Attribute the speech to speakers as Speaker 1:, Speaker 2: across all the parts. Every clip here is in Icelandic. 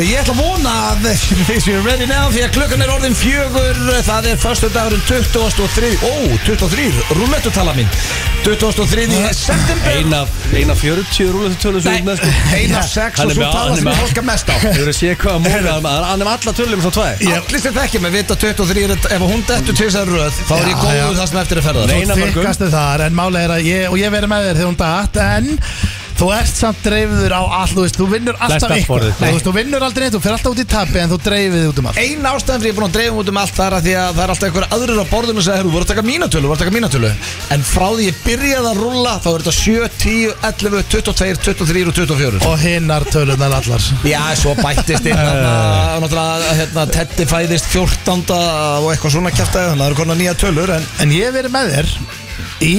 Speaker 1: Ég ætla að vona að þið séu ready now því að klukkan er orðin fjögur það er förstu dagurinn 23 ó, 23, rúlettutala mín 23. september
Speaker 2: Eina, eina 40 rúlega tölum sem við með sko
Speaker 1: ein af sex
Speaker 2: Hann
Speaker 1: og
Speaker 2: er
Speaker 1: svo
Speaker 2: með-
Speaker 1: tala
Speaker 2: hann er
Speaker 1: sem
Speaker 2: með-
Speaker 1: ég fólka mest á
Speaker 2: Þú verður að sé hvað að móla hann er- Hann er með alla tölum frá tvær
Speaker 1: Allir sem þekkja mig vita 23 er- ef hún dettur til þessar röð þá er ég
Speaker 3: Já, já.
Speaker 1: góður það sem eftir er ferðar
Speaker 2: Eina mörgum.
Speaker 3: Þykkastu þar En málega er að ég Og ég verið með þér þegar hún datt En Þú ert samt dreifður á allt Þú veist, þú vinnur alltaf
Speaker 2: Læsta
Speaker 3: eitthvað
Speaker 2: borðið.
Speaker 3: Þú veist, þú vinnur aldrei neitt Þú fyrir alltaf út í tappi En þú dreifir þig út um allt
Speaker 1: Einn ástæðan fyrir ég er búin að dreifum út um allt það er að því að það er alltaf einhverja aðrir á borðinu sem hefur voru að taka mínatölu, voru að taka mínatölu en frá því ég byrjaði að rúlla þá er þetta 7, 10, 11, 22, 23 og 24
Speaker 3: Og hinnar tölunar allar
Speaker 1: Já, svo bættist inn þarna, náttúrulega hérna, Teddy fæðist 14 og eitthvað svona kjæftæði þannig að það eru konar nýja tölur en
Speaker 3: En ég hef verið með þér Í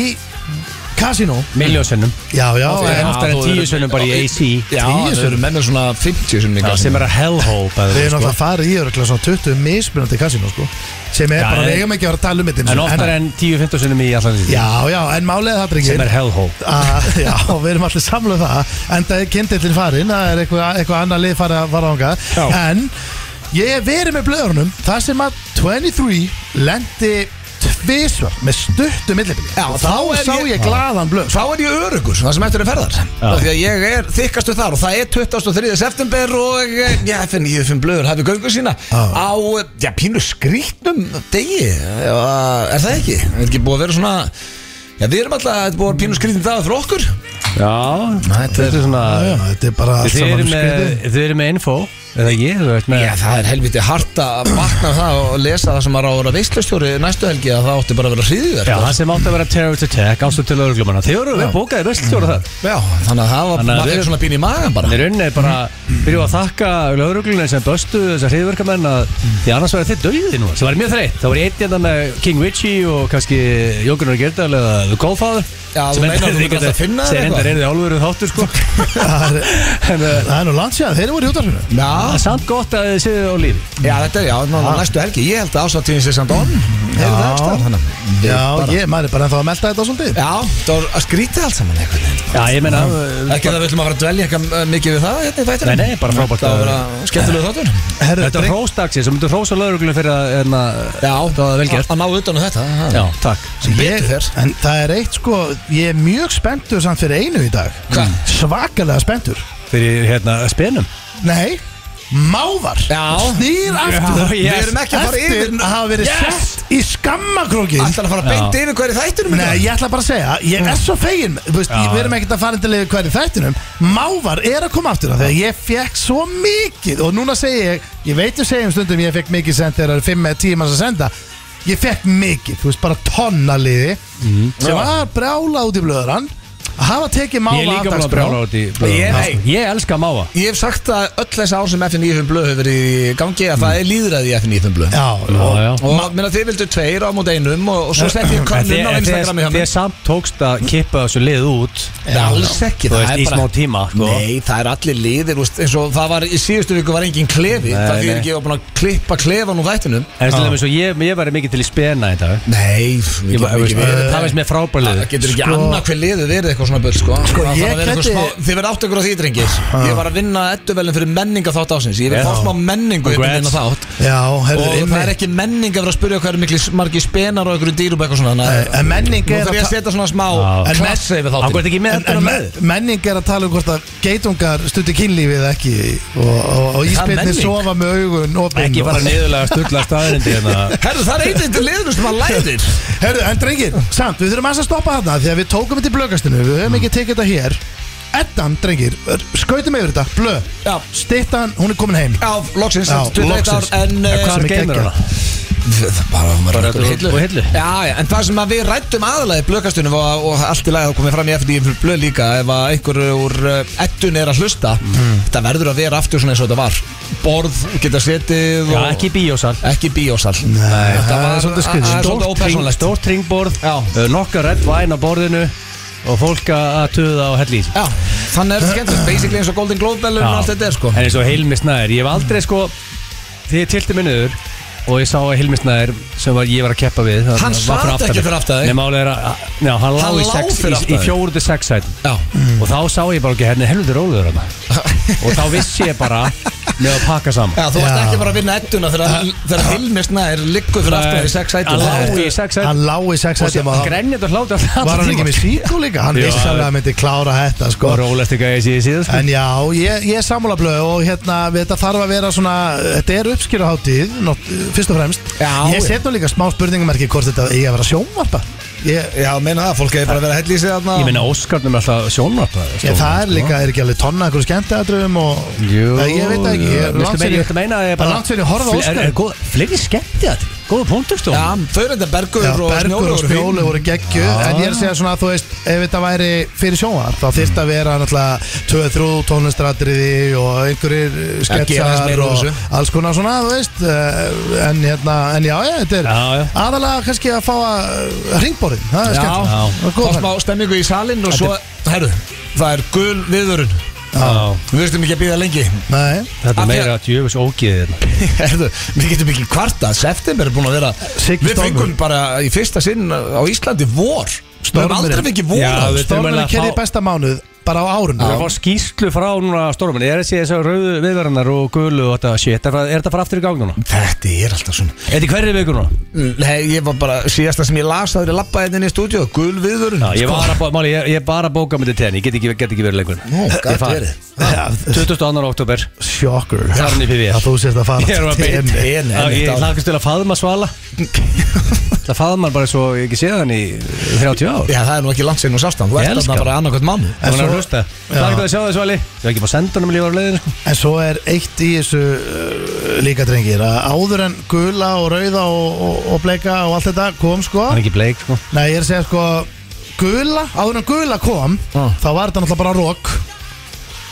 Speaker 3: Casino
Speaker 2: Miljósinnum
Speaker 3: Já, já
Speaker 2: En
Speaker 3: en-
Speaker 2: oftar en tíu sinnum bara í AC.
Speaker 1: Tíu sinnum, menn er svona 50 sinnum í kasinu.
Speaker 2: Sem er að hellhole by the
Speaker 3: Við
Speaker 2: way,
Speaker 3: erum
Speaker 2: sko.
Speaker 3: náttúrulega farið í öruglega svona 20 mismunandi kasino sko sem er
Speaker 2: Já,
Speaker 3: bara,
Speaker 2: en-
Speaker 3: við eigum ekki að vera að tala um þetta einu
Speaker 2: En
Speaker 3: sinni,
Speaker 2: oftar en 10-15 sinnum í allan lífi
Speaker 3: Já, já, en málega það drengir
Speaker 2: Sem er hellhole
Speaker 3: að, Ah, Já, við erum allir samluð það en það er kindillin farin, það er eitthvað eitthva annar lið farið að fara ánga
Speaker 2: Já.
Speaker 3: en ég hef verið með blöðurnum þar sem að 23 lendi tvisvar með stuttu millibili
Speaker 1: Já,
Speaker 3: og
Speaker 1: þá er
Speaker 3: þá sá
Speaker 1: ég-
Speaker 3: ég glaðan blöð sko.
Speaker 1: Þá er ég örugur, það sem eftir er ferðar Af Því að ég er þykkastu þar og það er 23. september og eh, já, FN, ég finn blöður hafi göngu sína á, eh, já, pínu skrýtnum degi, Eh, er það ekki? Er ekki búið að vera svona Já, við erum alltaf, þetta er búið að vera pínu skrýtnum dag fyrir okkur
Speaker 2: Já, þetta er svona
Speaker 3: Já, já, þetta er bara allt
Speaker 2: Þið
Speaker 3: saman
Speaker 2: eru með,
Speaker 3: skrítið.
Speaker 2: þið eru með info Eða ég, þú veit með
Speaker 1: Já, það er helviti hart að vakna við það og lesa það sem að ráður að veistlustjóri næstu helgi að það átti bara að vera hriðiverk
Speaker 2: Já, það sem átti að vera terrorist attack Ástöð til örglumanna Þið voru við bókaði veststjóra það
Speaker 1: já, þannig að það var
Speaker 2: Þannig að
Speaker 1: maður
Speaker 2: við-
Speaker 1: er svona pínu í magan bara
Speaker 2: Þannig raun er bara byrjuð að þakka lögreglunni sem böstu þessar hriðverkamenn að því annars var þið döðið núna sem var mjög þreytt þá var ég einn hérna með King Richie og kannski Jókunar Gerdal eða The Godfather
Speaker 1: Já, þú
Speaker 2: sem
Speaker 1: meinar þú myndir alltaf finna
Speaker 2: sem
Speaker 1: þér
Speaker 2: endar
Speaker 1: eitthvað?
Speaker 2: einið álveru þáttur sko
Speaker 3: Það er-
Speaker 2: en uh,
Speaker 3: Það er nú landsjað, þeir eru voru í útarfinu
Speaker 1: Já,
Speaker 2: það er samt gott að þið séu á lífi
Speaker 1: já, þetta er, já, ná, næstu helgi Ég held að ásvartíðin sé samt onn Hefur það ekki stað, þannig að við
Speaker 3: Já,
Speaker 1: bara-
Speaker 3: ég, maður er bara ennþá að melta þetta á svolítið
Speaker 1: Já, það var að skrýta allt saman einhvern veginn
Speaker 2: Já, ég menna
Speaker 1: Ekki að við ætlum að fara að dvelja eitthvað eh, mikið við það hérna í þættinum
Speaker 2: Nei, nei, bara frábært.
Speaker 1: Það var að skemmtilega þáttur
Speaker 3: Herru,
Speaker 2: Þetta er hróstaksins og myndu hrósa lögreglunni fyrir að hérna,
Speaker 1: Já,
Speaker 2: það var vel gert
Speaker 1: Að ná utan á þetta það-
Speaker 2: Já, takk
Speaker 1: Sem betur
Speaker 3: ég,
Speaker 1: fer
Speaker 3: en það er eitt sko Ég er mjög spenntur samt fyrir einu í dag
Speaker 1: Hvað?
Speaker 3: Svakalega spenntur
Speaker 2: Fyrir hérna spenum
Speaker 3: Nei, mávar
Speaker 1: Já.
Speaker 3: Snýr aftur
Speaker 2: yes.
Speaker 1: Við erum ekki að fara
Speaker 3: Eftir
Speaker 1: yfir
Speaker 3: að hafa verið
Speaker 1: Yes.
Speaker 3: sett í skammakrókin
Speaker 1: Alltaf að fara beint yfir hverju þættinum
Speaker 3: Nei, ég ætla bara að segja, ég er svo fegin Þú veist,
Speaker 2: Já,
Speaker 3: Við erum ekkert að fara indilega hverju þættinum Mávar er að koma aftur af því að ég fekk svo mikið Og núna segi ég, ég veit þú segjum stundum Ég fekk mikið send þegar það eru 5 eða 10 manns að senda Ég fekk mikið, þú veist, bara tonnaliði Sem var brjála út í blöðran Að hafa tekið
Speaker 2: Mhm. Ég
Speaker 3: máva
Speaker 2: er líka búin að
Speaker 3: afdagsbrá.
Speaker 2: brjála út í
Speaker 1: Ég-
Speaker 2: blöðum
Speaker 1: nei.
Speaker 2: Ég elska máva
Speaker 1: Ég hef sagt að öll þessi ár sem FNÍ Fumblöð hefur verið í gangi að það er líðræði í FNÍ Fumblöð
Speaker 3: Já, og-
Speaker 2: já.
Speaker 1: Og minna þið vildu tveir á mót einum og, og svo setti ég
Speaker 2: En
Speaker 1: könnun á
Speaker 2: þið- en
Speaker 1: Instagrami hjá
Speaker 2: Þið þið
Speaker 1: mér
Speaker 2: samt tókst að kippa þessu lið út
Speaker 1: Já, alls ekki,
Speaker 2: Þú
Speaker 1: það
Speaker 2: veist,
Speaker 1: er
Speaker 2: í
Speaker 1: bara-
Speaker 2: smá tíma sko.
Speaker 1: Nei, það er allir liðir úst, eins og það var í síðustu viku var engin klefi
Speaker 2: Nei,
Speaker 1: það fyrir
Speaker 2: nei.
Speaker 1: ekki að búin að klippa klefan úr þættinum
Speaker 2: En til dæmis og ég, ég væri mikið til í spena í dag
Speaker 1: Nei, pff, við
Speaker 2: Ég var-
Speaker 1: getum
Speaker 2: veist,
Speaker 1: ekki verið
Speaker 2: Það veist mér frábæð
Speaker 1: Það
Speaker 2: lið
Speaker 1: getur ekki
Speaker 3: Sko-
Speaker 1: annað hver liðu verið eitthvað svona börn sko. sko
Speaker 3: ég gæti-
Speaker 1: Þið verð átt ykkur á því drengir Ég var að vinna edduvelin fyrir menninga þátt ásins Ég
Speaker 2: Já.
Speaker 1: vil fá smá menningu
Speaker 2: Congrats.
Speaker 1: inn á þátt
Speaker 3: já herðu,
Speaker 1: Og það er ekki menning að vera að spyrja hvað eru miklu margi spenar og einhverju dýrum eitthvað svona þannig
Speaker 3: Nei, Eh, en menning
Speaker 1: Nú
Speaker 3: er
Speaker 1: þarf ég
Speaker 3: að
Speaker 1: að setja svona smá
Speaker 2: Já.
Speaker 3: En
Speaker 1: klass yfir
Speaker 2: Hann
Speaker 1: þáttinn
Speaker 2: gott ekki með
Speaker 3: En, en
Speaker 2: þetta með
Speaker 3: men- menning er að tala um hvort að geitungar stundi kynlífið eða ekki og, og, og íspilnir
Speaker 1: menning.
Speaker 3: sofa með augun opin
Speaker 2: Ekki
Speaker 3: og-
Speaker 2: bara niðurlega stulla staðarindi hérna.
Speaker 1: Herru það er einnig til liðnum sem að læðir
Speaker 3: Herru, en drengir, samt, við þurfum aðeins að stoppa þarna því að við tókum þetta í blökastinu, við höfum ekki tekið þetta hér Eddan, drengir, skautum yfir þetta, blö
Speaker 1: Já.
Speaker 3: Stittan, hún er komin heim
Speaker 1: Já, loksins,
Speaker 3: Já,
Speaker 1: 21 ár
Speaker 3: loksins.
Speaker 1: En eh,
Speaker 2: Hvað
Speaker 3: sem
Speaker 2: er
Speaker 3: er
Speaker 2: geimur
Speaker 3: geggjað.
Speaker 2: hana?
Speaker 1: það bara um
Speaker 2: Bara upp á hillu.
Speaker 1: Já, já, en það sem að við rættum aðalega í blökastunum og, og allt í lagi þá komið fram í FD fyrir blöð líka ef að einhver úr eh, eddun er að hlusta
Speaker 3: Mm.
Speaker 1: þetta verður að vera aftur svona eins og þetta var borð, geta setið
Speaker 2: Já,
Speaker 1: og
Speaker 2: ekki bíósal
Speaker 1: ekki bíósal
Speaker 3: Nei,
Speaker 1: þetta
Speaker 3: það er
Speaker 1: var
Speaker 3: svolítið skrítið.
Speaker 1: það er svolítið
Speaker 2: Stórt hring-
Speaker 1: ópersonlegt
Speaker 2: Stórt eh, ringborð
Speaker 1: Já.
Speaker 2: Nokka redd væn á borðinu Og fólk að að tuða og hella í sig.
Speaker 1: Já, þannig er þetta skemmtilegt Basically eins og Golden Globe Bellum og
Speaker 2: Já.
Speaker 1: allt þetta er sko
Speaker 2: En eins og Hilmi Snæður, ég hef aldrei sko Þegar ég tilti mig niður Og ég sá að Hilmi Snæður sem var, ég var að keppa við það
Speaker 1: Hann
Speaker 2: var
Speaker 1: sat
Speaker 2: fyrir aftan
Speaker 1: ekki
Speaker 2: mig.
Speaker 1: fyrir aftan þig.
Speaker 2: Nei, málið er að Já, hann lá
Speaker 1: Hann
Speaker 2: í,
Speaker 1: lá
Speaker 2: sex,
Speaker 1: fyrir
Speaker 2: í,
Speaker 1: aftan
Speaker 2: í
Speaker 1: þig.
Speaker 2: fjóruðu sex sætin
Speaker 1: Já
Speaker 2: hérna Og þá sá ég bara ekki henni helviti róluður hann Og þá vissi ég bara með að pakka saman
Speaker 1: Já, þú varst
Speaker 3: Já.
Speaker 1: ekki bara að vinna ettuna þegar þegar Hilmisna er ligguð fyrir aftan því sex
Speaker 2: Hann
Speaker 1: ættum
Speaker 2: lá í sex
Speaker 3: Hann
Speaker 2: sætum
Speaker 3: lá í sex
Speaker 2: Og
Speaker 3: hættum
Speaker 2: síðan grenjandi og hláti alltaf
Speaker 3: Var hann ekki með síkó líka? Hann
Speaker 2: Já.
Speaker 3: vissi alveg að hann myndi klára þetta sko.
Speaker 2: Og rólast ekki að ég sé í síðan sko.
Speaker 3: En já, ég, ég er sammála blöð og hérna, þetta þarf að vera svona þetta er uppskýruháttíð, nótt- fyrst og fremst
Speaker 1: Já.
Speaker 3: Ég set nú líka smá spurningamerki hvort þetta eigi að vera sjónvarpa ég,
Speaker 1: Já, meina það, fólk hefur bara verið að hella í sig þarna
Speaker 2: Ég meina Óskarnum er alltaf sko. sjónvarpa
Speaker 3: ég, Það er líka, er ekki alveg tonna einhverju skemmtiðatrum og
Speaker 2: Jú,
Speaker 3: Nei, Ég veit það ekki, ég er
Speaker 2: Viltu
Speaker 3: langt sér
Speaker 2: meina, Sko, ég
Speaker 3: ég
Speaker 2: viltu meina að ég
Speaker 3: bara langt sér ég horfa á
Speaker 2: Fle- er-
Speaker 3: Óskar
Speaker 2: er góð- Fleiri skemmti að þetta Góða punktur sko. stóð
Speaker 1: Já, þau eru þetta bergur
Speaker 3: Já,
Speaker 1: og
Speaker 3: Bergur og
Speaker 1: snjólaug
Speaker 3: Snjólu voru geggju En ég er að segja svona að þú veist Ef þetta væri fyrir sjónvarp Þá þyrst að vera náttúrulega 2-3 tónlistratriði Og einhverjir eh,
Speaker 1: gera aðeins
Speaker 3: sketsar
Speaker 1: meira úr
Speaker 3: Og
Speaker 1: þessu.
Speaker 3: alls konar svona þú veist eh, En, hérna, en já, ég, þetta er
Speaker 2: Já, já.
Speaker 3: aðalega kannski að fá að Ringborðin, það er
Speaker 1: Já,
Speaker 3: skemmt
Speaker 2: Já.
Speaker 3: Það er
Speaker 1: þá
Speaker 3: góð
Speaker 1: smá stemmingu í salin og svo, herru, það er gul viðurinn
Speaker 2: Já,
Speaker 1: Við veistum ekki að býða lengi
Speaker 3: þar. Nei.
Speaker 2: Þetta
Speaker 1: Af
Speaker 2: er
Speaker 1: því
Speaker 2: meira hérna. djöfus ógið
Speaker 1: Herðu, við getum ekki kvarta September er búin að vera
Speaker 3: Siggi
Speaker 1: Við
Speaker 3: Stormur.
Speaker 1: fengum bara í fyrsta sinn á Íslandi vor Við höfum
Speaker 3: Stormurinn.
Speaker 1: aldrei fengið vor á
Speaker 2: Já, við-
Speaker 1: þessu.
Speaker 2: Þurfum
Speaker 3: Stormurinn
Speaker 2: eiginlega að
Speaker 3: kerði
Speaker 2: fá-
Speaker 3: besta mánuð Bara á árun
Speaker 2: Þú fá skýslu frá núna stormin Er þessi þessi rauðu viðverðanar og gulu og þetta shit Er það- er þetta fara aftur í gang núna?
Speaker 1: Þetta er alltaf svona
Speaker 2: Er þetta í hverju viku núna?
Speaker 1: Nei, ég var bara síðasta sem ég las Það er lappa hérna inn í stúdíu Gul viðurinn
Speaker 2: Já, ég var að, bó- máli, ég, ég bara bóka myndi tenni, ég get ekki, get ekki verið lengur
Speaker 1: Nú,
Speaker 2: Ég
Speaker 1: gat
Speaker 2: fari.
Speaker 1: Sko, verið.
Speaker 3: Já,
Speaker 2: 22. oktober
Speaker 3: Shocker
Speaker 2: Það er hann í PVR.
Speaker 3: Að þú sért að fara
Speaker 2: Ég er að
Speaker 3: til
Speaker 2: beint
Speaker 3: Tenerife.
Speaker 1: Tenni,
Speaker 2: Já, Ég
Speaker 1: einmitt, já.
Speaker 2: hlakast til að faðma svala Það faðmar bara svo ég ekki séð hann í 30 ár
Speaker 1: Já, það er nú ekki langt sinn og sástan Þú
Speaker 2: Ég
Speaker 1: ert
Speaker 2: elska
Speaker 1: þarna
Speaker 2: hann.
Speaker 1: bara annarkvæmt mann
Speaker 3: En
Speaker 2: Það var að
Speaker 3: svo-
Speaker 2: hlusta
Speaker 3: Já.
Speaker 2: Það er að sjá það svali Ég var ekki bara að senda hann um lífa á leiðinu sko.
Speaker 3: En svo er eitt í þessu uh, líka drengir að áður en gula og rauða og, og, og bleika og allt þetta kom sko
Speaker 2: Hann er ekki bleik sko.
Speaker 3: Nei, ég er að segja sko gula, áður en gula kom
Speaker 2: Ah.
Speaker 3: þá var þetta náttúrulega bara rók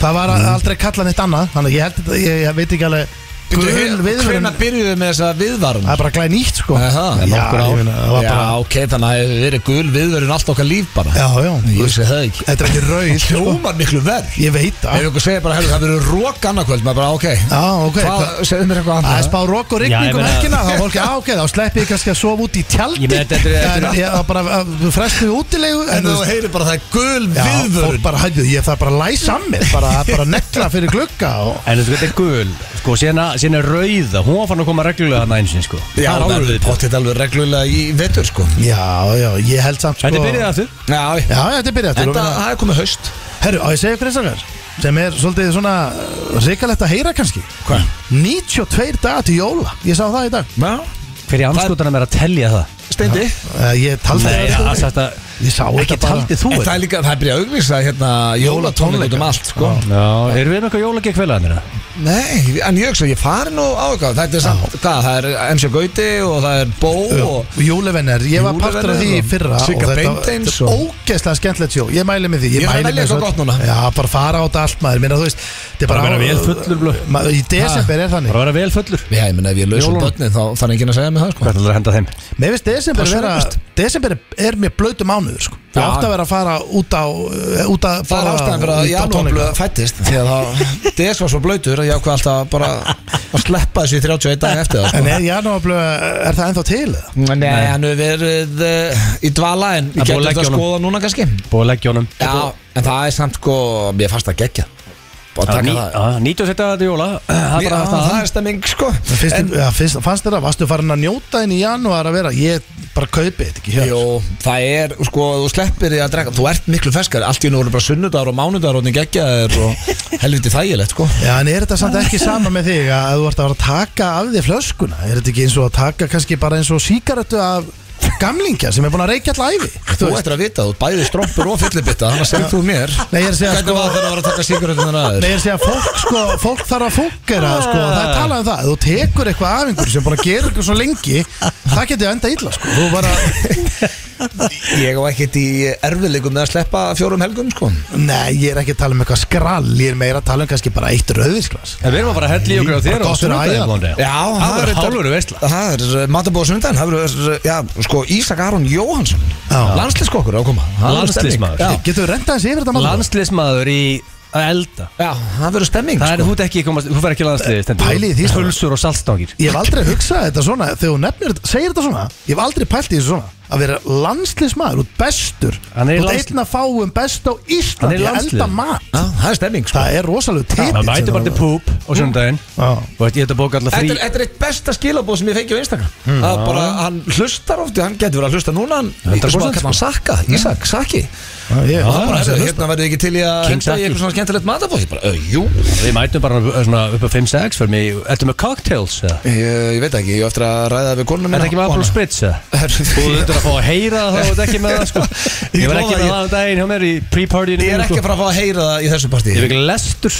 Speaker 3: það var
Speaker 2: Mm.
Speaker 3: aldrei kallað neitt annað þannig að ég, held, þetta- ég, ég veit ekki alveg gul viðvörun,
Speaker 1: Hvernig byrjuðu með þessa viðvarun?
Speaker 3: það er bara glæð nýtt sko
Speaker 1: Aha.
Speaker 3: Já,
Speaker 2: Nokkur ár.
Speaker 3: ég meina, það var
Speaker 1: Já,
Speaker 3: bara
Speaker 1: ok, þannig að það hefur verið gul viðurinn Allt okkar líf bara
Speaker 3: Já, já,
Speaker 1: Ég sé það ekki
Speaker 3: þetta er ekki rauð sko.
Speaker 1: Hljómar miklu verð
Speaker 3: Ég veit
Speaker 1: Ef
Speaker 3: það
Speaker 1: ykkur segir bara, herru, það verður rók annarkvöld maður bara, ok,
Speaker 3: Já, ok,
Speaker 1: hvað,
Speaker 3: hvað-
Speaker 1: segðu mér eitthvað
Speaker 3: Það er
Speaker 1: annað
Speaker 3: spá rók og
Speaker 2: Já, ég
Speaker 3: rigning um
Speaker 2: meina-
Speaker 3: helgina þá fólki ákveð, þá sleppi ég kannski að sofa út í tjaldi
Speaker 2: Ég meina, þetta er- þetta er-
Speaker 3: en ég það bara að- frestu við útilegu
Speaker 1: En þú
Speaker 3: veist,
Speaker 1: heyrir bara það er gul
Speaker 3: já, fólk
Speaker 1: viðvörun
Speaker 3: bara hægðu, ég þarf bara að læsa að mér bara, bara negla fyrir glugga og
Speaker 2: En þetta er gul sko, Sérna er rauða Hún var fann að koma reglulega hann einsin sko.
Speaker 1: Já,
Speaker 2: Það er
Speaker 1: það
Speaker 2: alveg
Speaker 1: er
Speaker 2: viðbót.
Speaker 1: pottitt alveg reglulega í vetur sko
Speaker 3: já, já, ég held samt sko
Speaker 2: Þetta er byrjað aftur
Speaker 1: Já,
Speaker 3: Já, já, þetta er
Speaker 1: en
Speaker 3: byrjað aftur
Speaker 1: það það er komið haust
Speaker 3: Herru, á ég að segja ykkur einstakar sem er svolítið svona reikalegt að heyra kannski
Speaker 1: Hvað?
Speaker 3: 92 dagar til jóla, ég sá það í dag
Speaker 1: Já,
Speaker 2: Fyrir anskotanum er að telja það
Speaker 1: steindi
Speaker 3: Eh, Ég taldi
Speaker 2: Nei,
Speaker 3: það
Speaker 2: alls þetta
Speaker 3: Ég sá
Speaker 2: Ekki
Speaker 3: þetta bara
Speaker 2: taldi þú
Speaker 1: En það
Speaker 2: þetta
Speaker 1: er líka, það er byrjað að auglýsa hérna jólatónleik út um allt sko
Speaker 2: Já, erum við með eitthvað jólagið kveldað
Speaker 1: Nei, en ég hugsa, ég fari nú á eitthvað Þetta er samt, hvað, það er MC Gauti og það er Bó og
Speaker 3: Júlevenner, ég var partur af því í
Speaker 1: Jólavenner og
Speaker 3: fyrra
Speaker 1: Sigga Beinteins
Speaker 3: þetta var
Speaker 1: og-
Speaker 3: ógeðslega skemmtilegt sjó Ég mæli með því
Speaker 1: Ég þarf að
Speaker 3: mæli
Speaker 1: velja
Speaker 3: með
Speaker 1: eitthvað
Speaker 3: þessu-
Speaker 1: gott núna.
Speaker 3: Já, bara fara á þetta allt maður Minna, þú veist, þetta er
Speaker 2: Bara
Speaker 3: bara
Speaker 2: vera vel fullur, blöð.
Speaker 3: Ma- Í desember er þannig
Speaker 2: Bara að vera vel fullur
Speaker 1: Já, ég meina, ef ég lausum
Speaker 2: Jólunum.
Speaker 1: börnin þá þarf enginn að segja mig það sko
Speaker 2: Hvað ætlar að henda þeim?
Speaker 3: Mér finnst desember
Speaker 1: Passar
Speaker 3: vera
Speaker 1: ekkert.
Speaker 3: Desember er mér blöytu mánuður sko. Það
Speaker 1: Já.
Speaker 3: átt að vera að fara út á eh, út að
Speaker 1: Það er
Speaker 3: fara
Speaker 1: ástæðan fyrir að
Speaker 3: út á
Speaker 1: janúarblöð
Speaker 3: tónleika.
Speaker 1: fættist Því að þá DS var svo blöytur að ég ákvað alltaf bara að sleppa þessu í 31 dag eftir það
Speaker 3: En
Speaker 1: sko.
Speaker 3: er janúarblöð, er það ennþá til? eða?
Speaker 1: Nei, hann hefur verið uh, í dvala en
Speaker 2: Það
Speaker 1: ég
Speaker 2: er búið að
Speaker 1: getur
Speaker 2: leggja
Speaker 1: þetta að
Speaker 2: honum.
Speaker 1: skoða núna kannski
Speaker 2: Búið að leggja honum
Speaker 1: Já, en það er samt sko, mér fannst það geggja Bara að taka það
Speaker 2: Nýttu að setja þetta í jóla Það er
Speaker 1: Já,
Speaker 2: bara aftan
Speaker 1: það
Speaker 2: það
Speaker 1: er stemming sko
Speaker 3: En Fyrst, en, ja, fyrst, fannst þér það, varstu farin að njóta þín í janúar að vera Ég bara kaupi þetta ekki hér
Speaker 1: Jó, það er, sko, þú sleppir því að drekka Þú ert miklu ferskar, allt í nú voru bara sunnudagur og mánudagur og geggjaðir og helviti þægilegt sko
Speaker 3: Já, en er þetta samt ekki sama með þig að að þú ert að vera að taka af þig flöskuna? Er þetta ekki eins og að taka kannski bara eins og síkaretu af gamlingja sem er búin að reykja all æfi?
Speaker 1: Þú ættir að vita, þú ert bæði strómpur og fyllibitta Þannig að segir þú mér
Speaker 3: Nei, ég er að segja,
Speaker 1: Hvernig
Speaker 3: sko-
Speaker 1: var það að vera að taka siguröndin að
Speaker 3: Nei, ég er að segja að fólk, sko, fólk þarf að fólkera, sko, það er talað um það. Ef Þú tekur eitthvað af einhverju sem er búin að gera eitthvað svo lengi, það getur enda illa, sko. Þú bara,
Speaker 1: Ég á ekkert í erfiðleikum með að sleppa fjórum helgum sko
Speaker 3: nei, ég er ekki að tala um eitthvað skrall, ég er meira að tala um kannski bara eitt rauðisglas.
Speaker 2: En við erum að fara að hella í okkur á þér
Speaker 3: Bara
Speaker 2: og
Speaker 3: gott fyrir æðar.
Speaker 2: sunnudaginn það er hálfur veistla
Speaker 1: Það er eh, matabóð sundan Það er, já, sko, Ísak Aron Jóhansson
Speaker 3: Já.
Speaker 1: Landsliðskokkur á að koma Það verður stemming.
Speaker 2: Landsliðsmaður.
Speaker 1: Já.
Speaker 3: Getur við renda þessi yfir þetta málum?
Speaker 2: Landsliðsmaður í að elda
Speaker 1: Já, það verður stemming
Speaker 2: Það er,
Speaker 1: sko.
Speaker 2: þú ert ekki komast, þú fer ekki landsliðið stendur.
Speaker 3: Pælið í því, sko.
Speaker 2: Pulsur og saltstangir
Speaker 3: Ég hef aldrei hugsað þetta svona Þegar hún nefnir, segir þetta svona Ég hef aldrei pælt í þessu svona að vera landslismæður út bestur
Speaker 2: Hann er í
Speaker 3: út
Speaker 2: landsli-
Speaker 3: einn að fáum best á
Speaker 2: Hann er
Speaker 3: Íslandi
Speaker 2: í
Speaker 3: í
Speaker 2: landsliði.
Speaker 3: elda mat
Speaker 1: Já, það er stemming sko
Speaker 3: það er rosalega titill
Speaker 2: Það mæti bara til púp á sundaginn
Speaker 3: Já.
Speaker 2: Og þetta- ég ætla að bóka alla
Speaker 1: Þetta
Speaker 2: frí
Speaker 1: er, þetta er eitt besta skilabóð sem ég fengi á Instagram mm. að bara, hann hlustar ofti, hann getur verið að hlusta núna hann,
Speaker 2: 100%.
Speaker 1: sem að kalla hann Sakka, Ísak, Sakki
Speaker 3: ég,
Speaker 1: og hann bara,
Speaker 2: það er
Speaker 1: "Heyrðu, hérna verður ekki til í að
Speaker 2: King
Speaker 1: henda í
Speaker 2: Sakki.
Speaker 1: eitthvað svona skemmtilegt matabóð ég bara, "Ö, jú,
Speaker 2: Við mætum bara uh, svona upp á 5-6 fyrir mig Ertu með cocktails eða?
Speaker 1: ég, ég veit ekki, ég á eftir að ræða við konuna
Speaker 2: Er
Speaker 1: mína
Speaker 2: þetta ekki með Apple Spritz eða? Þú
Speaker 1: Herru,
Speaker 2: þurftur að fá að heyra það þá þetta ekki með það sko
Speaker 1: Ég
Speaker 2: Ég var
Speaker 1: lofa
Speaker 2: ekki
Speaker 1: að
Speaker 2: með
Speaker 1: ég-
Speaker 2: það á daginn hjá mér í pre-partyinu
Speaker 1: Ég er
Speaker 2: mínu,
Speaker 1: ekki
Speaker 2: sko.
Speaker 1: að fara að fá að heyra það í þessu partí
Speaker 2: Ég er ekki lestur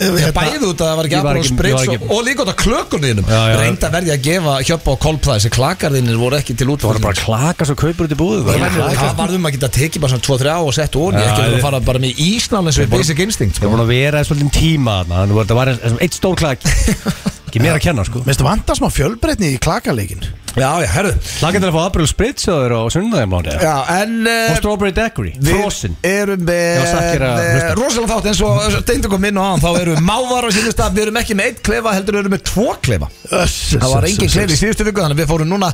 Speaker 1: Ég bæði út að það var ekki
Speaker 2: Ég var
Speaker 1: Apple og
Speaker 2: ekki- ég var
Speaker 1: Spritz
Speaker 2: ekki-
Speaker 1: og, og líka út að klökunniðinum
Speaker 2: Já, já.
Speaker 1: reynda verði að gefa hjöpa og kolpa þessi klakarðinir voru ekki til
Speaker 2: Það var
Speaker 1: útfólk
Speaker 2: bara klaka svo kaupur út í búðu
Speaker 1: Ég meina, Það varðum um að geta tekið bara svona 2-3 á og sett onni
Speaker 2: Já,
Speaker 1: ekki að vera
Speaker 2: ég-
Speaker 1: að fara bara með ísnáðan eins og við basic instinct
Speaker 2: Ég er
Speaker 1: sko.
Speaker 2: búin að vera í svolítið tíma þarna, þannig að það var eins- eitt stór klak Ekki meira að kenna sko
Speaker 3: Minnst það vantar smá fjölbreytni í klakaleikin
Speaker 1: Já, já, herru
Speaker 2: Hlakka til að fá April Spritz á þér á sunnudagjámáni
Speaker 1: Já, en eh,
Speaker 2: Og Strawberry Daiquiri, Frozen
Speaker 1: Við erum
Speaker 2: Já,
Speaker 1: með
Speaker 2: Sakki er að
Speaker 1: eh,
Speaker 2: hlusta.
Speaker 1: rosalega þátt eins og deyndu kom inn og aðan þá erum við mávar á sínum stað við erum ekki með eitt klefa heldur við erum með tvo klefa það var engin klefi í síðustu viku þannig að við fórum núna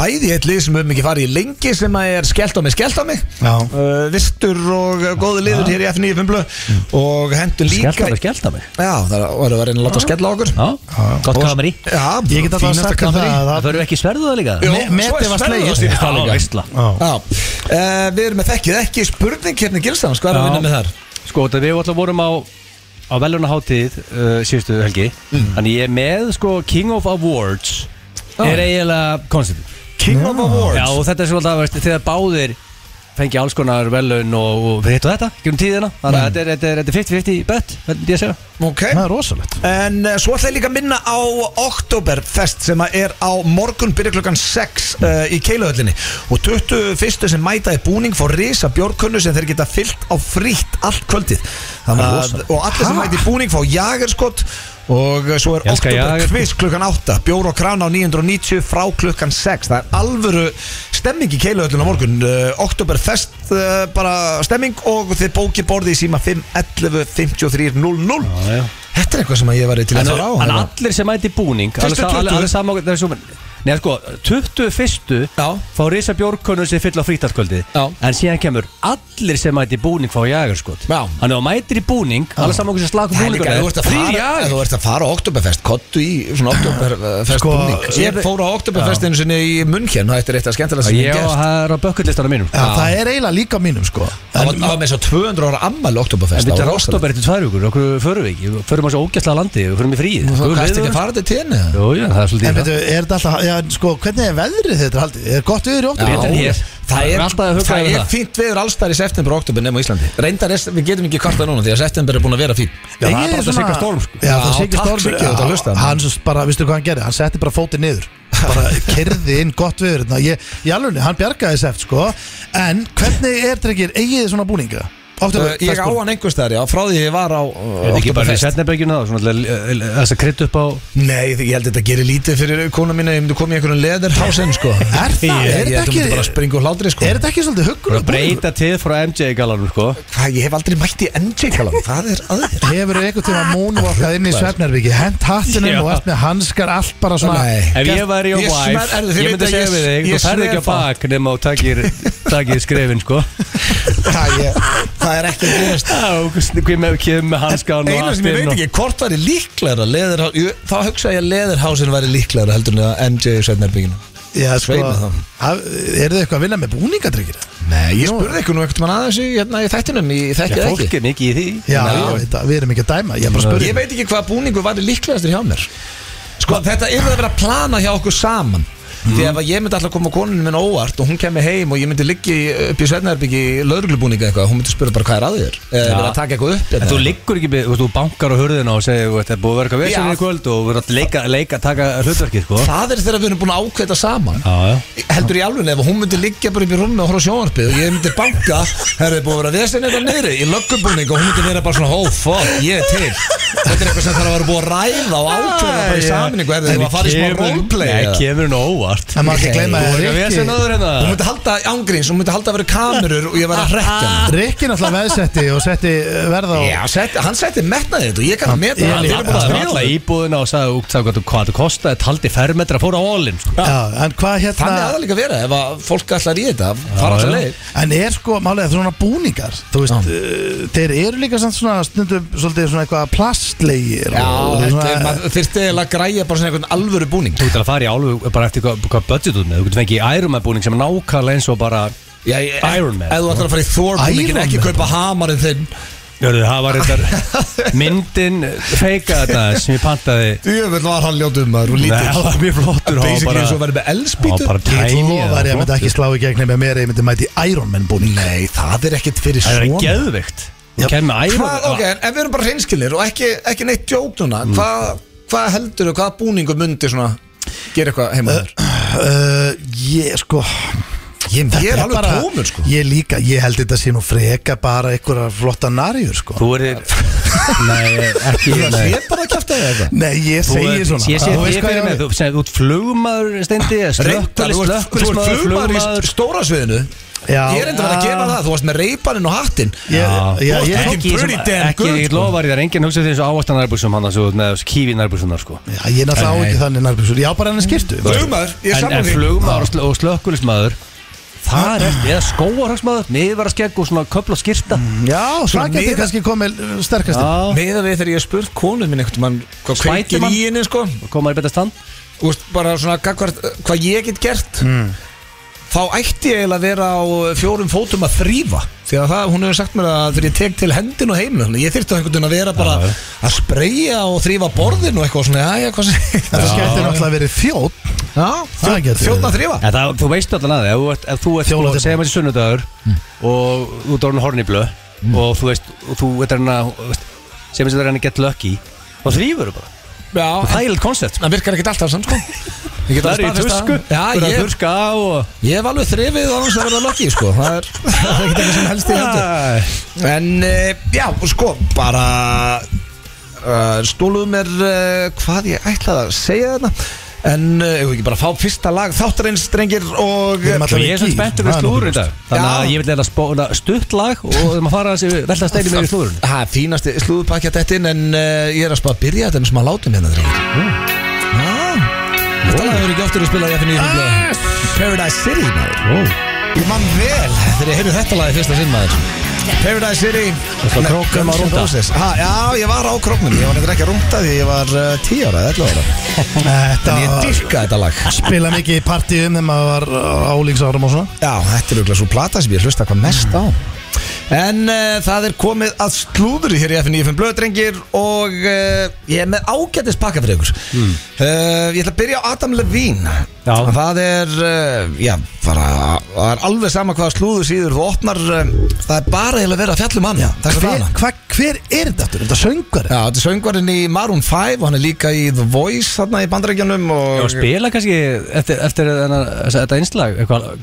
Speaker 1: bæði í eitt lið sem við höfum ekki farið í lengi sem að er skellt á mig, skellt á mig
Speaker 3: Já.
Speaker 1: uh, vistur og uh, góði liður hér í F9 Fimblu og hendur líka
Speaker 2: Skelta mig, skelta mig
Speaker 1: Já, það var- var að reyna að láta skella á okkur
Speaker 2: Já, gott kameri
Speaker 1: Já,
Speaker 3: Ég get alltaf
Speaker 1: fínasta
Speaker 3: sagt þér
Speaker 1: kamerí.
Speaker 3: það að
Speaker 2: Það
Speaker 3: það
Speaker 2: fyrir ekki sverðu það líka
Speaker 1: Jú,
Speaker 3: Me- metið
Speaker 1: svo er
Speaker 3: var
Speaker 1: sverðið
Speaker 3: slegið.
Speaker 1: á sínum stað
Speaker 2: Já,
Speaker 1: líka.
Speaker 2: veistla
Speaker 3: Já.
Speaker 1: Já, uh, við erum með þekkið ekki spurning hérna Gilsdans, hvað er að
Speaker 2: Já.
Speaker 1: vinna með þar?
Speaker 2: Sko, þetta við alltaf vorum á á velunaháttíð uh, síðustu helgi
Speaker 1: Mm.
Speaker 2: Þannig ég er með, sko, King of Awards er eiginlega konceptum
Speaker 1: King of
Speaker 2: Já,
Speaker 1: Awards
Speaker 2: og þetta er svolítið að veist, þegar báðir fengi alls konar velun og, og hitt og þetta, gerum tíðina Þannig
Speaker 1: Mm.
Speaker 2: að þetta er- þetta er þetta er 50-50 bett, þetta ég segja
Speaker 1: Ok
Speaker 3: Það er rosalegt
Speaker 1: En uh, svo ætla ég líka að minna á Oktoberfest sem að er á morgun byrja klukkan 6 uh, í Keiluhöllinni og 21. sem mæta í búning fór risa bjórkunnu sem þeir geta fyllt á frítt allt kvöldið Þannig að, og allir sem mæta í búning fá jagerskott og uh, svo er
Speaker 2: Ég elska Jager.
Speaker 1: Oktoberkviss klukkan 8 bjór og krana á 990 frá klukkan 6 það er alvöru stemming í Keiluhöllinu á morgun uh, Oktoberfest uh, bara stemming og þið bóki borði í síma 5 11 53 00
Speaker 2: Já, já.
Speaker 1: Þetta er eitthvað sem að ég væri til
Speaker 2: En
Speaker 1: að fara á
Speaker 2: en
Speaker 1: hérna.
Speaker 2: allir sem mæti í búning alveg
Speaker 1: Fyrstu
Speaker 2: sa-
Speaker 1: 20.
Speaker 2: alveg- alveg sama það er svo- Nei, sko, 21.
Speaker 1: Já.
Speaker 2: fá risa bjórkonu sem fyll á frítalkvöldi
Speaker 1: Já.
Speaker 2: En síðan kemur allir sem mæti í búning fá jagerskot
Speaker 1: Já.
Speaker 2: Þannig að mætir í búning, alveg saman okkur sem slakum
Speaker 1: Það er
Speaker 2: búningur
Speaker 1: líka, ef þú ert að fara ef Þú ert að fara á Oktoberfest, kottu í svona Oktoberfest
Speaker 3: Sko,
Speaker 1: búning Ég fór á Oktoberfestinu sinni í München og þetta er eitt af skemmtilega sem ég
Speaker 2: Ég og
Speaker 1: gerst
Speaker 2: það er á bökkullistanum mínum
Speaker 3: Já, Það er eiginlega líka á mínum sko
Speaker 1: Það var- það var með svo 200 ára ammali
Speaker 2: En
Speaker 1: Oktoberfest
Speaker 2: við
Speaker 1: það var
Speaker 2: erum
Speaker 1: rosalegt.
Speaker 2: oktober eftir tvær vikur, okkur förum við ekki Við Förum á svo ógæstlega landi, við förum í fríið
Speaker 1: Þú
Speaker 2: Guð,
Speaker 1: kannast ekki
Speaker 2: við-
Speaker 1: að fara til tenni
Speaker 2: Jú, jú, það er
Speaker 3: En
Speaker 2: svolítið
Speaker 3: veitu, er þetta alltaf já, en sko, Hvernig er veðrið þetta haldið? Er gott viður í óttur?
Speaker 2: Betur en hér.
Speaker 1: Það
Speaker 2: Við erum
Speaker 1: er,
Speaker 2: alltaf að hugga
Speaker 1: það
Speaker 2: yfir
Speaker 1: er
Speaker 2: það.
Speaker 1: fínt veður allstar í september og oktober nema á Íslandi Reyndar, er, við getum ekki kvarta núna því að september er búin að vera fín
Speaker 2: Já, það er bara þetta Sigga Storm, sko.
Speaker 3: Já, það
Speaker 1: Já,
Speaker 3: er Sigga
Speaker 1: takk,
Speaker 3: Storm
Speaker 1: Siggi, þú ert að hlusta.
Speaker 3: Já, Hann svo bara, vistu hvað hann gerði? Hann setti bara fótið niður bara kerði inn gott viður Ná, ég, Í alveg, hann bjargaði þess eftir sko En hvernig er drengir eigið þið svona búninga?
Speaker 1: Uh,
Speaker 3: Oktober,
Speaker 1: Ég á hann einhvers þær, já, frá því ég var á uh,
Speaker 2: Er ekki bara í
Speaker 1: Oktoberfest
Speaker 2: setnabökjun að þess að krytta upp á
Speaker 1: Nei, ég held að þetta gerir lítið fyrir kona mína Ég myndi koma í einhverjum leðurhásen sko
Speaker 3: Er
Speaker 1: Ég,
Speaker 3: það? Er
Speaker 1: ég,
Speaker 3: þetta
Speaker 1: ég myndi
Speaker 3: ekki-
Speaker 1: bara springa úr hlátri sko
Speaker 3: Er þetta ekki svolítið huggur?
Speaker 2: Breyta til frá MJ galanum sko
Speaker 1: Hvað, ég hef aldrei mætt í NJ kalan Það er aðeir
Speaker 3: Hefur þú einhvern tíma múnvokað inn í Svefnarbyggji Hent hattinum
Speaker 2: Já.
Speaker 3: og eftir með hanskar Allt bara svona
Speaker 1: Nei.
Speaker 2: Ef ég væri á
Speaker 1: Ég sver-
Speaker 2: wife,
Speaker 1: Erðu, þið
Speaker 2: ég
Speaker 1: veit
Speaker 2: myndi
Speaker 1: að
Speaker 2: segja
Speaker 1: ég-
Speaker 2: við þig
Speaker 1: ég
Speaker 2: Þú ferð ekki á
Speaker 1: sver það.
Speaker 2: bak nema og takir, takir skrefin sko
Speaker 1: það, ég, það er ekki að gerast
Speaker 2: Hvað með kemur með hanskan og
Speaker 1: Einu sem ég veit
Speaker 2: allt
Speaker 1: ekki, hvort væri líklæra leðurhás, Þá hugsa ég að leðurhásin væri líklæra heldur en að NJ Sveinarbygginu
Speaker 3: Já, sko,
Speaker 1: Svei með það.
Speaker 3: haf- eru þið eitthvað að vinna með búningadryggir?
Speaker 1: Nei, ég spurði eitthvað nú eitthvað mann aðeins í, hérna, í þættinum, ég þekki það
Speaker 2: Fólk
Speaker 1: ekki
Speaker 2: er mikið í því
Speaker 3: Já,
Speaker 2: Nei.
Speaker 3: ég veit að við erum ekki að dæma Ég er bara að spyrja
Speaker 1: Ég veit ekki hvað búningur væri líklegastur hjá mér Sko þetta er að vera að plana hjá okkur saman
Speaker 2: Mhm.
Speaker 1: Því ef að ég myndi alltaf að koma konunum minn óvart og hún kemur heim og ég myndi liggja í- upp í Sveinarbyggi í lauruglubúninga eitthvað hún myndi spyrja bara hvað er að þér eða
Speaker 2: Já.
Speaker 1: verið að taka eitthvað upp
Speaker 2: En
Speaker 1: hérna.
Speaker 2: þú liggur ekki, með- þú veist, þú bankar á hurðina og segir, þú veist, það er búið að vera eitthvað
Speaker 1: Já.
Speaker 2: vesinn í kvöld og verður að leika, leika, taka hlutverkið, sko
Speaker 1: Það er þegar við erum búin að ákveita saman
Speaker 2: Já, já
Speaker 1: Heldur í alveg ef hún myndi liggja bara upp í rúmi og horfa á sjónvarpið og ég myndi banka Það er búin að vera vesin eitthvað niðri í löggubúning og hún myndi vera bara svona oh fuck, ég er til Þetta er eitthvað sem þarf að vera búið að ræða og ákveða bara í
Speaker 2: Já, já.
Speaker 1: saminningu Herðu,
Speaker 2: En
Speaker 1: þú að fara í smá
Speaker 2: kemur-
Speaker 1: roleplay
Speaker 2: Nei,
Speaker 1: eða?
Speaker 2: kemur hún á óvart óvart
Speaker 3: Það má ekki gleyma
Speaker 2: Þú
Speaker 3: að
Speaker 2: er ekki að
Speaker 3: Rikki-
Speaker 2: vesen áður hérna.
Speaker 1: Hún myndi halda ángríns, hún myndi halda að vera kamerur og ég var að hrekja hann
Speaker 2: Ah,
Speaker 3: Rikki náttúrulega veðsetti og setti eh, verð á
Speaker 1: Já, sett, hann setti metnaði þetta og ég kann að meta
Speaker 3: Ég
Speaker 1: það Þeir eru
Speaker 2: Hann
Speaker 1: búin að
Speaker 2: lappaði
Speaker 1: stríða
Speaker 2: alla
Speaker 1: okkur.
Speaker 2: íbúðina og sagði út sagði hvað þú- hvað þú kostaði, taldi fermetra, fór á allin sko.
Speaker 3: Já, en hvað
Speaker 1: Þannig að það
Speaker 3: hérna
Speaker 1: líka vera ef að fólk ætlar í þetta fara
Speaker 2: Já,
Speaker 1: þessa
Speaker 2: já.
Speaker 1: leið
Speaker 3: En er sko, málega svona búningar Þú veist, uh, þeir eru líka samt svona stundum svolítið svona eitthvað plastlegir
Speaker 1: Já,
Speaker 3: og
Speaker 1: þetta
Speaker 3: svona-
Speaker 1: er- maður þyrfti eiginlega að græja bara svona einhvern alvöru búning
Speaker 2: Þú ert að fara í álfu bara eftir hvað, hvað budget þú ert með Þú getur fengið Iron Man búning sem er nákvæmlega eins og bara
Speaker 1: Já, ég-
Speaker 2: Iron Man.
Speaker 1: Ef þú ætlar að fara í Thor búningin
Speaker 3: Iron
Speaker 1: ekki
Speaker 3: Man.
Speaker 1: kaupa hamarinn þinn
Speaker 2: Jörðu, það var þetta myndin feika þetta aðeins sem ég pantaði
Speaker 1: Jöfnvel var hann ljótum maður og
Speaker 2: Nei, Það var mjög flottur og
Speaker 1: Basically
Speaker 2: bara-
Speaker 1: eins og verið með
Speaker 2: Það var
Speaker 1: elspýtu
Speaker 2: bara
Speaker 3: Ég
Speaker 2: tiny eða
Speaker 3: lofaði að ég myndi
Speaker 2: flottur.
Speaker 3: ekki slá í gegn með mér, ég myndi mæti Iron Man búning
Speaker 1: Nei, það er ekkert fyrir
Speaker 2: Það er
Speaker 1: svona
Speaker 2: geðvikt Þú
Speaker 3: Já.
Speaker 2: kemur með Iron
Speaker 1: Hvað, ok, en ef við erum bara hreinskilir og ekki, ekki neitt djók núna
Speaker 2: Mm.
Speaker 1: Hvað hva heldur þú, hvaða búningu myndi svona gera eitthvað heima þér?
Speaker 3: uh, Ég sko Ég,
Speaker 1: Ég er
Speaker 3: þetta
Speaker 1: alveg tómur, sko.
Speaker 3: Ég líka, ég held þetta sé nú freka bara einhverja flotta narjur sko
Speaker 2: Þú er Nei, ekki nei.
Speaker 1: Ég bara kæfti það eitthvað
Speaker 3: Nei, ég
Speaker 2: Þú
Speaker 3: segi
Speaker 2: ert-
Speaker 3: svona
Speaker 2: Ég
Speaker 3: Þú
Speaker 2: sé því
Speaker 3: veist hvað
Speaker 2: fyrir
Speaker 3: ég á
Speaker 2: mig
Speaker 3: við.
Speaker 2: Þú segir, þú ert flugmaður steindi
Speaker 1: Reyndar, þú ert þú
Speaker 2: Slökkulis,
Speaker 1: ert
Speaker 2: slökkulis
Speaker 1: flugmaður í
Speaker 2: flugmaður
Speaker 1: stóra sviðinu
Speaker 3: Já.
Speaker 1: Ég er enda verið að gefa það, þú varst með reypaninn og hattinn
Speaker 3: Ég-
Speaker 2: Já.
Speaker 3: já,
Speaker 1: Þú
Speaker 3: ég-
Speaker 1: ert
Speaker 2: Ekki,
Speaker 1: Pretty
Speaker 2: sem,
Speaker 1: damn
Speaker 2: ekki,
Speaker 1: good,
Speaker 2: ég
Speaker 1: sko.
Speaker 2: lofa þér, það er enginn hugsað því eins og ávastan nærbúsum hann þessu, með þessu kífi nærbúsunar sko
Speaker 3: Já, Ég er náttúrulega á
Speaker 1: Nei.
Speaker 3: ekki þannig nærbjörnsur Ég á bara henni skirtu
Speaker 1: Flugmaður, ég
Speaker 2: En,
Speaker 1: saman
Speaker 2: en
Speaker 1: því
Speaker 2: flugmaður og sl- og slökkulismadur Það er, eða skóarhagsmaður, miðvaraskegg og svona köfla skirta
Speaker 1: Mm.
Speaker 3: Já,
Speaker 1: Svona
Speaker 3: það getur
Speaker 1: miða-
Speaker 3: kannski komið sterkast
Speaker 2: Já,
Speaker 1: Meða við þegar ég hef spurt konu minn einhvern mann hvað kveikir
Speaker 2: Spiderman?
Speaker 1: í henni sko
Speaker 2: koma í betra stand
Speaker 1: Þú veist, bara svona gagvart, hvað ég get gert
Speaker 2: Mm.
Speaker 1: þá ætti ég eiginlega að vera á eh, fjórum fótum að þrýfa því að það, hún hefur sagt mér að þegar ég tek til hendin og heimlu, þannig að ég þyrfti á einhvern veginn að vera bara
Speaker 2: Já, já.
Speaker 1: að spreyja og þrýfa borðin og eitthvað svona, já, já, hvað sé
Speaker 3: Þetta skemmtir náttúrulega verið þjóð það
Speaker 1: já,
Speaker 3: getur verið.
Speaker 1: þjóðna að þrýfa
Speaker 2: En það, þú veist allan að það, ef, ef þú ert sko,
Speaker 3: Fjóla til-
Speaker 2: segjum þessi sunnudagur
Speaker 3: Mm.
Speaker 2: og þú ert orðin horniblu og þú veist, og þú ert hann að segjum þessi það er hann að get lucky og þrýfur þú bara, og
Speaker 1: já,
Speaker 2: þægilegt koncept
Speaker 1: það virkar ekkert alltaf samt, sko Ég get
Speaker 2: Það er í
Speaker 1: alveg staðfest
Speaker 2: tusku,
Speaker 1: það.
Speaker 2: þú er
Speaker 1: Já,
Speaker 2: að
Speaker 1: ég,
Speaker 2: þurrka á og
Speaker 1: ég hef alveg þrifið á hans að verða lokki, sko Það er, það er ekkert eitthvað sem helst í
Speaker 2: Ah.
Speaker 1: hendur En uh, já, og sko, bara uh, stóluðu mér uh, hvað ég ætlaði að segja þarna En uh, ef við ekki bara fá fyrsta lag þáttarins, drengir og
Speaker 3: Við erum
Speaker 2: Svo sko, ég er svona spenntur við
Speaker 3: Það er
Speaker 2: slúður í
Speaker 3: nokkuð
Speaker 2: dag Þannig að
Speaker 1: Já.
Speaker 2: ég vil leila spóla stutt lag og við maður fara að þessi velta steinu með í slúðurinn
Speaker 1: Það er fínasti slúðupakja þetta inn En uh, ég er að spá að byrja þetta með smá látum hérna, drengir Ah. Já, Þetta lag verður ekki oftur að spila í FNU ah. Paradise City, maður Ég mann vel þegar ég heyrði þetta lagi fyrsta sinn maður um Paradise City
Speaker 2: Ertu á
Speaker 1: Nei,
Speaker 2: króknum
Speaker 1: Guns
Speaker 2: að
Speaker 1: N'
Speaker 2: rúnta?
Speaker 1: Roses. Ha, Já, ég var á króknum Ég var nefnir ekki að rúnta því ég var uh, 10 ára, 11 ára
Speaker 3: Þetta
Speaker 1: En ég dyrka þetta lag
Speaker 3: spila mikið í um partíum þegar maður var á álingsárum og svona
Speaker 1: Já, þetta er auðvitað svo plata sem ég hlusta hvað mest á En uh, það er komið að slúðri hér í FNF Blöðdrengir og uh, ég er með ágætis pakka fyrir ykkur uh, Ég ætla að byrja á Adam Levine
Speaker 2: Já.
Speaker 1: Það er, uh, já, bara, það er alveg sama hvaða slúður síður þú opnar uh, Það er bara eiginlega verið að fjallum hann Það er hvað
Speaker 3: hver, hva, hver er þetta? aftur? Er þetta söngar?
Speaker 1: Já, þetta er söngvarinn í Maroon 5 og hann er líka í The Voice þarna í bandarækjanum
Speaker 2: Og
Speaker 1: og...
Speaker 2: spila kannski eftir, eftir þennan, þessa- þetta einslag eitthvað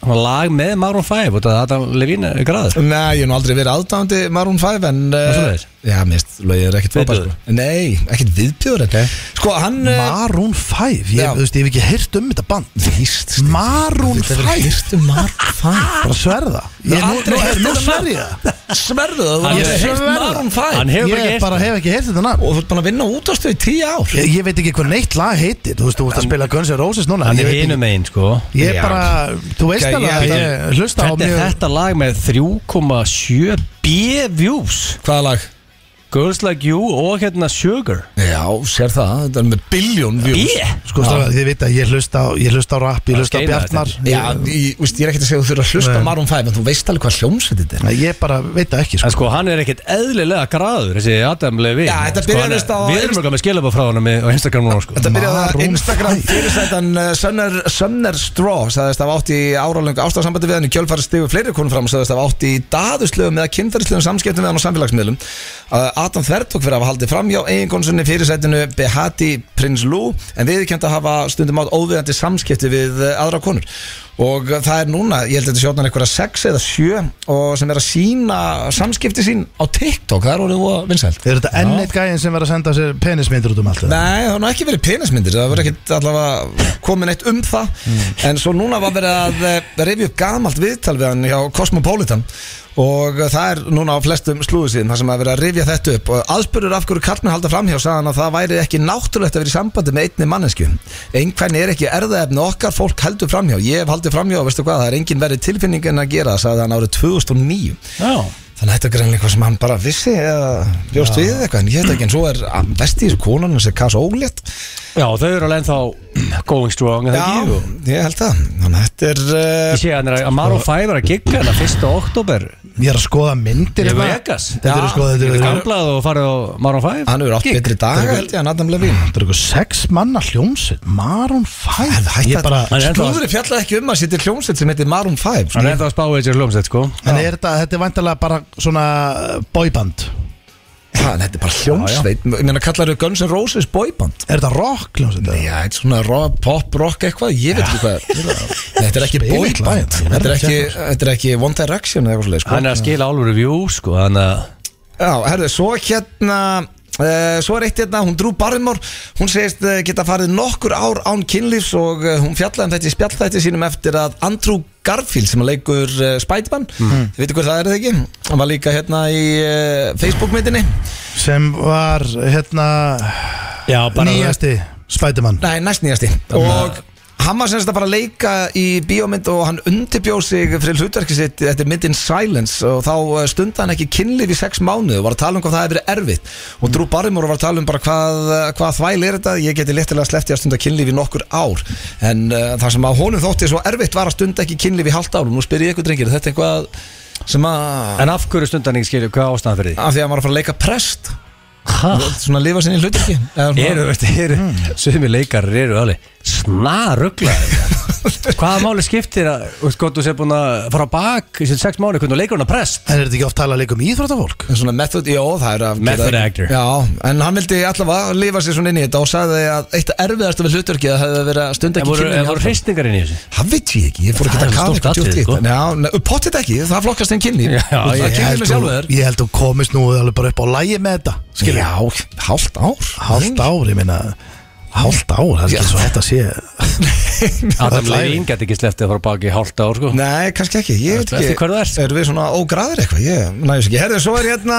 Speaker 2: svona lag með Maroon 5 og það Adam Levine er græður
Speaker 1: Nei, ég hef nú aldrei verið aðdáðandi Maroon 5 en...
Speaker 2: Það er
Speaker 1: eh,
Speaker 2: svoleiðis?
Speaker 1: Já, mist, lögið er ekkert frábær sko.
Speaker 2: Viðbjóður?
Speaker 1: Nei, ekkert viðbjóður okay. Sko, hann... eh,
Speaker 3: Maroon 5 Ég,
Speaker 1: Já.
Speaker 3: þú veist, ég hef ekki heyrt um þetta band
Speaker 1: Víst,
Speaker 3: Maroon
Speaker 1: Þetta verður
Speaker 3: 5
Speaker 1: hýrstu Maroon 5
Speaker 3: Bara sverða
Speaker 1: Ég hef
Speaker 3: Ég nú,
Speaker 1: aldrei
Speaker 3: nú,
Speaker 1: heyrt
Speaker 3: nú
Speaker 1: þetta
Speaker 3: sverði ég það
Speaker 1: Sverðu, þú
Speaker 2: Hann
Speaker 1: hefur
Speaker 2: er-
Speaker 1: heilt Maroon 5
Speaker 2: Hann hefur bara
Speaker 3: Ég
Speaker 2: ekki heyrt
Speaker 3: bara hef ekki heyrt þetta nafn
Speaker 1: Og þú ert búin að vinna út ástu í tíu ár
Speaker 3: ég, ég veit ekki hvað neitt lag heitir Þú veist, þú ert að spila Guns N' Roses núna
Speaker 2: Hann
Speaker 3: ég
Speaker 2: er
Speaker 3: veit ekki-
Speaker 2: hinum einn sko
Speaker 3: Ég
Speaker 1: Já.
Speaker 3: bara, þú veist
Speaker 1: Ég-
Speaker 3: alveg að
Speaker 1: ég-
Speaker 3: ég hlusta á
Speaker 2: Þetta er
Speaker 3: mjög
Speaker 2: þetta lag með 3,7 B-views
Speaker 1: Hvaða lag?
Speaker 2: Girls Like You og hérna Sugar
Speaker 1: Já, sér það, þetta er með biljón views
Speaker 2: B?
Speaker 3: Sko, strákar, þið veit að ég hlusta á, ég hlusta á rap, ég
Speaker 2: Það
Speaker 3: hlusta á
Speaker 2: skeinar þetta.
Speaker 3: bjartnar
Speaker 1: Já, ég, veist, ég er ekkert að segja að þú þurfa að hlusta á
Speaker 3: Nei.
Speaker 1: Maroon 5 en þú veist alveg hvað hljómsveit þetta er
Speaker 3: Nei, Ég bara veit það ekki,
Speaker 2: En
Speaker 3: sko
Speaker 2: sko, hann er ekkert eðlilega græður þessi Adam Levine
Speaker 1: Já, þetta
Speaker 2: sko,
Speaker 1: byrjar
Speaker 2: hann er-
Speaker 1: veist á-
Speaker 2: Við erum ekki með skilabá frá hann á Instagram núna sko
Speaker 1: Þetta byrjaði að
Speaker 3: Maroon
Speaker 1: Instagram fyrirsætan uh, Sumner, Sumner Straw sagðist af átt í áralöngu ástafsambandi við hann í kjölfari stegu fleiri konum fram og sagðist af átt í daðuslegu með að kynferðislegu samskiptum við hann á samfélagsmiðlum uh, Adam Þertók fyrir að hafa haldið fram hjá eiginkonsunni fyrirsætinu Behati Prinslú en viðkjönd að hafa stundum átt óviðandi samskipti við uh, aðra eh, konur og það er núna, ég held að þetta sjóðan einhverja sex eða sjö og sem er að sína samskipti sín á TikTok það er orðið og vinsælt
Speaker 3: Er þetta enn eitt gæðin sem var að senda sér penismyndir út um allt? eða?
Speaker 1: Nei, það var nú ekki verið penismyndir það var ekkit allavega komin eitt um það en svo núna var verið að eh, rifja upp gamalt viðtal við hann hjá Cosmopolitan og eh, það er núna á flestum slúðu síðan þar sem að verið að rifja þetta upp og aðspurur af hverju kallmenn halda framhjá sagði hann að það væri ekki náttúrulegt að vera í sambandi með einni mannesku einhvern er ekki erðaefni okkar fólk heldur framhjá, ég hef haldið framhjá og veistu hvað, það er engin verið tilfinning en að gera það, sagði hann árið 2009
Speaker 2: Já
Speaker 1: Þannig að þetta er greinlega eitthvað sem hann bara vissi eða bjóst við eitthvað en ég veit ekki en svo er að vesti í þessu konan þessi kass ólétt
Speaker 2: Já, þau eru alveg ennþá going strong er
Speaker 1: Já,
Speaker 2: það ekki? Og
Speaker 1: ég held það Þannig að þetta er
Speaker 2: Ég
Speaker 1: uh,
Speaker 2: sé að hann er að Maro 5 er að gigga hérna 1. oktober
Speaker 3: Ég er að skoða myndir
Speaker 2: Í
Speaker 3: hérna.
Speaker 2: Vegas
Speaker 3: Þetta eru sko, þetta
Speaker 2: Ég
Speaker 3: eru
Speaker 2: er
Speaker 3: þetta
Speaker 2: gamblað og farið á Maro 5
Speaker 1: hann hefur átt
Speaker 2: Gigg.
Speaker 1: betri daga held ég en Adam Levine
Speaker 3: eru eitthvað sex manna hljómsveit Maroon 5
Speaker 1: Hætt
Speaker 3: Ég bara
Speaker 2: Hann er ennþá-
Speaker 1: Slúðri fjallaði ekki um að sitja hljómsveit sem heitir Maroon sko. 5
Speaker 2: Hann er ennþá að spá eitt sér hljómsett sko
Speaker 3: En er þetta, þetta er vantilega bara svona uh, boyband
Speaker 1: Þannig að þetta er bara hljómsveit Ég meina kallar þau Guns N' Roses boyband
Speaker 3: Er þetta rock hljómsveit?
Speaker 1: Já, þetta er svona rock, pop, rock eitthvað Ég veit ekki hvað Nei, Þetta er ekki
Speaker 3: Spila eitthvað.
Speaker 1: boyband
Speaker 3: Ég verð
Speaker 1: Þetta er
Speaker 3: að
Speaker 1: ekki,
Speaker 3: checka
Speaker 1: þetta er ekki One Direction eða eitthvað svoleiðis, sko.
Speaker 2: Hann er að skila álfur view sko Þannig að
Speaker 1: Já, herðu, svo hérna Uh, svo er eitt hérna, hún Drew Barrymore hún segist uh, geta farið nokkur ár án kynlífs og uh, hún fjallaði um þetta í spjallþætti sínum eftir að Andrew Garfield sem að leikur uh, Spiderman þið veitu hver það er það ekki hann var líka hérna í uh, Facebook-myndinni
Speaker 3: Sem var hérna
Speaker 2: Já,
Speaker 3: nýjasti Spiderman
Speaker 1: nei, næst nýjasti og hann var semst að fara að leika í bíómynd og hann undirbjóð sig fyrir hlutverki sitt þetta er myndin Silence og þá uh, stundi hann ekki kynlíf í sex mánuð og var að tala um hvað það hefur verið erfitt og Drew Barrymore var að tala um bara hvað, uh, hvað þvæl er þetta ég geti léttilega sleppti að stunda kynlíf í nokkur ár en uh, það sem að honum þótti svo erfitt var að stunda ekki kynlíf í halvt ár og nú spyr ég ykkur drengir, er þetta eitthvað sem að,
Speaker 2: En af hverju stundan ekki skilja, hvað ástæðan fyrir því?
Speaker 1: af því að hann var að fara að leika prest
Speaker 2: Hæ?
Speaker 1: svona að lifa sinni hlutverki Eða svona-
Speaker 2: Eru, veist, eru,
Speaker 1: Hmm.
Speaker 2: sumi leikarar eru alveg snaruglaði Hvaða máli skiptir að, veist, gott þú sé búin að fara á bak í sér sex mánu, hvernig þú leikur hún að prest
Speaker 3: En er þetta ekki oft talað líka um íþróttafólk?
Speaker 1: En Svona method, já það er að
Speaker 2: Method actor.
Speaker 1: Já, en hann vildi allavega lifa sér svona inn í þetta og sagði að eitt erfiðast við hlutverkið hefði verið að stunda
Speaker 2: En
Speaker 1: ekki
Speaker 2: voru,
Speaker 1: kynlíf í
Speaker 2: en voru
Speaker 1: allt.
Speaker 2: hristingar inn í þessu?
Speaker 1: Það veit ég ekki, ég fór ekki
Speaker 2: Það
Speaker 1: að
Speaker 2: er
Speaker 1: kafa
Speaker 2: stórt
Speaker 1: eitthvað djúpt í
Speaker 2: atriði, sko.
Speaker 1: þetta Já, ne, pottit ekki, það flokkast einn kynlíf
Speaker 2: Já,
Speaker 1: Og
Speaker 2: ég
Speaker 1: Það kynlíf
Speaker 3: held
Speaker 1: sjálfur
Speaker 3: þú-
Speaker 1: þér
Speaker 3: ég held þú komist nú alveg bara upp á lægi með þetta Skilja,
Speaker 1: Já, hálft ár
Speaker 3: hálft ár, ég meina Hálft ár, það er
Speaker 1: Já.
Speaker 3: ekki svo þetta sé
Speaker 2: Adam
Speaker 3: Það er
Speaker 2: Levine gæti ekki sleftið að fara á bak í hálft ár, sko
Speaker 1: Nei, kannski ekki, ég veit
Speaker 2: Eftir
Speaker 1: ekki
Speaker 2: hvar þú ert.
Speaker 1: Erum við svona ógraðir eitthvað, ég næs ekki Herðu, svo er hérna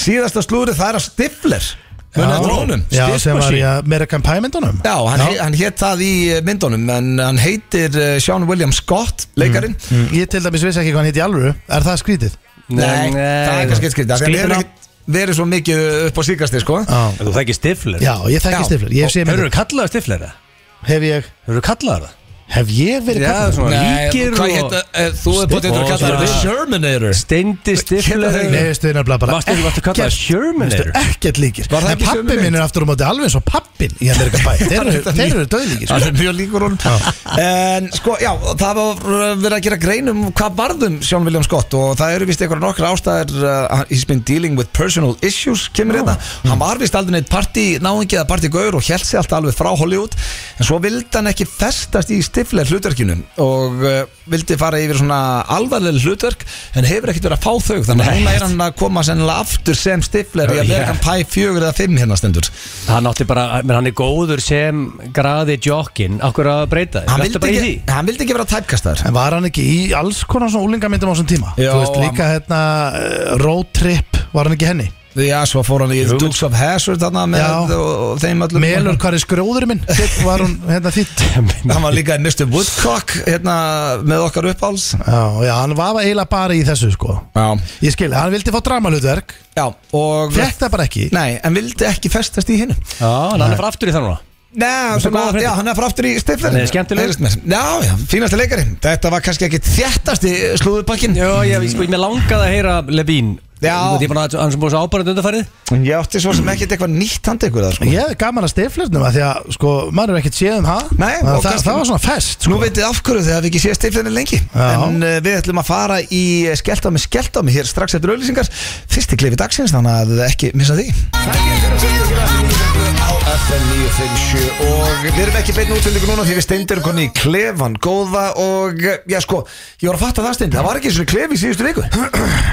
Speaker 1: síðasta slúrið, það er að stifler Munið eftir honum?
Speaker 3: Já, sem var í
Speaker 2: Styrkmarsí.
Speaker 3: uh, American Pie myndunum
Speaker 1: Já, hann, he- hann hétt það í eh, myndunum en hann heitir eh, Sean William Scott, leikarinn
Speaker 3: Mm. Ég til dæmis vissi ekki hvað hann hitt í alvöru Er það skrítið?
Speaker 1: Nei, það er kannski skrítið Það
Speaker 2: Skrítið
Speaker 1: hefur
Speaker 2: nafn.
Speaker 1: ekki verið svo mikið upp á síkasti sko.
Speaker 3: Já,
Speaker 2: En Þú þekki stifler
Speaker 3: já ég
Speaker 1: Já.
Speaker 3: þekki stiflir Ég hef séð
Speaker 2: Hefur
Speaker 3: myndir
Speaker 2: þú kallaðið stifler það?
Speaker 3: Hef ég,
Speaker 2: Hefur þú kallaðið það?
Speaker 3: hef ég verið
Speaker 2: Já,
Speaker 3: kallað
Speaker 2: svona
Speaker 1: Nei,
Speaker 2: líkir
Speaker 1: hvað
Speaker 2: og
Speaker 1: heita, eh, þú er búin að
Speaker 2: Og
Speaker 1: kalla það
Speaker 2: svona-
Speaker 1: Shermanator
Speaker 2: Steindi stifler
Speaker 1: það-
Speaker 3: Nei, veistu, það er nefnilega bara
Speaker 2: Varstu ekki- varstu kallaður
Speaker 3: ekkert-
Speaker 2: Shermanator?
Speaker 3: veistu, Ekkert líkir
Speaker 1: Var það
Speaker 3: En
Speaker 1: ekki sömu
Speaker 3: pappi
Speaker 1: mynd?
Speaker 3: minn er aftur á móti alveg eins og pappin í Amerikan Pie Þeir eru- þeir eru sko. döðlíkir
Speaker 1: Það er mjög líkur hún En sko, já, það var uh, verið að gera grein um hvað varðum Sean William Scott og það eru vist einhverja nokkra ástæðar uh, He's been dealing with personal issues kemur hérna, hann var vist aldrei neitt partí náingi eða partí gaur og held sig alltaf alveg frá Hollywood, en svo vildi hann ekki festast í stiflega hlutverkinu og uh, vildi fara yfir svona alvarlega hlutverk, en hefur ekkert verið að fá þau, þannig að
Speaker 2: Nei.
Speaker 1: núna er hann að koma sennilega aftur sem stiflega í
Speaker 2: Já.
Speaker 1: Amerikan Pie 4 eða 5 hérna stendur
Speaker 2: Hann átti bara, menn hann er góður sem graði jokkin, akkur að breyta
Speaker 1: hann vildi,
Speaker 2: Ertu bara í
Speaker 1: ekki,
Speaker 2: því?
Speaker 1: hann vildi ekki vera tæpkastar
Speaker 3: En var hann ekki í alls konar svona úlingamyndum á þessum tíma?
Speaker 1: Já,
Speaker 3: Þú veist
Speaker 1: hann-
Speaker 3: líka hérna eh, Road Trip, var hann ekki henni?
Speaker 1: Já, svo fór hann í
Speaker 2: Jú.
Speaker 1: Dukes of Hazzard þarna með
Speaker 3: Já.
Speaker 1: og, og þeim öllum
Speaker 3: Melur, hvar er skrjóður minn? Þitt var hún hérna þitt
Speaker 1: Hann var líka í Mr. Woodcock hérna með okkar uppháls
Speaker 3: Já, já, hann var eiginlega bara í þessu sko
Speaker 1: Já
Speaker 3: Ég skil, hann vildi fá dramalutverk
Speaker 1: Já, og
Speaker 3: Fekk það bara ekki
Speaker 1: Nei, en vildi ekki festast í hinu
Speaker 2: Já, en hann er frá aftur í það núna
Speaker 1: Nei,
Speaker 2: Þetta er
Speaker 1: svona,
Speaker 2: góða fréttir.
Speaker 1: já, hann er frá aftur í stiflerinn
Speaker 2: Hann er skemmtilegur.
Speaker 1: Já, já, fínasti leikari Þetta var kannski ekki þjættasti slúðupakkin
Speaker 2: Já, ég, sko, ég mér langaði að heyra Levine
Speaker 1: Já.
Speaker 2: Þú veit, ég bara hann sem búið svo ábærandi undarfærið
Speaker 1: En ég átti svo sem ekkert eitthvað nýtt handa ykkur það sko
Speaker 3: Ég hefði gaman að stiflirnum að því að sko, maður er ekkert séð um það
Speaker 1: Nei, og
Speaker 3: það, það,
Speaker 1: kannski-
Speaker 3: það var svona fest
Speaker 1: Nú
Speaker 3: sko.
Speaker 1: veitum við af hverju þegar við ekki séð stiflinni lengi
Speaker 3: Já.
Speaker 1: En uh, við ætlum að fara í Skeltámi Skeltámi hér strax eftir auðlýsingar Fyrsti klefi dagsins, þannig að ekki missa því Á FM 957 og við erum ekki beinu útlendingu núna því við steindir konni í klefan góða og eh, já sko, ég var að fatta það steind það var ekki eins og klefi í síðustu viku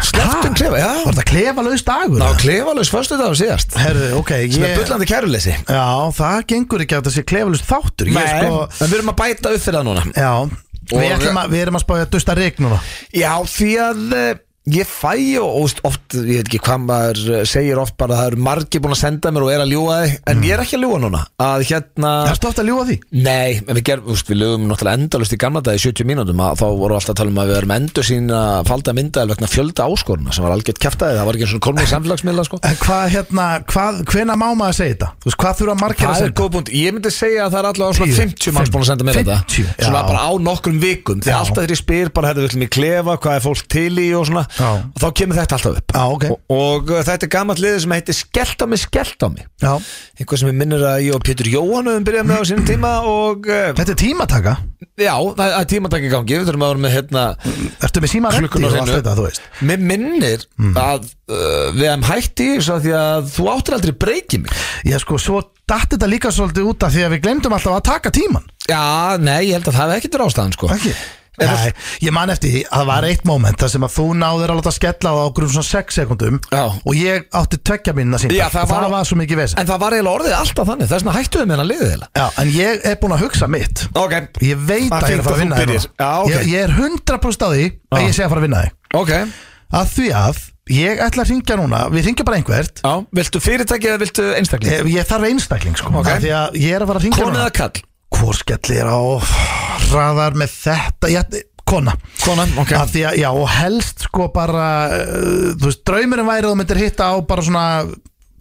Speaker 1: Sleftum klefa, já
Speaker 3: Var þetta klefalaus dagur?
Speaker 1: Ná, klefalaus föstu dagur síðast
Speaker 3: Herðu, ok
Speaker 1: sem er
Speaker 3: ég,
Speaker 1: bullandi kæruleysi
Speaker 3: Já, það gengur ekki að það sé klefalaus þáttur Ég
Speaker 1: Nei,
Speaker 3: sko,
Speaker 1: en við erum að bæta upp fyrir það núna
Speaker 3: Já, við,
Speaker 1: Og-
Speaker 3: ætlum að, við erum að spája að dusta reik núna
Speaker 1: Já, því að eh, ég fæ og og veist, oft, ég veit ekki hvað maður eh, segir oft bara að það eru margir búin að senda mér og er að ljúga þig, en
Speaker 3: Mm.
Speaker 1: ég er ekki að ljúga núna að hérna,
Speaker 3: Það stótt að ljúa því
Speaker 1: nei, en við gerum úst, við lögum náttúrulega endalust í gamla dag í 70 mínútum að þá voru alltaf að tala um að við erum endur sína falda myndaðil vegna fjölda áskoruna sem var algjört kæftæði, það var ekki eins og komnið samfélagsmiðla sko.
Speaker 3: En hvað, hérna, hvað, hvena má maður að segja þetta? Þú veist, hvað þurfa margir að
Speaker 1: Það er
Speaker 3: segja
Speaker 1: góð punkt, ég myndi segja að það er allavega svona 50
Speaker 3: Tíu,
Speaker 1: manns búin að senda mér
Speaker 3: 50,
Speaker 1: þetta Svona
Speaker 3: já.
Speaker 1: bara á nokkrum vikum Þegar
Speaker 3: Já.
Speaker 1: alltaf þegar ég spyr bara, herðu, við ætlum í klefa, hvað er fólk til í og svona
Speaker 3: Já.
Speaker 1: Og þá kemur þetta alltaf upp
Speaker 3: Já, ok.
Speaker 1: og, og uh, þetta er gamalt liðið sem heitir Skellt á mig, skellt á mig
Speaker 3: Já,
Speaker 1: Einhver sem ég minnir að ég og Pétur Jóhann höfum byrjað með á sínum tíma Og uh,
Speaker 3: þetta er tímataka
Speaker 1: já, það það er tímatak í gangi, við þurfum að vera með hérna
Speaker 3: Ertu með síma reddi
Speaker 1: Klukkuna
Speaker 3: og
Speaker 1: hreinu.
Speaker 3: allt þetta, þú veist
Speaker 1: Mér minnir
Speaker 3: Mm.
Speaker 1: að uh, við hefum hætti Svo því að þú áttir aldrei breykið mig
Speaker 3: Ég sko, svo datt þetta líka svolítið út af því að við glemdum alltaf að taka tíman
Speaker 1: Já, nei, ég held að það hef ekkert rástaðan sko
Speaker 3: Ekki?
Speaker 1: Er það-
Speaker 3: Nei, ég man eftir því að það var eitt moment þar sem að þú náður að láta skella á okkur um svona 6 sekundum
Speaker 1: Já.
Speaker 3: og ég átti tvekja minna síndar
Speaker 1: Já, það var-
Speaker 3: svo mikið vesen
Speaker 1: En það var eiginlega orðið alltaf þannig Þess vegna hættu við með hennar liðið eiginlega
Speaker 3: Já, en ég er búin að hugsa mitt
Speaker 1: Ok,
Speaker 3: Ég veit
Speaker 1: Það
Speaker 3: að ég er að fara
Speaker 1: fínt
Speaker 3: að vinna
Speaker 1: að þú byrjir.
Speaker 3: þig núna.
Speaker 1: Já, ok.
Speaker 3: ég, ég er 100% á því að
Speaker 1: Já.
Speaker 3: ég sé að fara að vinna þig
Speaker 1: ok
Speaker 3: að því að ég ætla að ringja núna við ringjum bara einhvert
Speaker 1: Já, viltu fyrirtæki eða viltu einstakling?
Speaker 3: ég, ég þarf einstakling sko
Speaker 1: Ok.
Speaker 3: okay. því að ég er að fara að ringja
Speaker 1: Kona
Speaker 3: núna
Speaker 1: eða kall?
Speaker 3: hvort skellir á hraðar með þetta ég, kona
Speaker 1: Kona, ok
Speaker 3: að því að já og helst sko bara uh, þú veist draumurinn væri að þú myndir hitta á bara svona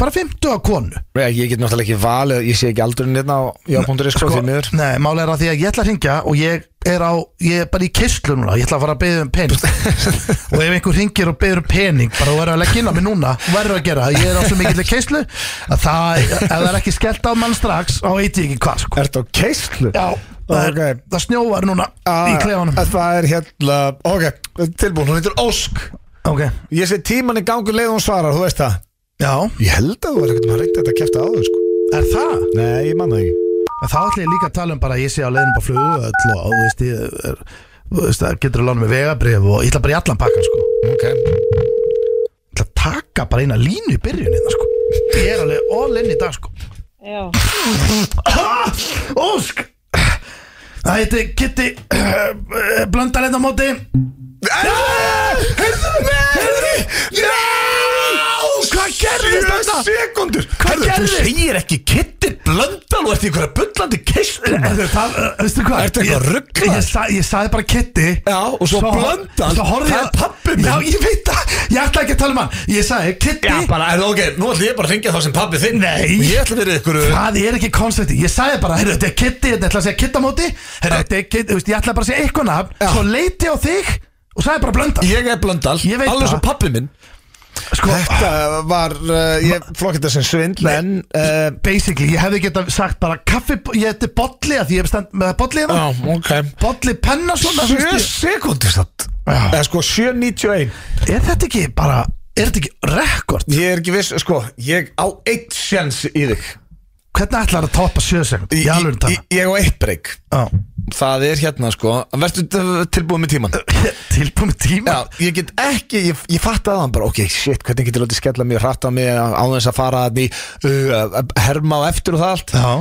Speaker 3: bara 50 á konu
Speaker 1: Ég, ég get náttúrulega ekki valið, ég sé ekki aldurinn hérna á já.is sko því miður
Speaker 3: nei, málega er að því að ég ætla að ringja og ég er á, ég er bara í kistlu núna ég ætla að fara að beða um pening og ef einhver ringir og beður um pening bara þú verður að leggja inn á mig núna, þú verður að gera það. ég er á svo mikill kistlu að það, ef það er ekki skellt á mann strax þá veit ég ekki hvað sko.
Speaker 1: Ertu á keislu?
Speaker 3: já, það, er,
Speaker 1: Ok. Ah.
Speaker 3: það snjóvar núna í klefanum
Speaker 1: Það er hérna, ok, tilbúin, hún heitir Ósk
Speaker 3: ok,
Speaker 1: Ég sé tíman í gangu leið og hún svarar, þú veist það
Speaker 3: já,
Speaker 1: Ég held að þú er ekkert maður reyndi þetta að kæfta áður sko
Speaker 3: er það
Speaker 1: Nei, ég manna ekki
Speaker 3: En þá ætla ég líka að tala um bara að ég sé á leiðin bara flugu og þú veist ég er, þú veist það getur að lána mig vegabrif og ég ætla bara í allan pakkan sko ég
Speaker 1: Ok
Speaker 3: ætla að taka bara eina línu í byrjun hérna sko ég er alveg all in í dag sko
Speaker 4: Já,
Speaker 3: Ósk Það heiti Kitty uh, Blöndar hérna á móti
Speaker 1: Heyrðu mig! Heyrðu mig!
Speaker 3: Hvað gerðist þetta?
Speaker 1: Sekundur
Speaker 3: Hvað gerðist?
Speaker 1: segir ekki Kitty Blöndal og ert í einhverja bullandi keislu
Speaker 3: Ertu það, uh, veistu hvað?
Speaker 1: Ertu eitthvað
Speaker 3: Ég-
Speaker 1: ruglaður?
Speaker 3: Ég, sa, ég saði bara Kitty
Speaker 1: Já, og svo Blöndal,
Speaker 3: Svo horfði
Speaker 1: það
Speaker 3: ég
Speaker 1: er pabbi minn.
Speaker 3: Já, ég veit það Ég ætla ekki að tala um hann Ég sagði Kitty
Speaker 1: Já, bara, er, ok, nú ætlum ég bara að ringja þá sem pabbi þinn
Speaker 3: Nei.
Speaker 1: Ég ætlum verið ykkur
Speaker 3: Það er ekki koncepti, ég sagði bara, heyrðu, þetta er Kitty, þetta ætla að segja Kitty á móti Heyrðu, þetta er Kitty, þú veist, ég ætla bara að segja eitthvað nafn
Speaker 1: Já.
Speaker 3: Svo leiti ég á þig og sagði bara blönda
Speaker 1: Ég er Blöndal,
Speaker 3: Ég veit
Speaker 1: alveg
Speaker 3: það.
Speaker 1: svo pabbi minn
Speaker 3: Sko,
Speaker 1: Þetta var, uh, ég flokkið þetta sem svindl En, uh,
Speaker 3: basically, ég hefði geta sagt bara kaffi, ég heiti Bolli að því ég hef stend með Bolli hérna
Speaker 1: já, ok
Speaker 3: Bolli Pennason, það
Speaker 1: Sjö
Speaker 3: finnst
Speaker 1: sekundur satt
Speaker 3: Já.
Speaker 1: Eða sko, 7.91
Speaker 3: ég Er þetta ekki bara, er þetta ekki rekord?
Speaker 1: Ég er ekki viss, sko, ég á eitt sjans í þig
Speaker 3: Hvernig ætlar að toppa sjö sekund? Ég alveg
Speaker 1: Ég-
Speaker 3: tala
Speaker 1: ég- Ég á eitt breyk
Speaker 3: Já.
Speaker 1: Það er hérna sko Vertu tilbúið með tíman
Speaker 3: Tilbúið með tíma
Speaker 1: Já, ég get ekki, ég, ég fatt að hann bara Ok, shit, hvernig getur látið skella mig, hratta mig Á þess að fara hann í uh, Herma og eftir og það allt
Speaker 3: Já,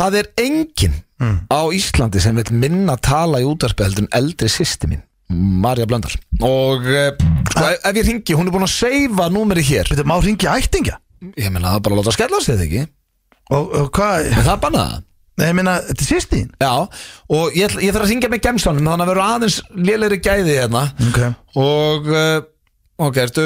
Speaker 1: Það er enginn
Speaker 3: Mm.
Speaker 1: á Íslandi sem vil minna tala í útarpi heldur en eldri sýsti mín Marja Blöndal Og uh, sko, ef,
Speaker 3: Ah.
Speaker 1: ef ég ringi, hún er búin að seifa númeri hér
Speaker 3: veitum, má ringi ættingja
Speaker 1: Ég meina, það er bara að láta að skella sig, eða ekki
Speaker 3: Og, og hvað,
Speaker 1: En það bannaði það
Speaker 3: nei, ég meina, þetta er sýstíðin
Speaker 1: Já, og ég, ætla- ég þarf að ringja með gemstanum Þannig að vera aðeins lélegri gæði hérna
Speaker 3: okay.
Speaker 1: Og uh, Ok, ertu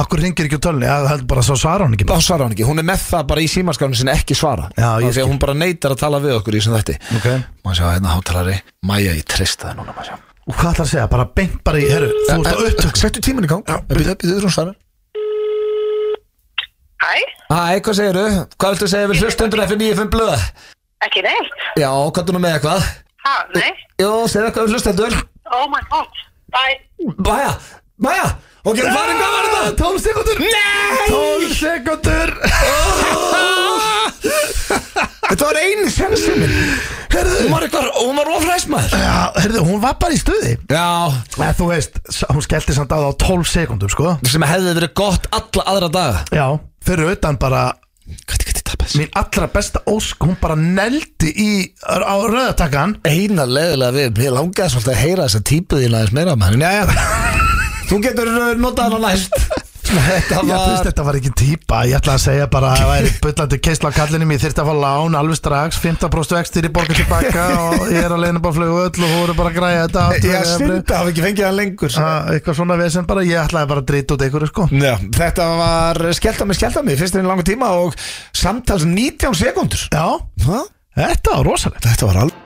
Speaker 3: Akkur ringir ekki á tölunni, ég heldur bara að svo svara hún ekki
Speaker 1: Þá svarar hún ekki, hún er með það bara í símaskarnu sinni ekki svara
Speaker 3: Já, ég
Speaker 1: Af því að
Speaker 3: skil.
Speaker 1: hún bara neytar að tala við okkur í þessum þætti
Speaker 3: Ok.
Speaker 1: Má sjá, hérna hátalari Mæja, ég treysta það núna, má sjá
Speaker 3: Eh, Og hvað ætlar að segja, bara beint bara í, herru, þú ert á upptöku eh,
Speaker 1: Settu tíman í gang Býðu, býðu, þú svarar
Speaker 4: Hæ?
Speaker 1: Hæ, hvað segiru? Hvað viltu segja við hlustundur F95 blöða?
Speaker 4: Ekki neitt?
Speaker 1: Já, hvað er nú með eitthvað?
Speaker 4: Ha, nei?
Speaker 1: Jó, segja eitthvað við hlustundur
Speaker 4: Oh my god. Bye.
Speaker 1: Mæja, mæja Ok, hvað er hvað var þetta?
Speaker 3: 12 sekundur
Speaker 1: Nei
Speaker 3: 12 sekundur
Speaker 1: Þetta var einu sensin minn Herðu Hún var eitthvað, hún var ofræst maður
Speaker 3: Já, herðu, hún var bara í stuði
Speaker 1: Já,
Speaker 3: En Eh, þú veist, s- hún skellti samt á það á 12 sekundum, sko
Speaker 1: sem hefði verið gott alla aðra daga
Speaker 3: Já, fyrir utan bara
Speaker 1: Hvað er þetta tapast?
Speaker 3: mín allra besta ósk Hún bara neldi í, á rauðatakkan
Speaker 1: Eina leðilega við, ég langaði svolítið að heyra þessa típu þín aðeins meira maður Jæja, þú getur uh, notað hana næst Þetta
Speaker 3: Já, þú veist,
Speaker 1: var
Speaker 3: þetta var ekki típa Ég ætla að segja bara að það væri bullandi keisla á kallinum Ég þyrfti að fá lán alveg strax 15% vextir í borgar tilbaka Og ég er að leina bara flögu öll og þú voru bara að græja þetta aftur.
Speaker 1: Ég syndi hafa ekki fengið hann lengur
Speaker 3: Ah, Eitthvað svona við sem bara Ég ætlaði bara að drita út einhverju sko
Speaker 1: Já, þetta var skelta mig, skelta mig Fyrst einu langa tíma og samtals 19 sekundur
Speaker 3: Já,
Speaker 1: Hva?
Speaker 3: þetta var rosalegt
Speaker 1: Þetta var alveg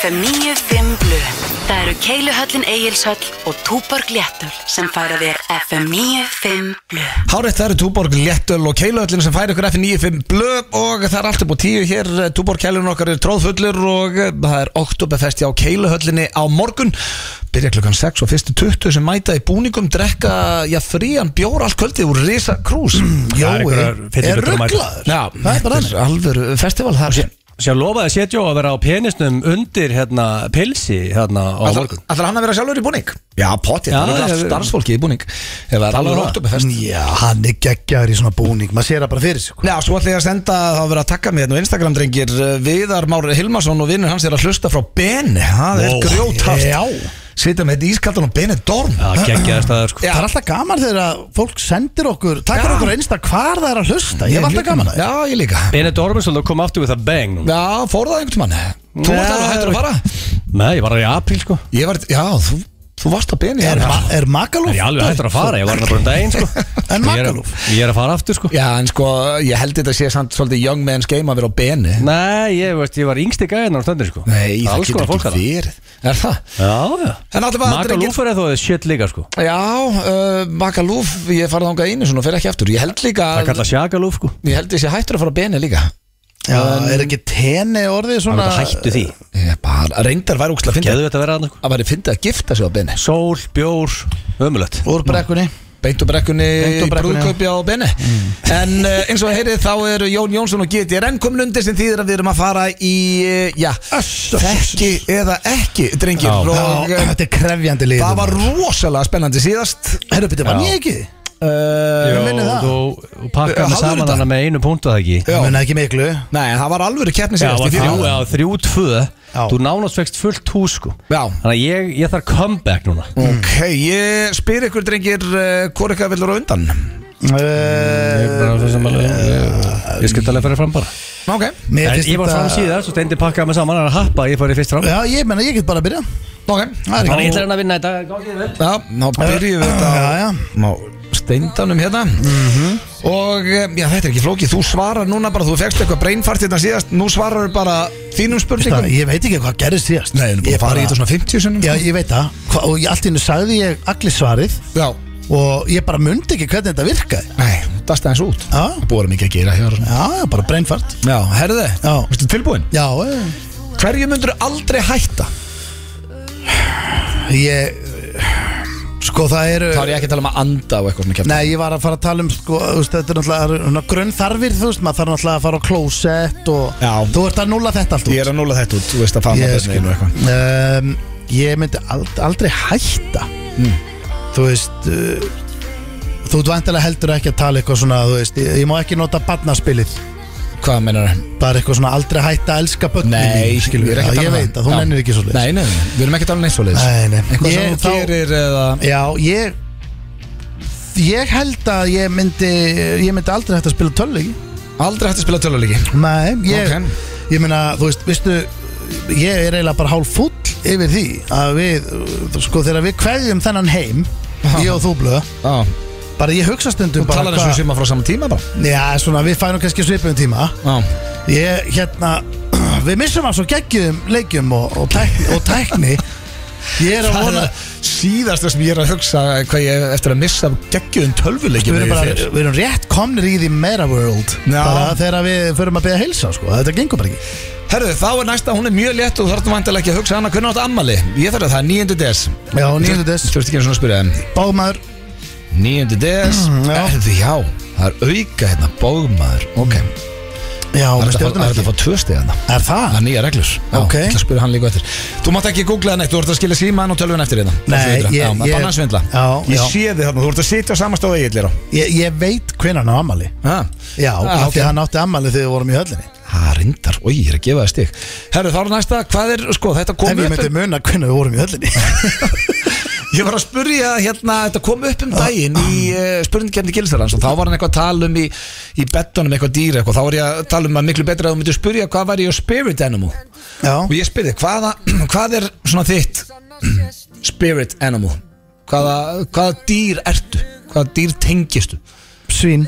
Speaker 5: FM 95 Blu Það eru Keiluhöllin Egilshöll og Túborg Léttul sem færa þér FM 95 Blu
Speaker 1: Hárétt það eru Túborg Léttöl og Keiluhöllin sem færi ykkur F95 blöð og það er allt upp á tíu hér Túborg Keilun okkar er tróðfullur og eh, það er oktoberfest hjá Keiluhöllinni á morgun byrja klukkan 6 og fyrstu 20 sem mæta í búningum drekka, já, frían bjór allt kvöldið úr Risa Krús
Speaker 2: Það er
Speaker 3: Jói
Speaker 2: einhverjar
Speaker 3: er
Speaker 2: fyllibitar að mæta.
Speaker 3: rugglaður
Speaker 1: Já,
Speaker 3: það er bara
Speaker 1: þetta alvöru festival það er
Speaker 2: Sér lofaði Sétjó að vera á penisnum undir hérna pilsi hérna á morgun
Speaker 1: Ætlar hann að vera sjálfur í búning? Já, potið,
Speaker 2: Já,
Speaker 1: það er allt
Speaker 2: ég-
Speaker 1: starfsfólki í búning Ef það er alveg
Speaker 2: um það.
Speaker 1: oktoberfest
Speaker 3: Já, hann er geggjaður í svona búning Maður sér það bara fyrir sig sko.
Speaker 1: Já, svo ætla ég að senda að það verið að taka mig hérna á Instagram drengir Eh, Viðar Mári Hilmarsson og vinnur hans er að hlusta frá Beni Það er
Speaker 3: Ó,
Speaker 1: grjótast
Speaker 3: já.
Speaker 1: Sitja með þetta ískaldan og Beni Dorm
Speaker 2: Já, geggjaði staðar sko
Speaker 1: Já.
Speaker 3: Það er alltaf gaman þegar að fólk sendir okkur Takkar
Speaker 1: Já.
Speaker 3: okkur einsta hvar það er að hlusta Ég hef alltaf gaman að
Speaker 1: Já, ég líka
Speaker 2: Benedikt Ormsson kom aftur við það bang núna.
Speaker 1: Já, fór það einhvern mann Þú
Speaker 2: Nei.
Speaker 1: varst alveg hættur að fara
Speaker 2: Nei, ég var alveg í apríl sko
Speaker 1: Ég var, já, þú, þú varst á Beni
Speaker 3: Er, ma er Magalúf
Speaker 2: Ég er alveg hættur að fara, ég var hérna bara um daginn sko
Speaker 3: En
Speaker 2: Ég er-
Speaker 3: Magaluf?
Speaker 2: Ég er að fara aftur sko
Speaker 1: Já, en sko, ég held þetta sé samt svolítið young man's game að vera á Beni
Speaker 2: Nei, ég veist, ég var yngsti gæðin á stöndin sko
Speaker 1: Nei, það
Speaker 2: Alls konar
Speaker 1: getur
Speaker 2: fólk
Speaker 1: ekki
Speaker 2: þarna.
Speaker 1: verið Er það?
Speaker 2: Já, já
Speaker 1: En allavega,
Speaker 2: Maka
Speaker 1: drengir-
Speaker 2: lúfur eða þó að shit líka sko
Speaker 1: Já, uh, Magalúf, ég farið þangað einu svona og fer ekki aftur Ég held líka
Speaker 2: Það kalla sjaka lúf sko
Speaker 1: Ég held þessi hættur að fara á Beni líka
Speaker 3: Já, er ekki tenni orðið
Speaker 2: Það
Speaker 3: svona
Speaker 2: verður hættu því
Speaker 1: Ég bara, reyndar væri úkslega að finna
Speaker 2: Geðu þetta að vera aðna sko
Speaker 1: Það væri fyndið að gifta sig á Beni
Speaker 2: Sól, bjór, ömulegt
Speaker 3: Úr brekkunni
Speaker 1: Beint og brekkunni,
Speaker 3: Beint og brekkunni,
Speaker 1: brúðkaupi á Beni
Speaker 2: Mm.
Speaker 1: En uh, eins og að heyrið þá eru Jón Jónsson og GTRN komin undir sem þýðir að við erum að fara í uh, Já,
Speaker 3: Öss, öss,
Speaker 1: þekki eða ekki, drengir
Speaker 2: Já.
Speaker 1: Og
Speaker 3: Já,
Speaker 1: uh,
Speaker 3: þetta er krefjandi lið
Speaker 1: það var rosalega spennandi síðast
Speaker 3: Herru, byrja, var
Speaker 2: Já.
Speaker 3: ég ekki?
Speaker 1: uh,
Speaker 3: minni það.
Speaker 2: þú þú pakkaði mig
Speaker 1: Hafðu
Speaker 2: saman
Speaker 1: þetta?
Speaker 2: hana með einu punktu það ekki
Speaker 1: Já.
Speaker 3: Ég Muna ekki miklu Eh,
Speaker 1: Nei, það var alvöru keppni
Speaker 2: Já, það
Speaker 1: síðast
Speaker 2: var
Speaker 1: í
Speaker 2: þrjú,
Speaker 1: því-
Speaker 2: já, þrjú, tvö
Speaker 3: Já.
Speaker 2: Þú nánast vext fullt hús sko
Speaker 1: Já.
Speaker 2: Þannig að ég, ég þarf comeback núna
Speaker 1: Ok, ég spyr ykkur drengir uh, Hvor eitthvað vilur á undan
Speaker 2: Ég er bara svo sem alveg- Ég- Ég skil alveg fyrir fram bara
Speaker 1: Ok,
Speaker 3: Mér
Speaker 2: En
Speaker 3: finnst
Speaker 2: Ég var
Speaker 3: þetta-
Speaker 2: fram síðar, svo steindi pakkaði mig saman Það er að happa, ég fór í fyrst fram
Speaker 3: Já, ég menna, ég get bara að byrja
Speaker 1: ok
Speaker 3: Það er
Speaker 2: Þannig að
Speaker 3: ekki
Speaker 2: ég ætla hérna að vinna þetta, gangi þér vel
Speaker 1: Já, þá byrjum við þetta
Speaker 3: Já,
Speaker 1: á-
Speaker 3: já.
Speaker 1: á steindanum hérna og eh, já, þetta er ekki flókið þú svarar núna bara, þú fegst eitthvað brainfart hérna síðast, nú svarar við bara þínum
Speaker 3: Það-
Speaker 1: spurningum
Speaker 3: Ég veit ekki hvað gerðist síðast
Speaker 1: Nei, ég bara í þetta svona 50 sinum
Speaker 3: Já, ég veit það Hva- Og ég- allt í hennu sagði ég allir svarið
Speaker 1: já.
Speaker 3: Og ég bara mundi ekki hvernig þetta virkaði
Speaker 1: nei, það stæðins út
Speaker 3: Já.
Speaker 1: búið mikið að gera hér
Speaker 3: Já, já, bara breinfart
Speaker 1: já, herðu,
Speaker 3: Já.
Speaker 1: veistu tilbúin
Speaker 3: Já, eh,
Speaker 1: hverju myndur aldrei hætta
Speaker 3: ég Sko, það eru
Speaker 1: þá er ég ekki að tala um að anda og eitthvað svona kæft
Speaker 3: Nei, ég var að fara að tala um sko, þú veist, þetta er náttúrulega grunn þarfir, þú veist, maður þarf náttúrulega að fara á klósett og
Speaker 1: Já.
Speaker 3: þú ert að nulla þetta allt út.
Speaker 1: ég er að núla þetta út, þú veist að fama
Speaker 3: Ég
Speaker 1: þetta og eitthvað
Speaker 3: um, ég myndi ald, aldrei hætta
Speaker 1: Mm.
Speaker 3: þú veist uh, þú ert vantilega heldur ekki að tala eitthvað svona þú veist, ég, ég má ekki nota barnaspilið
Speaker 1: hvað meinar það?
Speaker 3: bara eitthvað svona aldrei hætta að elska börnum
Speaker 1: Nei, skilur við
Speaker 3: ég,
Speaker 1: ekki um
Speaker 3: ég veit að þú nennir ekki svo
Speaker 1: Nei, nei, við erum ekki að tala um neitt svo
Speaker 3: Nei, nei.
Speaker 1: Eitthvað
Speaker 3: Ég-
Speaker 1: sem þú
Speaker 3: þá-
Speaker 1: gerir eða
Speaker 3: já, ég ég held að ég myndi ég myndi aldrei hætta að spila tölvleiki
Speaker 1: Aldrei hægt að spila töluleiki
Speaker 3: Nei, ég,
Speaker 1: Ok.
Speaker 3: ég meina, þú veist, veistu ég er eiginlega bara hálf fúll yfir því að við, uh, sko, þegar við kveðjum þennan heim, ég og þú blöða
Speaker 1: Já
Speaker 3: bara ég hugsa stundum
Speaker 1: Þú
Speaker 3: bara
Speaker 1: talar eins og sem að frá saman tíma bara
Speaker 3: Já, svona, við fænum kannski svipum tíma
Speaker 1: Já
Speaker 3: ég, hérna, við missum að svo geggjum leikjum og, og, tækni, og tækni Ég er að
Speaker 1: Það er
Speaker 3: vona-
Speaker 1: að síðasta sem ég er að hugsa hvað ég er eftir að missa af geggjum tölvuleikjum
Speaker 3: Við erum,
Speaker 1: þegar ég
Speaker 3: bara,
Speaker 1: fer.
Speaker 3: við erum rétt komnir í því meira world
Speaker 1: Já.
Speaker 3: bara þegar við förum að beða heilsa sko. þetta gengur bara ekki
Speaker 1: Herðu, þá er næsta, hún er mjög létt og þú þarfum vantilega ekki að hugsa hana hvernig áttu ammali Ég þarf að það er 9. des
Speaker 3: Já, 9. des.
Speaker 1: Þú veist ekki eins og að spyrja þeim
Speaker 3: Báðmaður,
Speaker 1: 9. des
Speaker 3: Mm, já. Mm,
Speaker 1: Herðu, já, það er auka hérna, bóðmaður Ok, það er
Speaker 3: já, með
Speaker 1: þetta að
Speaker 3: stjórnum
Speaker 1: fá tvö stig hérna
Speaker 3: Er það?
Speaker 1: Það er nýja reglur Já,
Speaker 3: Ok.
Speaker 1: Ég ætla að spyrja hann líka eftir Þú mátt ekki googla það neitt, þú ert að skilja síman og tölvun eftir hérna
Speaker 3: Nei, ég-
Speaker 1: ég,
Speaker 3: ég-
Speaker 1: ég Banna að svindla
Speaker 3: Já,
Speaker 1: Ég
Speaker 3: já.
Speaker 1: sé þig þarna, þú ert að sitja á samastóð eigillir á Ah,
Speaker 3: Ég, ég veit hvenær hann á ammali Já, af því
Speaker 1: ok.
Speaker 3: hann átti ammali þegar við vorum í höllinni
Speaker 1: Það rindar, oi, ég er að gefa það stig Herru, þá er næsta, hvað er, sko, þetta kom
Speaker 3: Ef ég
Speaker 1: upp
Speaker 3: myndi
Speaker 1: um,
Speaker 3: muna hvenær við vorum í höllinni
Speaker 1: Ég var að spurja, hérna, þetta kom upp
Speaker 3: Ah.
Speaker 1: um daginn í uh, spurningkefni Gilsarlands og þá var hann eitthvað að tala um í, í bettunum eitthvað dýr eitthvað, þá var ég að tala um að miklu betra að þú myndir spurja hvað var ég á spirit animal og
Speaker 3: Já,
Speaker 1: ég spurði, hvaða, hvað er svona þitt spirit animal hvaða, hvaða dýr ertu hvaða dýr tengistu
Speaker 3: svín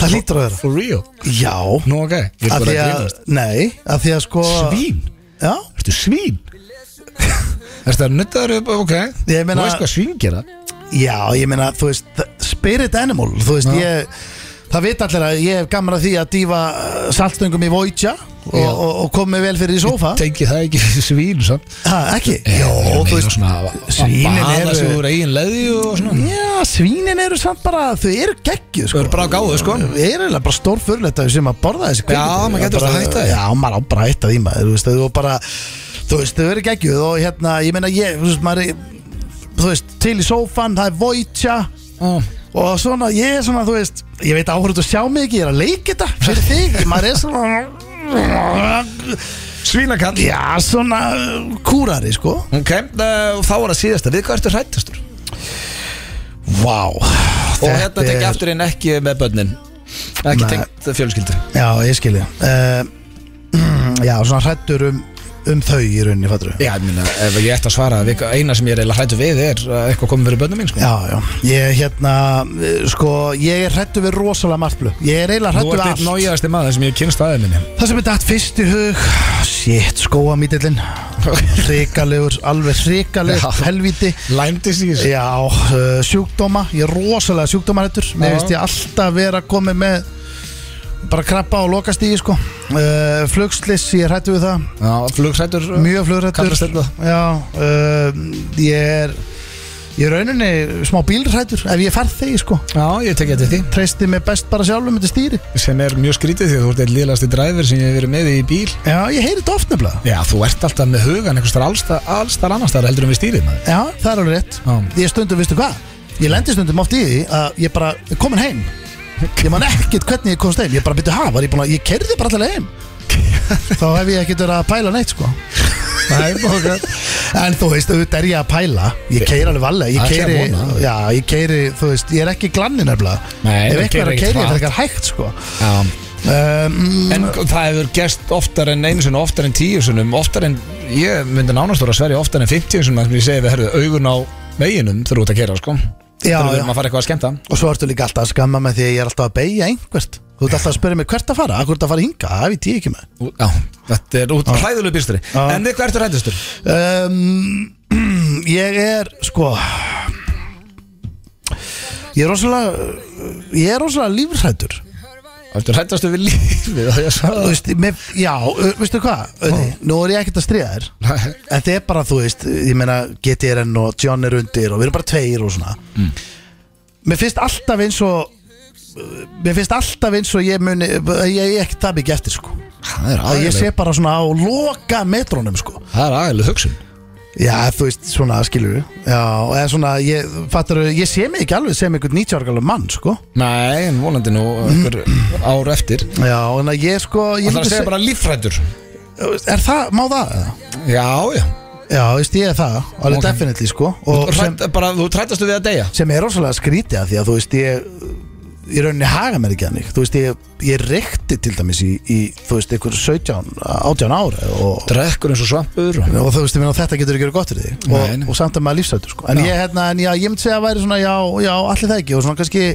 Speaker 3: Það lítur að vera
Speaker 1: For real?
Speaker 3: Já,
Speaker 1: Nú, ok, ég er
Speaker 3: af
Speaker 1: bara
Speaker 3: því
Speaker 1: að
Speaker 3: að,
Speaker 1: grínast
Speaker 3: nei, af því að sko
Speaker 1: Svín?
Speaker 3: Já,
Speaker 1: Ertu svín? Ertu að nuttaður upp, ok
Speaker 3: Ég meina-
Speaker 1: Þú veist hvað svín gera
Speaker 3: já, ég meina, þú veist, th- spirit animal, þú veist, ég, það veit allir að ég hef gamra því að dýfa uh, saltöngum í Voidja og,
Speaker 1: Já.
Speaker 3: og, og komið vel fyrir í sófa
Speaker 1: Tengi það ekki fyrir svín sann
Speaker 3: Ha, ekki? Jó,
Speaker 1: þú
Speaker 3: þú
Speaker 1: veist
Speaker 3: veist,
Speaker 1: svona, að- að
Speaker 3: svínin
Speaker 1: baða
Speaker 3: eru-
Speaker 1: sig úr eigin leði og svona
Speaker 3: já, svínin eru samt bara, þau eru geggju,
Speaker 1: Þau
Speaker 3: sko
Speaker 1: eru bara á gáðu, sko.
Speaker 3: Þau eru eiginlega bara stór fyrirletta sem að borða þessi
Speaker 1: Já, maður getur
Speaker 3: Bara-
Speaker 1: að hætta því.
Speaker 3: Já, maður á bara að hætta því, maður, þú veist, þau eru bara, þú veist, þau eru geggju og hérna, ég meina, ég, þú veist, maður, er- þú veist, til í sófan, það er Voidja
Speaker 1: Ó,
Speaker 3: og svona, ég er svona, þú veist ég veit áhverjum þú sjá mig ekki, ég er að leika þetta fyrir þig, maður er svona
Speaker 1: Svínakall
Speaker 3: já, svona kúrari, sko
Speaker 1: Ok, eh, og þá var það síðasta Við hvað ertu hrættastur?
Speaker 3: vá,
Speaker 1: Og hérna tekja aftur inn ekki með börnin Ekki
Speaker 3: Nei.
Speaker 1: tengt fjölskyldu
Speaker 3: já, ég skilja uh, já, svona hrættur um, um þau í rauninni, fattur
Speaker 1: Já, ég meina, ef ég ætti að svara við- Eina sem ég er eiginlega hrættu við er að eitthvað komið fyrir börnum mín sko.
Speaker 3: já, já, ég hérna eh, sko, ég er hrættur við rosalega margt blöð, ég er eiginlega
Speaker 1: Þú
Speaker 3: hrættur
Speaker 1: ert
Speaker 3: við
Speaker 1: eitt
Speaker 3: allt
Speaker 1: nájaðasti maður sem ég hef kynst aðeins minni
Speaker 3: það sem er dætt fyrst í hug shit, skóamítillin hrikalegur, alveg
Speaker 1: Já.
Speaker 3: hrikalegur helvíti
Speaker 1: Lyme disease
Speaker 3: Já, uh, sjúkdóma, ég er rosalega sjúkdómarættur Mér
Speaker 1: Já.
Speaker 3: finnst ég alltaf vera komið með bara krabba og lokast í sko. uh, Flugslis, ég er hættu við það
Speaker 1: Já, uh, flugrættur
Speaker 3: Mjög flugrættur
Speaker 1: Kannast þetta?
Speaker 3: Já, uh, ég er ég er rauninni smá bílrættur ef ég ferð þegi sko
Speaker 1: Já, ég tekja þetta því
Speaker 3: Treysti mig best bara sjálfum þetta stýri
Speaker 1: Sem er mjög skrítið því að þú ert eitt liðlasti dræfur sem ég hef verið með í bíl
Speaker 3: Já, ég heyri þetta oft nefnilega
Speaker 1: Já, þú ert alltaf með hugan einhvers þar allstar, allstar annars þar heldur en við stýrið maður
Speaker 3: Já, það er alveg rétt
Speaker 1: Já.
Speaker 3: Ég stundum, veistu hvað? Ég lendi stundum oft í því að ég bara er komin heim Ég man ekkert hvernig ég komst heim Ég bara byrja hafa, var ég búin að, ég kerði bara alltaf heim Þá hef ég ekkert verið að pæla neitt sko
Speaker 1: Nei, ok
Speaker 3: En þú veist, auðvitað er ég að pæla Ég keiri alveg valega, ég
Speaker 1: Það er
Speaker 3: keiri
Speaker 1: sem vona.
Speaker 3: Já, ég keiri, þú veist, ég er ekki glanni nefnilega
Speaker 1: Nei,
Speaker 3: Ef
Speaker 1: þú
Speaker 3: eitthvað er
Speaker 1: keyrir
Speaker 3: að keiri,
Speaker 1: ekkert hratt.
Speaker 3: það er eitthvað hægt sko
Speaker 1: Já
Speaker 3: um,
Speaker 1: En það hefur gerst oftar en einu sinni, oftar en tíu sinnum, oftar en, ég myndi nánast voru að sverja oftar en 50 sinnum að ég segi við herðu augun á veginum þegar þú ert að kera, sko.
Speaker 3: Já,
Speaker 1: þegar við
Speaker 3: já.
Speaker 1: erum að fara eitthvað að skemmta.
Speaker 3: Og svo ertu líka alltaf að skamma með því að ég er alltaf að beigja einhvert Þú ert alltaf að spyrja mig hvert að fara, hvort að fara hinga, það veit ég ekki með
Speaker 1: Ú- Já, þetta er út hræðulegu býrstri.
Speaker 3: Já.
Speaker 1: En við hvað ertu hræðistur?
Speaker 3: um, Ég er sko Ég er rosalega Ég er rosalega lífrættur
Speaker 1: Ertu hræðastu við lífið? Það er
Speaker 3: Þú
Speaker 1: svarað.
Speaker 3: veist, með, Já, uh, veistu hvað Öði, Nú er ég ekkert að stríða þér
Speaker 1: Nei.
Speaker 3: En þið er bara, þú veist, ég meina GTRN og John er undir og við erum bara tveir og svona
Speaker 1: Mm.
Speaker 3: Mér finnst alltaf eins og uh, Mér finnst alltaf eins og ég muni Ég er ekki það mikið eftir sko
Speaker 1: Það er
Speaker 3: Að ég sé
Speaker 1: aðeinslega.
Speaker 3: bara svona á loka metrónum sko
Speaker 1: Það er aðeinslega hugsun.
Speaker 3: Já, þú veist, svona skilur við Já, eða svona, ég, fattar ég sé mig ekki alveg sem einhvern 90 ára galur mann, sko
Speaker 1: Nei, en vonandi nú einhver ár eftir.
Speaker 3: Já, en að ég sko ég
Speaker 1: Það er að
Speaker 3: myndi
Speaker 1: segja bara lífræður.
Speaker 3: seg- Er það, má það? eða?
Speaker 1: Já, já.
Speaker 3: Já, veist, ég er það, alveg
Speaker 1: Ok.
Speaker 3: definitely, sko
Speaker 1: Og
Speaker 3: Og sem,
Speaker 1: hrædd- bara, þú hræðastu við að deyja.
Speaker 3: sem er rosalega skrítið að því að þú veist, ég í rauninni haga mér ekki þannig Þú veist, ég, ég reykti til dæmis í, í þú veist, einhver 17, 18 ára og,
Speaker 1: Drekkur eins og svampur.
Speaker 3: og þú veist, ég meina, þetta getur ekki verið gott fyrir því
Speaker 1: Nei, nei.
Speaker 3: og, og samt að maður lífsættur, sko En
Speaker 1: Já.
Speaker 3: ég, hérna, en já, ég myndi segja að væri svona, já, já, allir það ekki og svona kannski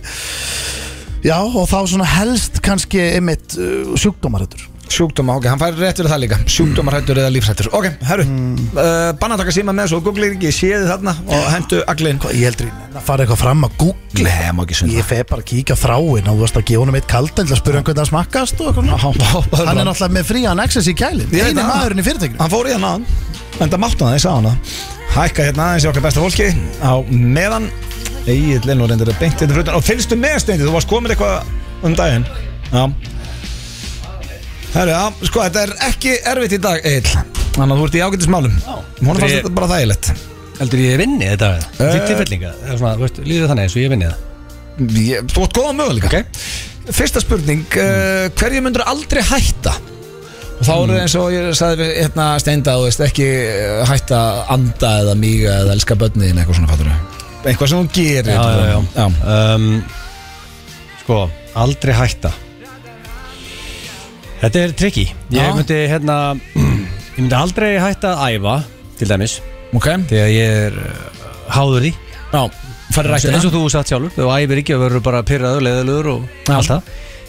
Speaker 3: Já, og þá svona helst kannski einmitt uh, sjúkdómarættur
Speaker 1: Sjúkdóma, ok, hann fær rétt fyrir það líka Sjúkdómarhættur eða lífshættur Ok, herru, mm. uh, bannataka síma með svo Google ekki, séði þarna og hendu aglin
Speaker 3: Hvað, ég heldur ég að fara eitthvað fram að google
Speaker 1: Nei, má ekki
Speaker 3: Ég fer bara að kíkja á þráin og þú veist að gefa honum eitt kaldan til að spura hann hvernig það smakkast og eitthvað svona.
Speaker 1: hoppaðu
Speaker 3: Hann er
Speaker 1: fram.
Speaker 3: náttúrulega með frían access í kælin
Speaker 1: Ég veit
Speaker 3: Einu
Speaker 1: það.
Speaker 3: maðurinn í fyrirtækinu
Speaker 1: Hann fór í hann aðan, en það mátti hann það, ég sá hann það Hækka hérna aðeins í okkar besta fólki á meðan Egil Linn og reyndir að beint þetta frutan og fylgstu með steindi, þú varst komin eitthvað um daginn Já Herru, já, sko, þetta er ekki erfitt í dag, Egil Þannig að þú ert í ágættismálum Hún fannst
Speaker 2: Ég-
Speaker 1: þetta bara þægilegt
Speaker 2: Heldur ég vinni þetta?
Speaker 1: Eh.
Speaker 2: Þitt til fellinga? Eða svona, veist, líður þannig eins og ég vinni það?
Speaker 1: Ég- Þú átt góða möguleika
Speaker 2: Ok.
Speaker 1: Fyrsta spurning, uh, hverju myndur aldrei hætta? Og þá
Speaker 2: Mm.
Speaker 1: eru eins og ég sagði við hérna steinda þú veist ekki eh, hætta að anda eða míga eða elska börnin eitthvað svona fattur Eitthvað sem hún gerir
Speaker 2: Já, já, já.
Speaker 1: já.
Speaker 2: Um, sko, aldrei hætta Þetta er tricky
Speaker 1: Já.
Speaker 2: Ég myndi hérna Ég myndi aldrei hætta að æfa Til dæmis,
Speaker 1: Ok,
Speaker 2: þegar ég er uh, háður því
Speaker 1: já, farið ræktina
Speaker 2: eins og þú satt sjálfur, þú æfir ekki að verður bara pyrraður, leiðilegur og allt það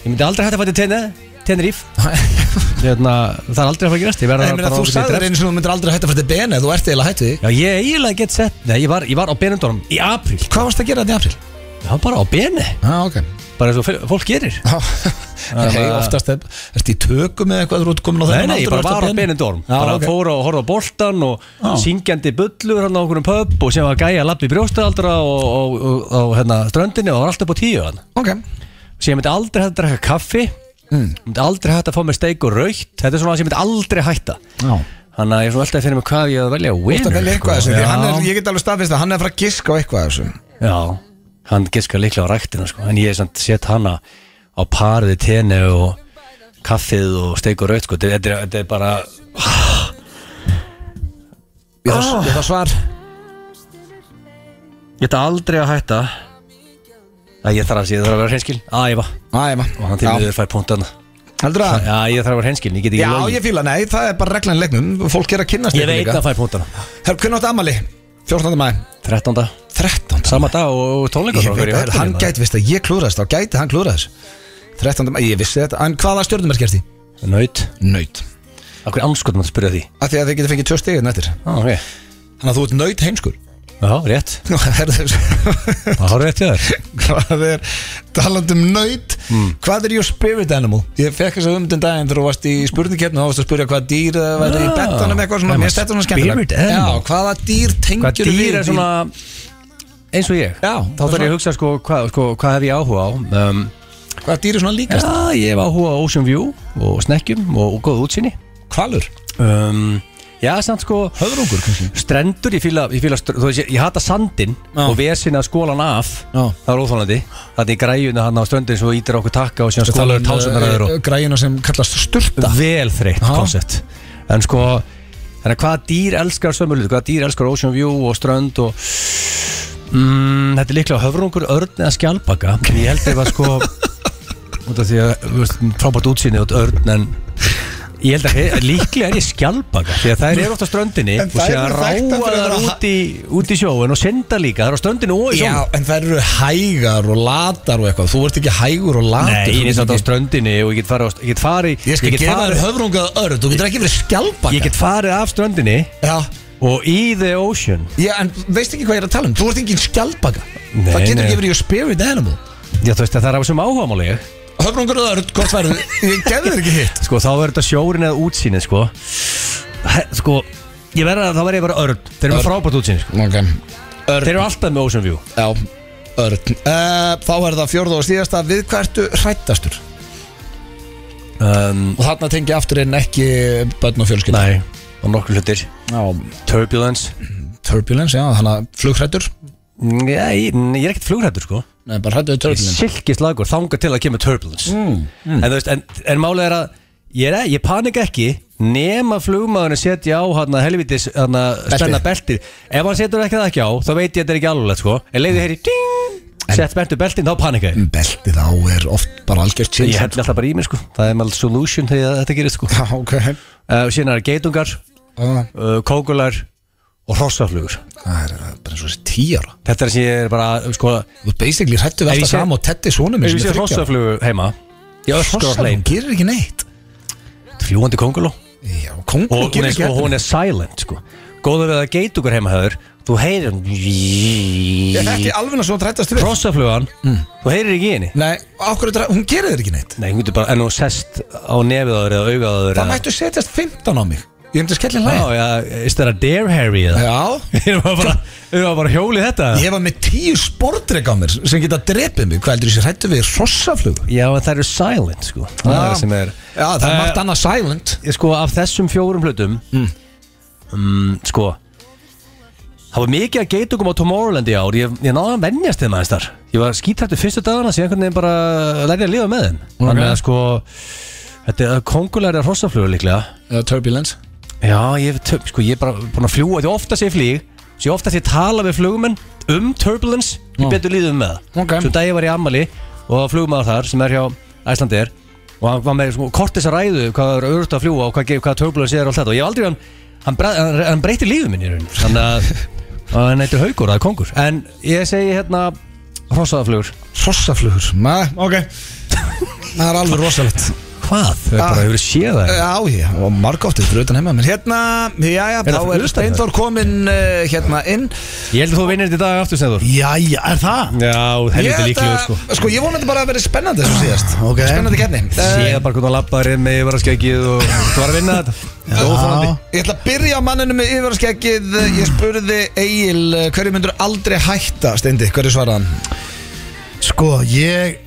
Speaker 2: ég myndi aldrei hægt að fæta tenni, tenniríf hérna, það er aldrei að fara að gerast ég verða
Speaker 1: Nei, meina,
Speaker 2: bara
Speaker 1: þú
Speaker 2: áfram í
Speaker 1: sagði
Speaker 2: drefn.
Speaker 1: eins og þú myndir aldrei hætta fyrir þetta bene, þú ert eiginlega hættu því
Speaker 2: já, ég eiginlega get sett, nei, ég var, ég var á benundunum í apríl,
Speaker 1: Hvað varst að gera þetta í april?
Speaker 2: ég var bara á beni
Speaker 1: Já, ok
Speaker 2: bara eins og fyl- fólk gerir
Speaker 1: Já, ok,
Speaker 2: það-
Speaker 1: oftast er, ertu í tökum eða eitthvað þú ert komin á
Speaker 2: Nei,
Speaker 1: þennan
Speaker 2: nei, ég
Speaker 1: aldur
Speaker 2: bara
Speaker 1: og ert
Speaker 2: var á
Speaker 1: bene?
Speaker 2: Benidorm
Speaker 1: Já,
Speaker 2: bara
Speaker 1: ok.
Speaker 2: fór og horfði á boltan og syngjandi bullur hann á okkur um pub og sem var gæja lapp í brjóstaðaldra og, og, og, og hérna, ströndinni og það var alltaf upp á tíu hann
Speaker 1: Ok,
Speaker 2: sem ég myndi aldrei hægt að drekka kaffi
Speaker 1: Hmm.
Speaker 2: mm. myndi aldrei hægt að fá mér steik og raukt þetta er svona það sem ég myndi aldrei hætta
Speaker 1: já
Speaker 2: þannig að ég er svona alltaf að finna mig hvað ég að
Speaker 1: Þú
Speaker 2: velja
Speaker 1: ert að
Speaker 2: winner,
Speaker 1: velja eitthvað af þessu,
Speaker 2: sko.
Speaker 1: því hann er,
Speaker 2: já,
Speaker 1: ég get alveg staðfist að hann er að fara að giska á eitthvað af þessu
Speaker 2: já, hann giska líklega á ræktina sko. en ég er samt sett hana á parið tenni og kaffið og steik og raukt sko. þetta, er- þetta er bara
Speaker 1: Ég þarf-
Speaker 2: Ah.
Speaker 1: Ég þarf svar
Speaker 2: ég ætla aldrei að hætta að ég þarf að, ég þarf að vera hreinskil æfa
Speaker 1: Æma
Speaker 2: og hann til miður fær punktana
Speaker 1: Heldur það?
Speaker 2: já, ég þarf að vera hreinskil, ég get ekki
Speaker 1: Já,
Speaker 2: logið.
Speaker 1: ég fíla, nei, það er bara reglan í leiknum Fólk er að kynnast
Speaker 2: ég veit að fær punktana
Speaker 1: Herru, hvernig átt Amali? 14. mæ
Speaker 2: 13.
Speaker 1: 13.
Speaker 2: sama dag og tónleikar
Speaker 1: Ég veit að hann gæti, veist að ég klúðraðist Þá gæti hann klúðraðist 13. mæ, ég vissi þetta En hvaða stjórnum er skert í?
Speaker 2: Naut
Speaker 1: Naut
Speaker 2: Akkur anskotum að spyrja því
Speaker 1: Af því að þið getur fengið tvö hérna stegið nættir
Speaker 2: ah, okay.
Speaker 1: Þannig að þú ert naut heimskur
Speaker 2: Já, rétt
Speaker 1: Herðu,
Speaker 2: Það har rétt hjá þér
Speaker 1: hvað er taland um nöyt hvað er your spirit animal ég fekk þess að um den daginn þegar þú varst í spurningkeppni og þú varst að spurja hvaða dýr það væri í
Speaker 2: Ah.
Speaker 1: betanum eitthvað svona,
Speaker 2: Hvað er
Speaker 1: mér stættu svona
Speaker 2: spirit
Speaker 1: skemmtilegt
Speaker 2: animal?
Speaker 1: já, hvaða dýr
Speaker 2: Hvað
Speaker 1: tengjur
Speaker 2: dýr er svona eins og ég
Speaker 1: Já,
Speaker 2: Þá þarf ég að hugsa sko hvað, sko, hvað hef ég áhuga á um,
Speaker 1: hvaða dýr er svona
Speaker 2: Já,
Speaker 1: líkast
Speaker 2: ég hef áhuga á Ocean View og snekkjum og, og góð útsýni
Speaker 1: kvalur,
Speaker 2: um, Já, samt sko
Speaker 1: höfrungur kannski
Speaker 2: Strendur, ég fíla, ég fíla str- þú veist, ég, ég hata sandinn
Speaker 1: Já.
Speaker 2: og vesin að skólan af
Speaker 1: Já.
Speaker 2: Það er óþólandi Þannig í græjuna hann á ströndin svo ítir okkur takka og síðan
Speaker 1: um, eh,
Speaker 2: skólan tásunar öðru
Speaker 1: Sko, græjuna sem kallast sturta
Speaker 2: vel þreytt
Speaker 1: Já.
Speaker 2: koncept en sko þannig að hvaða dýr elskar sömurlut hvaða dýr elskar Ocean View og strönd og mm, þetta er líklega höfrungur örn eða skjálpaka en ég held ef að sko út af því að þú veist, frábært útsýni út örn en ég held að he- líklega er ég skjálpaka því að þær eru oft á ströndinni
Speaker 1: En
Speaker 2: og
Speaker 1: þær
Speaker 2: sé að
Speaker 1: eru þekktar
Speaker 2: ráa
Speaker 1: fyrir að
Speaker 2: þær
Speaker 1: vera
Speaker 2: út í, út í sjóin og synda líka þær eru á ströndinni og í
Speaker 1: já,
Speaker 2: sjóin
Speaker 1: en það eru hægar og latar og eitthvað, þú ert ekki hægur og latur
Speaker 2: Nei,
Speaker 1: Þú
Speaker 2: ég er
Speaker 1: getur
Speaker 2: samt á
Speaker 1: ekki-
Speaker 2: ströndinni og ég get farið á- ég get farið
Speaker 1: ég skal
Speaker 2: get
Speaker 1: gefa þér
Speaker 2: farið-
Speaker 1: höfrungað örð, þú getur ekki verið skjálpaka
Speaker 2: ég get farið af ströndinni
Speaker 1: já,
Speaker 2: og í the ocean
Speaker 1: Já, en veist ekki hvað ég er að tala um? Þú ert engin skjálpaka
Speaker 2: Nei,
Speaker 1: Það getur
Speaker 2: nei.
Speaker 1: ekki verið your spirit animal
Speaker 2: Já, þú veist að það er af þessum áhugamáli
Speaker 1: Höfrungur og örd, hvort værið Ég gefði þér ekki hitt
Speaker 2: Sko, þá verður þetta sjórin eða útsýni, sko He- Sko, ég verður að þá verður ég bara örn Þeir eru með
Speaker 1: Örn.
Speaker 2: frábært útsýni, sko
Speaker 1: Ok,
Speaker 2: Þeir eru alltaf með Ocean View
Speaker 1: já, örd uh, Þá er það fjórða og síðasta Við hvað ertu hrættastur?
Speaker 2: um,
Speaker 1: Og þarna tengi aftur inn ekki börn og fjölskyld
Speaker 2: Nei, og nokkur hlutir
Speaker 1: Já,
Speaker 2: Turbulence
Speaker 1: turbulence, já, þannig að flughrættur
Speaker 2: Nei, ég, ég er ekkert flugrættur, sko
Speaker 1: Nei, Mm, bara hrættuðu turbulence
Speaker 2: Silkist lagur, þanga til að kemur turbulence En þú veist, en, en málið er að Ég, er, e, ég panik ekki nema flugmaðurinn setja á hana helvitis hana spenna beltið Ef hann setur ekki það ekki á, þá veit ég að þetta er ekki alveg sko. En leiði heyri, ding, sett spentu beltin, þá panika
Speaker 1: Mm.
Speaker 2: ég
Speaker 1: Beltið á er oft bara algjört chill
Speaker 2: Ég helli alltaf bara í mig sko Það er maður solution þegar þetta gerist sko uh,
Speaker 1: Já, ok uh,
Speaker 2: Síðan er geitungar,
Speaker 1: Það
Speaker 2: uh, kókular og hrossaflugur
Speaker 1: er uh, bara eins og þessi tíara
Speaker 2: Þetta er sem ég er bara sko
Speaker 1: Þú ert basically hrættu við
Speaker 2: Ef ég
Speaker 1: alltaf
Speaker 2: sé- sko,
Speaker 1: saman og tetti svona
Speaker 2: Ef ég sé hrossaflugu heima Ég öskur á
Speaker 1: Hrossaflugur
Speaker 2: hlein
Speaker 1: gerir ekki neitt
Speaker 2: fljúandi konguló
Speaker 1: Já, konguló
Speaker 2: og, hún er,
Speaker 1: ekki
Speaker 2: og hún er silent sko. góður við að geit okkur heima höfður þú heyrir
Speaker 1: Ég er
Speaker 2: hún
Speaker 1: ekki alveg Mm. að svo trætast við
Speaker 2: krossaflugan þú heyrir ekki í henni
Speaker 1: Nei, okkur, hún gerir þér ekki neitt
Speaker 2: Nei, hún getur bara, en hún sest á nefið á þér eða augað á þér
Speaker 1: Það mættu setjast 15 á mig Ég myndi skellir
Speaker 2: Já,
Speaker 1: hlæg
Speaker 2: já, is that a dare Harry eða?
Speaker 1: Já
Speaker 2: Erum við bara, erum við bara hjólið þetta?
Speaker 1: Ég var með tíu spordreg á mér sem geta drepið mig Hvað heldur þessi hrættu við rossaflugu?
Speaker 2: Já, en það eru silent, sko Það er það sem er
Speaker 1: Já, það er
Speaker 2: Eh,
Speaker 1: margt annað silent
Speaker 2: Ég sko, af þessum fjórum hlutum mm. Sko Það var mikið að geita okkur á Tomorrowland í ár Ég, ég náði að venjast þeim aðeins þar Ég var skítrættu fyrstu dagana Síðan einhvern veginn bara lærði að lifa með þeim Þannig að sko Þetta er kongulæri hrossaflugur líklega
Speaker 1: uh, Turbulence
Speaker 2: Já, ég hef töp, sko, ég er bara búin að fljúa Því ofta sé ég flýg Því ofta sé ég tala við flugumenn um turbulence Ég betur líðum með það
Speaker 1: Ok.
Speaker 2: Svo dag ég var í Amali og flugumæður þar sem er hjá Æslandir Og hann var með sko, kortis að ræðu Hvað er auðvitað að fljúa og hvað, ge- hvað turbulence er og allt þetta Og ég hef aldrei, hann, hann, bra- hann, hann breytir líðum minni í raun Þannig að að hann heitir haugur, það er kongur En ég segi hérna Hrossaðaflugur
Speaker 1: Rossaflugur, maður, ok Það er alveg rosalegt
Speaker 2: Hvað? Þau
Speaker 1: Ah.
Speaker 2: bara hefur séð það
Speaker 1: Já, já, og margóftið fyrir utan heima Men hérna, já, já,
Speaker 2: það
Speaker 1: þá
Speaker 2: fyrir
Speaker 1: er
Speaker 2: utan
Speaker 1: Steindor komin uh, hérna inn
Speaker 2: Ég held að þú vinnir þetta í dag aftur, Sæður
Speaker 3: Jæja, er það?
Speaker 2: Já,
Speaker 1: Ég
Speaker 2: helviti
Speaker 1: ætla-
Speaker 2: líklegur sko Ah,
Speaker 1: Sko, ég vonandi bara að vera spennandi sem síðast
Speaker 3: Ok.
Speaker 1: Spennandi kenni
Speaker 3: Eh.
Speaker 2: Sér bara hvernig hann lappaði með yfirvaraskækið og þú var að vinna þetta Óþólandi
Speaker 1: Ég ætla að byrja á manninu með yfirvarskeggið Ég spurði Egil eh, Hverju myndur aldrei hætta, Steindi? Hverju svaraði hann?
Speaker 3: Sko, ég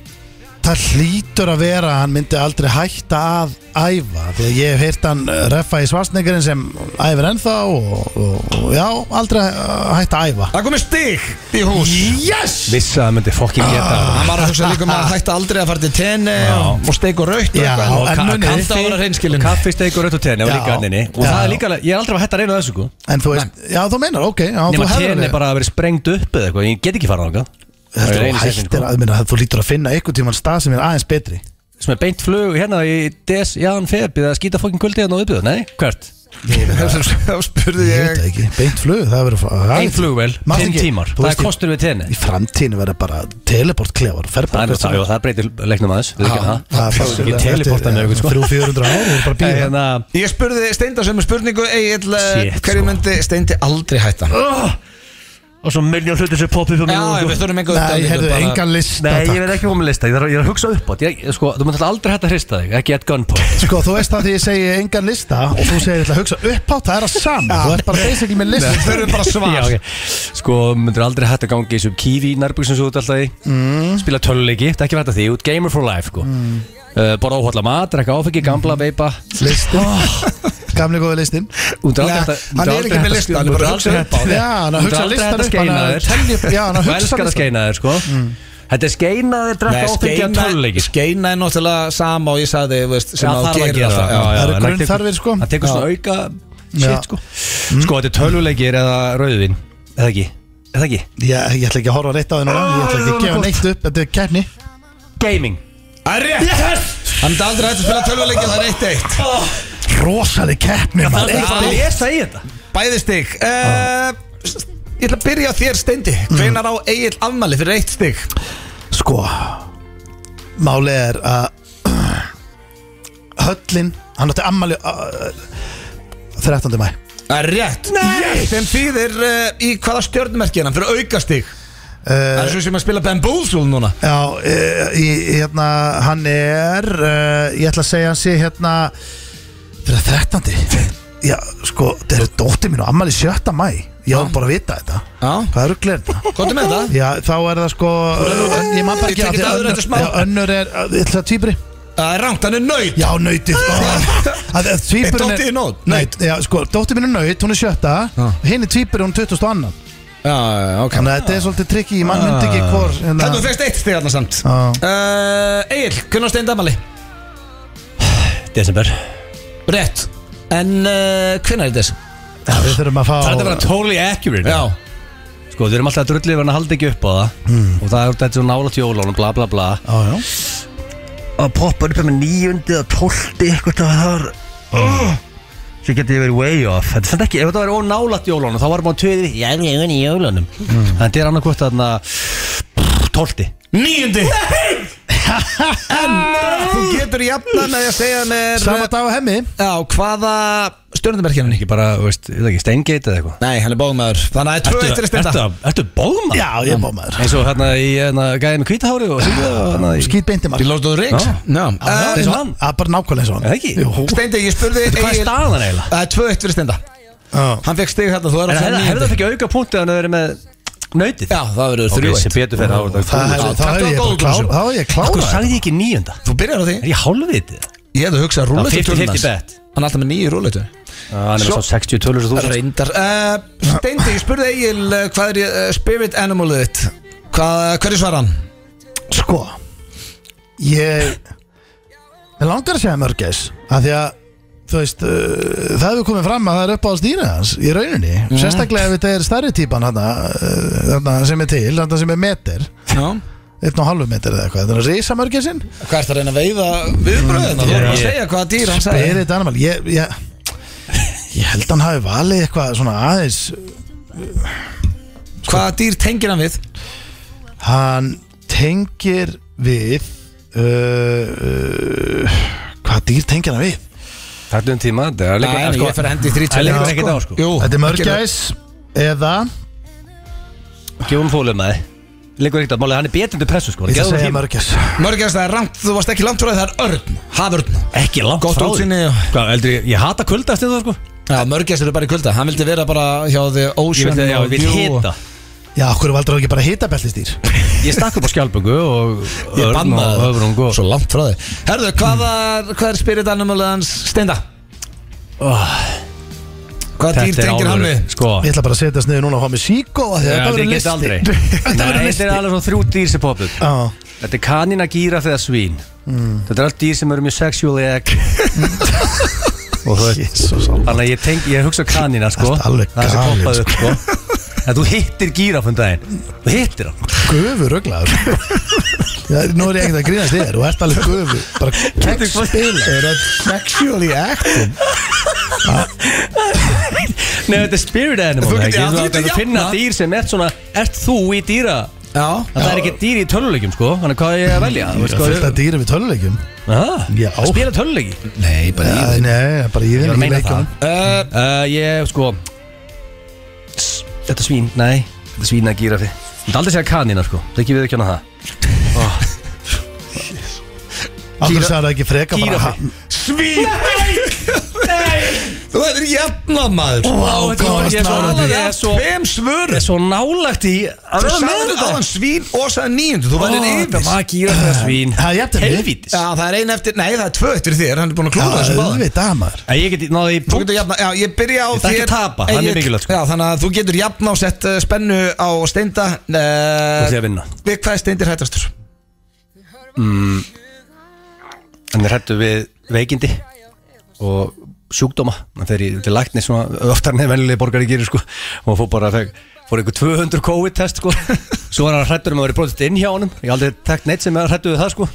Speaker 3: Það hlýtur að vera að hann myndi aldrei hætta að æfa Því að ég hef heyrt hann eh, reffa í svarsningurinn sem æfir ennþá og, og, og já, aldrei eh, hætta að æfa
Speaker 1: Það komið stig í hús
Speaker 3: Yes!
Speaker 2: Vissi að það myndi fokkin geta
Speaker 3: Ah.
Speaker 2: það.
Speaker 1: Hann var að hugsa líka um að hætta aldrei að fara til tenni og steik og raukt og
Speaker 3: Já,
Speaker 1: eitthvað.
Speaker 2: Og
Speaker 3: en
Speaker 2: ka-
Speaker 3: munið-
Speaker 2: kaffi-
Speaker 1: Alltaf að vera hreinskilinn.
Speaker 2: Kaffi, steik og rautt og tenni og
Speaker 3: Já.
Speaker 2: líka henninni Og
Speaker 3: Já.
Speaker 2: það er líka, ég er aldrei að hætta að reyna þessu sko
Speaker 3: En þú veist, já þú meinar, ok já, þú
Speaker 2: Nefna
Speaker 3: hefur
Speaker 2: tenni
Speaker 3: alveg-
Speaker 2: bara að vera sprengt upp eða eitthvað Ég get ekki farað
Speaker 3: Þetta er
Speaker 2: þangað
Speaker 3: hættir að, minna, þú lítur að finna einhvern tímann stað sem er aðeins betri
Speaker 2: Sem er beint flug hérna í DS Jan Feb Eða skýta fokkin kvöldið hérna á uppið Nei, hvert?
Speaker 1: Þá spurði
Speaker 3: Ég veit
Speaker 1: ég
Speaker 3: það ekki, beint flug, það verður að-
Speaker 2: Einn flugvel,
Speaker 3: Maður
Speaker 2: 5
Speaker 3: ekki-
Speaker 2: tímar
Speaker 3: þú
Speaker 2: Það
Speaker 3: veist,
Speaker 2: er kostur við tenni
Speaker 3: Í framtíðinu verður bara teleport klefar
Speaker 2: Það er það, já, það breytir leiknum aðeins Við ekki það Ég teleporta með eitthvað sko
Speaker 3: 300-400 ári, bara
Speaker 2: En
Speaker 3: býða
Speaker 2: hérna,
Speaker 1: Ég spurði Steinda sem spurningu Egil eh,
Speaker 2: Shit,
Speaker 1: Hverju
Speaker 2: sko.
Speaker 1: myndi Steindi aldrei hætta?
Speaker 2: Og svo miljón hlutir sem poppi
Speaker 1: Já,
Speaker 2: upp á mér núna, sko.
Speaker 1: við þurfum engu
Speaker 3: Nei, heyrðu, engan lista
Speaker 2: Nei, ég
Speaker 3: takk.
Speaker 2: er ekki komið með lista, ég þarf, ég þarf að hugsa upp átt ég, sko, Þú myndir aldrei hægt að hrista þig, ekki at gunpoint
Speaker 3: Sko, þú veist það þegar ég segi engan lista og þú segir eitthvað að hugsa upp á, það er að sama Þú ert bara basically með lista
Speaker 1: Við þurfum bara svar
Speaker 2: Já, ok. Sko, þú myndir aldrei hægt að ganga í þessum kífi nærbygg sem þú ert alltaf í
Speaker 1: Mm.
Speaker 2: Spila töluleiki, þetta er ekki verið að því, út gamer for life sko. mm. uh, Borða óhalla mat, rekka áfengi, gamla,
Speaker 1: Mm.
Speaker 2: veipa
Speaker 3: Listin,
Speaker 2: Ah.
Speaker 3: gamli góði listin
Speaker 2: Þú myndir aldrei
Speaker 1: Nei,
Speaker 2: hægt
Speaker 1: hann
Speaker 2: að
Speaker 1: er ekki
Speaker 2: myndir aldrei
Speaker 1: með
Speaker 2: hægt að-
Speaker 1: lista, hann er bara
Speaker 2: myndir
Speaker 1: að
Speaker 2: aldrei
Speaker 1: hugsa
Speaker 2: hægt
Speaker 1: upp á
Speaker 3: Já, hann að
Speaker 2: Þú myndir
Speaker 3: hugsa
Speaker 2: aldrei
Speaker 3: listan
Speaker 2: hægt að
Speaker 3: upp hann
Speaker 2: skeina
Speaker 3: að telja-
Speaker 2: þér
Speaker 3: Já, hann að
Speaker 2: Þú
Speaker 3: hugsa
Speaker 2: elskar að
Speaker 3: listan
Speaker 2: skeina þér, sko Þetta er skeina þér,
Speaker 1: Mm. Nei,
Speaker 2: drekka áfengi að töluleiki
Speaker 1: skeina- skeina er náttúrulega sama og ég sagði þú veist, sem
Speaker 2: Já,
Speaker 1: á
Speaker 2: þarf að
Speaker 1: gerir
Speaker 2: gera
Speaker 1: alltaf
Speaker 2: það já,
Speaker 1: Já.
Speaker 2: já,
Speaker 3: Það eru
Speaker 2: en hann
Speaker 3: grunnþarfir,
Speaker 2: tekur-
Speaker 3: sko.
Speaker 2: Hann tekur svona auka
Speaker 3: Já.
Speaker 2: shit sko Sko þetta er tölvuleikir eða rauðvin Eða ekki? Eða ekki?
Speaker 3: Já, ég ætla ekki að horfa rétt á þennan Ég ætla ekki að gefa neitt upp, þetta er kefni
Speaker 2: Gaming
Speaker 1: Það er rétt Hann myndi aldrei hægt að spila tölvuleiki og það er eitt eitt
Speaker 3: Rosaleg kefni,
Speaker 2: Það
Speaker 3: maður
Speaker 2: er
Speaker 3: eitt
Speaker 2: að lesa í þetta
Speaker 1: Bæði stig uh, Ég ætla að byrja á þér steindi Hvenar á Egil afmæli fyrir eitt stig
Speaker 3: Sko Máli er að Höllin Hann átti ammali uh, 13. mæ
Speaker 1: Það er rétt Nei Sem þýðir uh, í hvaða stjörnmerki er hann fyrir auka stig Það er svo sem að spila bamboozle núna
Speaker 3: Já, uh, í, hérna Hann er uh, Ég ætla að segja hann sé hérna Fyrir að 13. Já, sko, þetta er dóttir mín og ammali 7. mæ Ég á bara að vita þetta
Speaker 1: Já.
Speaker 3: Hvað eru glerna?
Speaker 1: Kóttu með það
Speaker 3: Já, þá er það sko en Ég man bara
Speaker 1: Ég tek
Speaker 3: ekki
Speaker 1: þetta öðru eftir smá.
Speaker 3: að Önnur er, ég ætla að týpri
Speaker 1: Það er rangt, hann er nöyt
Speaker 3: Já, nautið Það er
Speaker 1: Er
Speaker 3: tvíburinn
Speaker 1: dóttir þín nót?
Speaker 3: Naut, já, sko, dóttir mín er naut, hún er sjötta Hinn er tvíburinn, hún er 22
Speaker 1: Já, já, ok
Speaker 3: Þannig að þetta er svolítið trikki, ég mann myndi ekki hvor
Speaker 1: Þannig þú
Speaker 3: hérna.
Speaker 1: fegst eitt stig allan samt
Speaker 3: Já.
Speaker 1: uh, Egil, hvernig á steindi afmæli?
Speaker 2: December
Speaker 1: Rétt En uh, hvernig er þetta?
Speaker 3: Já, Við þurfum að fá
Speaker 2: Það er að vera totally accurate
Speaker 1: Já
Speaker 2: Sko við erum alltaf að drullið Þannig að halda ekki upp á það Og það er þetta svo nálat jólónum Bla bla bla
Speaker 3: Já, já.
Speaker 2: að poppa upp með nýjundi eða tólti eitthvað það var oh. sem geti verið way off þetta er samt ekki, ef þetta var ónálat jólunum þá var maður töðið, já ég er í jólunum mm. en þetta er annarkvort þarna tólti
Speaker 1: Níundi En þú getur jafnan að ég segja mér hérna,
Speaker 3: Sama dag á hemmi
Speaker 1: Já, hvaða stjórnumerkjana
Speaker 2: Ekki bara, þú veist, ég veit ekki, steingeit eða eitthvað
Speaker 1: Nei, hann er bóðmaður Þannig að það er tvö
Speaker 2: Ertu-
Speaker 1: eittir að stenda
Speaker 2: ertu- Ertu bóðmann?
Speaker 3: Já, ég er bómaður
Speaker 2: Eins og hérna í hérna, gæði með kvítahári og síðu og hérna í
Speaker 3: Skýt beinti
Speaker 1: Í
Speaker 3: maður
Speaker 1: Lóðsdóður Ríks
Speaker 2: Já.
Speaker 1: Já
Speaker 3: Það
Speaker 1: Eh,
Speaker 3: er
Speaker 2: eins og
Speaker 3: svona-
Speaker 2: hann.
Speaker 3: það er bara nákvæmlega eins og
Speaker 2: Er
Speaker 3: hann
Speaker 2: það ekki?
Speaker 3: Jú.
Speaker 1: Steindi, ég spurði
Speaker 2: Hvað er
Speaker 1: Egil-
Speaker 2: staðan eiginlega?
Speaker 1: Það er tvö eittir að stenda
Speaker 3: Já.
Speaker 1: Hann fekk stig þarna, þú er
Speaker 2: En
Speaker 1: að
Speaker 2: hefði hefði það ekki auka punktið hann að vera með nautið?
Speaker 1: Já, það verður
Speaker 2: Ok,
Speaker 1: þrjú
Speaker 2: sem
Speaker 1: eitt
Speaker 2: betur fyrir þá er þetta
Speaker 3: Það
Speaker 2: góð.
Speaker 3: hefði-
Speaker 1: taktu
Speaker 3: það
Speaker 1: á
Speaker 3: hefði ég bara
Speaker 1: góðu
Speaker 3: klárað
Speaker 1: glösum.
Speaker 3: Það hefði ég
Speaker 2: Akkur
Speaker 3: klárað
Speaker 2: sagði ég ekki nýjönda?
Speaker 1: Þú byrjar á því
Speaker 2: Er ég hálfvitið?
Speaker 1: Ég hefði hugsað rúletu
Speaker 2: 50-50 bet.
Speaker 1: Hann er alltaf með nýju rúletu
Speaker 2: Það er með
Speaker 1: Svo-
Speaker 2: svo 60 tölur sem þú sagðist.
Speaker 1: Reyndar uh, Steindi, ég spurði Egil uh, Hvað er uh, spirit animalið þitt? Hvað, hverju svar hann?
Speaker 3: Sko Ég Ég langar að segja mörgæs Af því að Þú veist uh, Það hefur komið fram að það er upp á stýra hans Í rauninni Sérstaklega ef þetta er stærri típan hann Þarna sem er til Þarna sem er meter
Speaker 1: Já
Speaker 3: Einn og halvu meter eða eitthvað Þetta er risa mörgæsin
Speaker 1: Hvað er það að reyna að veiða viðbröðina? Þú erum að
Speaker 2: Ég-
Speaker 1: segja hvaða dýr hann sagði
Speaker 3: Spirit animal Ég, ég, ég held hann hafi valið eitthvað Svona aðeins
Speaker 1: Hvaða dýr tengir hann við?
Speaker 3: Hann tengir við uh, uh, Hvað dýr tengir hann við?
Speaker 2: Takk um tíma, það er
Speaker 1: Nei,
Speaker 2: líka
Speaker 1: nei, ég fer að hendi í þrír,
Speaker 2: Það er
Speaker 1: tveir,
Speaker 2: líka
Speaker 1: já,
Speaker 2: ekkert á sko
Speaker 1: Jú,
Speaker 3: Þetta er
Speaker 1: ekki-
Speaker 3: mörgæs Eða
Speaker 2: Gjóðum þólum að þið Líka ekkert að máli, hann er betundu pressu sko
Speaker 3: Ég ætla að
Speaker 2: Gefum
Speaker 3: segja
Speaker 2: tíma.
Speaker 3: mörgæs
Speaker 1: Mörgjast það er rangt, þú varst ekki langt frá því, það er örn, haförn
Speaker 2: Ekki langt
Speaker 1: Gott
Speaker 2: frá því.
Speaker 1: útsýni og-
Speaker 2: Hvað, heldur ég, ég hata kvöldast þetta sko
Speaker 1: Já, mörgjast eru bara í kulda, hann vildi vera bara hjá því
Speaker 2: Ég
Speaker 1: Ocean
Speaker 2: vil, já,
Speaker 1: og
Speaker 2: ég vil
Speaker 1: View og-
Speaker 2: hita
Speaker 3: Já, okkur valdur ekki bara hitabeltistýr
Speaker 2: Ég stakk upp á skjálpungu og
Speaker 1: Ég
Speaker 2: Örn
Speaker 1: banna
Speaker 2: og Öfrung
Speaker 1: það,
Speaker 2: og
Speaker 1: svo langt frá því Herðu, hvað er, hvað er spirit animal hans steinda?
Speaker 2: Oh,
Speaker 1: Hvað dýr
Speaker 2: þetta er
Speaker 1: tengir hann
Speaker 2: alvöru,
Speaker 1: við?
Speaker 2: Sko
Speaker 3: Ég ætla bara að setjast niður núna og hafa með síkó af því að
Speaker 2: Já,
Speaker 3: Þetta
Speaker 2: ég
Speaker 3: verður
Speaker 2: get
Speaker 3: listi
Speaker 2: aldrei.
Speaker 3: Þetta
Speaker 2: Nei,
Speaker 3: verður
Speaker 2: Þetta
Speaker 3: listi
Speaker 2: er alveg svona þrjú dýr sem poppa upp
Speaker 3: Já,
Speaker 2: Þetta er kanína, gíra þegar svín Þetta er allt dýr sem eru mjög sexually egg Og þú veist
Speaker 3: Jesús alveg.
Speaker 2: Þannig að ég, tenk, ég hugsa kanína sko
Speaker 3: Þetta er alveg
Speaker 2: Það er sem
Speaker 3: galið,
Speaker 2: poppaði upp sko En þú hittir gíra fyrir daginn Þú hittir hann
Speaker 3: Gufu röglaður Já, nú er ég ekkert að grínast þér og ert alveg gufu Bara kekk
Speaker 2: hvað-
Speaker 3: spila Þau eru að sexually acting
Speaker 2: Nei, þetta er spirit animal
Speaker 1: Þú getur-
Speaker 2: ekki?
Speaker 1: já, þú
Speaker 2: Þú
Speaker 1: getur
Speaker 2: getur að finna
Speaker 1: jafnað.
Speaker 2: dýr sem er svona Ert þú í dýra
Speaker 1: Já
Speaker 2: Það er ekki dýr í töluleikjum sko Þannig hvað er ég að velja Þú
Speaker 3: Ég
Speaker 2: veist
Speaker 3: er
Speaker 2: hvað
Speaker 3: fullt af
Speaker 2: ég-
Speaker 3: dýrum í töluleikjum
Speaker 2: Ah,
Speaker 3: Já.
Speaker 2: að Spila töluleiki
Speaker 1: Nei, bara
Speaker 3: Já, Nei, bara í
Speaker 2: Ég
Speaker 3: þeim
Speaker 2: var að
Speaker 3: ekki
Speaker 2: meina
Speaker 3: leikjum
Speaker 2: það uh, Ég sko s- Þetta svín, nei Þetta er svín að gíra fyrir Þetta er aldrei segja kanína sko Það er ekki við ekki hana það
Speaker 3: Akkur sagði það ekki freka bara
Speaker 2: Gíraffi.
Speaker 3: ha-
Speaker 1: Svín Þú hefur jafnað maður
Speaker 2: Vá, þetta
Speaker 3: hvað
Speaker 2: var-
Speaker 3: varst
Speaker 2: ég er svo
Speaker 3: nálægt
Speaker 2: nálægt-
Speaker 3: því.
Speaker 2: ég er svo-
Speaker 1: Hvem svör?
Speaker 2: ég er svo nálægt í að
Speaker 1: Þú
Speaker 2: vera með
Speaker 1: sagði
Speaker 2: þetta
Speaker 1: aðan svín og sagði níundu Þú værið
Speaker 2: Þetta
Speaker 1: yfir
Speaker 2: var gíra fyrir svín
Speaker 3: Það er jafntefli.
Speaker 2: Helvítis
Speaker 1: Já, það er ein eftir, nei það er tvö eftir þér Hann er búin að klúra
Speaker 3: Já,
Speaker 1: þessu báðum
Speaker 3: auðvitað maður
Speaker 2: Nei, Ég get náði í
Speaker 1: Þú
Speaker 2: punkt
Speaker 1: getur jafna, já, ég byrja á
Speaker 2: Ég ætla ekki að tapa, það er
Speaker 1: Egill-
Speaker 2: mikilvægt, sko.
Speaker 1: Já, þannig að þú getur jafna og sett uh, spennu á steinda
Speaker 2: Það
Speaker 1: uh,
Speaker 2: er að vinna
Speaker 1: Við hvað er steindir hættastur?
Speaker 2: Hann er hættu við veikindi og sjúkdóma hann fer í til lækni svona oftar nefn venlilegi borgari gerir sko og fór bara feg, fór einhver 200 COVID test sko svo var hann hrættur um að vera brotist inn hjá honum ég hef aldrei tekt neitt sem er hrættu við það sko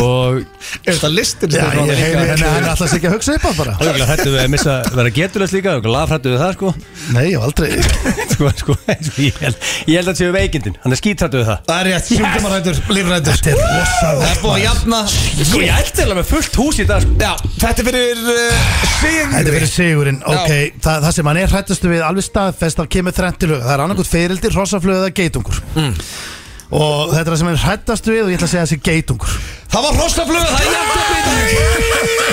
Speaker 2: og
Speaker 1: Er þetta listin?
Speaker 3: Já,
Speaker 1: Stefán?
Speaker 3: ég
Speaker 2: líka-
Speaker 3: heyri henni,
Speaker 2: hérna.
Speaker 3: hann ætla sér ekki að hugsa upp á það bara
Speaker 2: hann hrættu við að missa vera getulegst líka og laf hrættu við það sko
Speaker 3: Nei, ég hef aldrei
Speaker 2: sko, sko, sko ég, held, ég held að þetta séu veikindin hann er skítrættu við það
Speaker 1: Það er rétt, sjúkdómarættur, lífrættur
Speaker 3: Þetta er
Speaker 1: Það er búin að
Speaker 3: rosalega
Speaker 1: jafna
Speaker 2: sko ég ætti alveg með fullt hús í dag sko
Speaker 1: Já, þetta er fyrir uh,
Speaker 3: Þetta er
Speaker 1: Sigri
Speaker 3: fyrir sigurinn, ok það, það sem hann er hrættustu við alveg staðfest Það kemur þrennt til hug, það er annarkot ferildi, rosaflöð eða geitungur Og þetta er það sem hann er hrættastu við og ég ætla að segja þessi geitungur
Speaker 1: Það var hrostaflöð, það er jafn að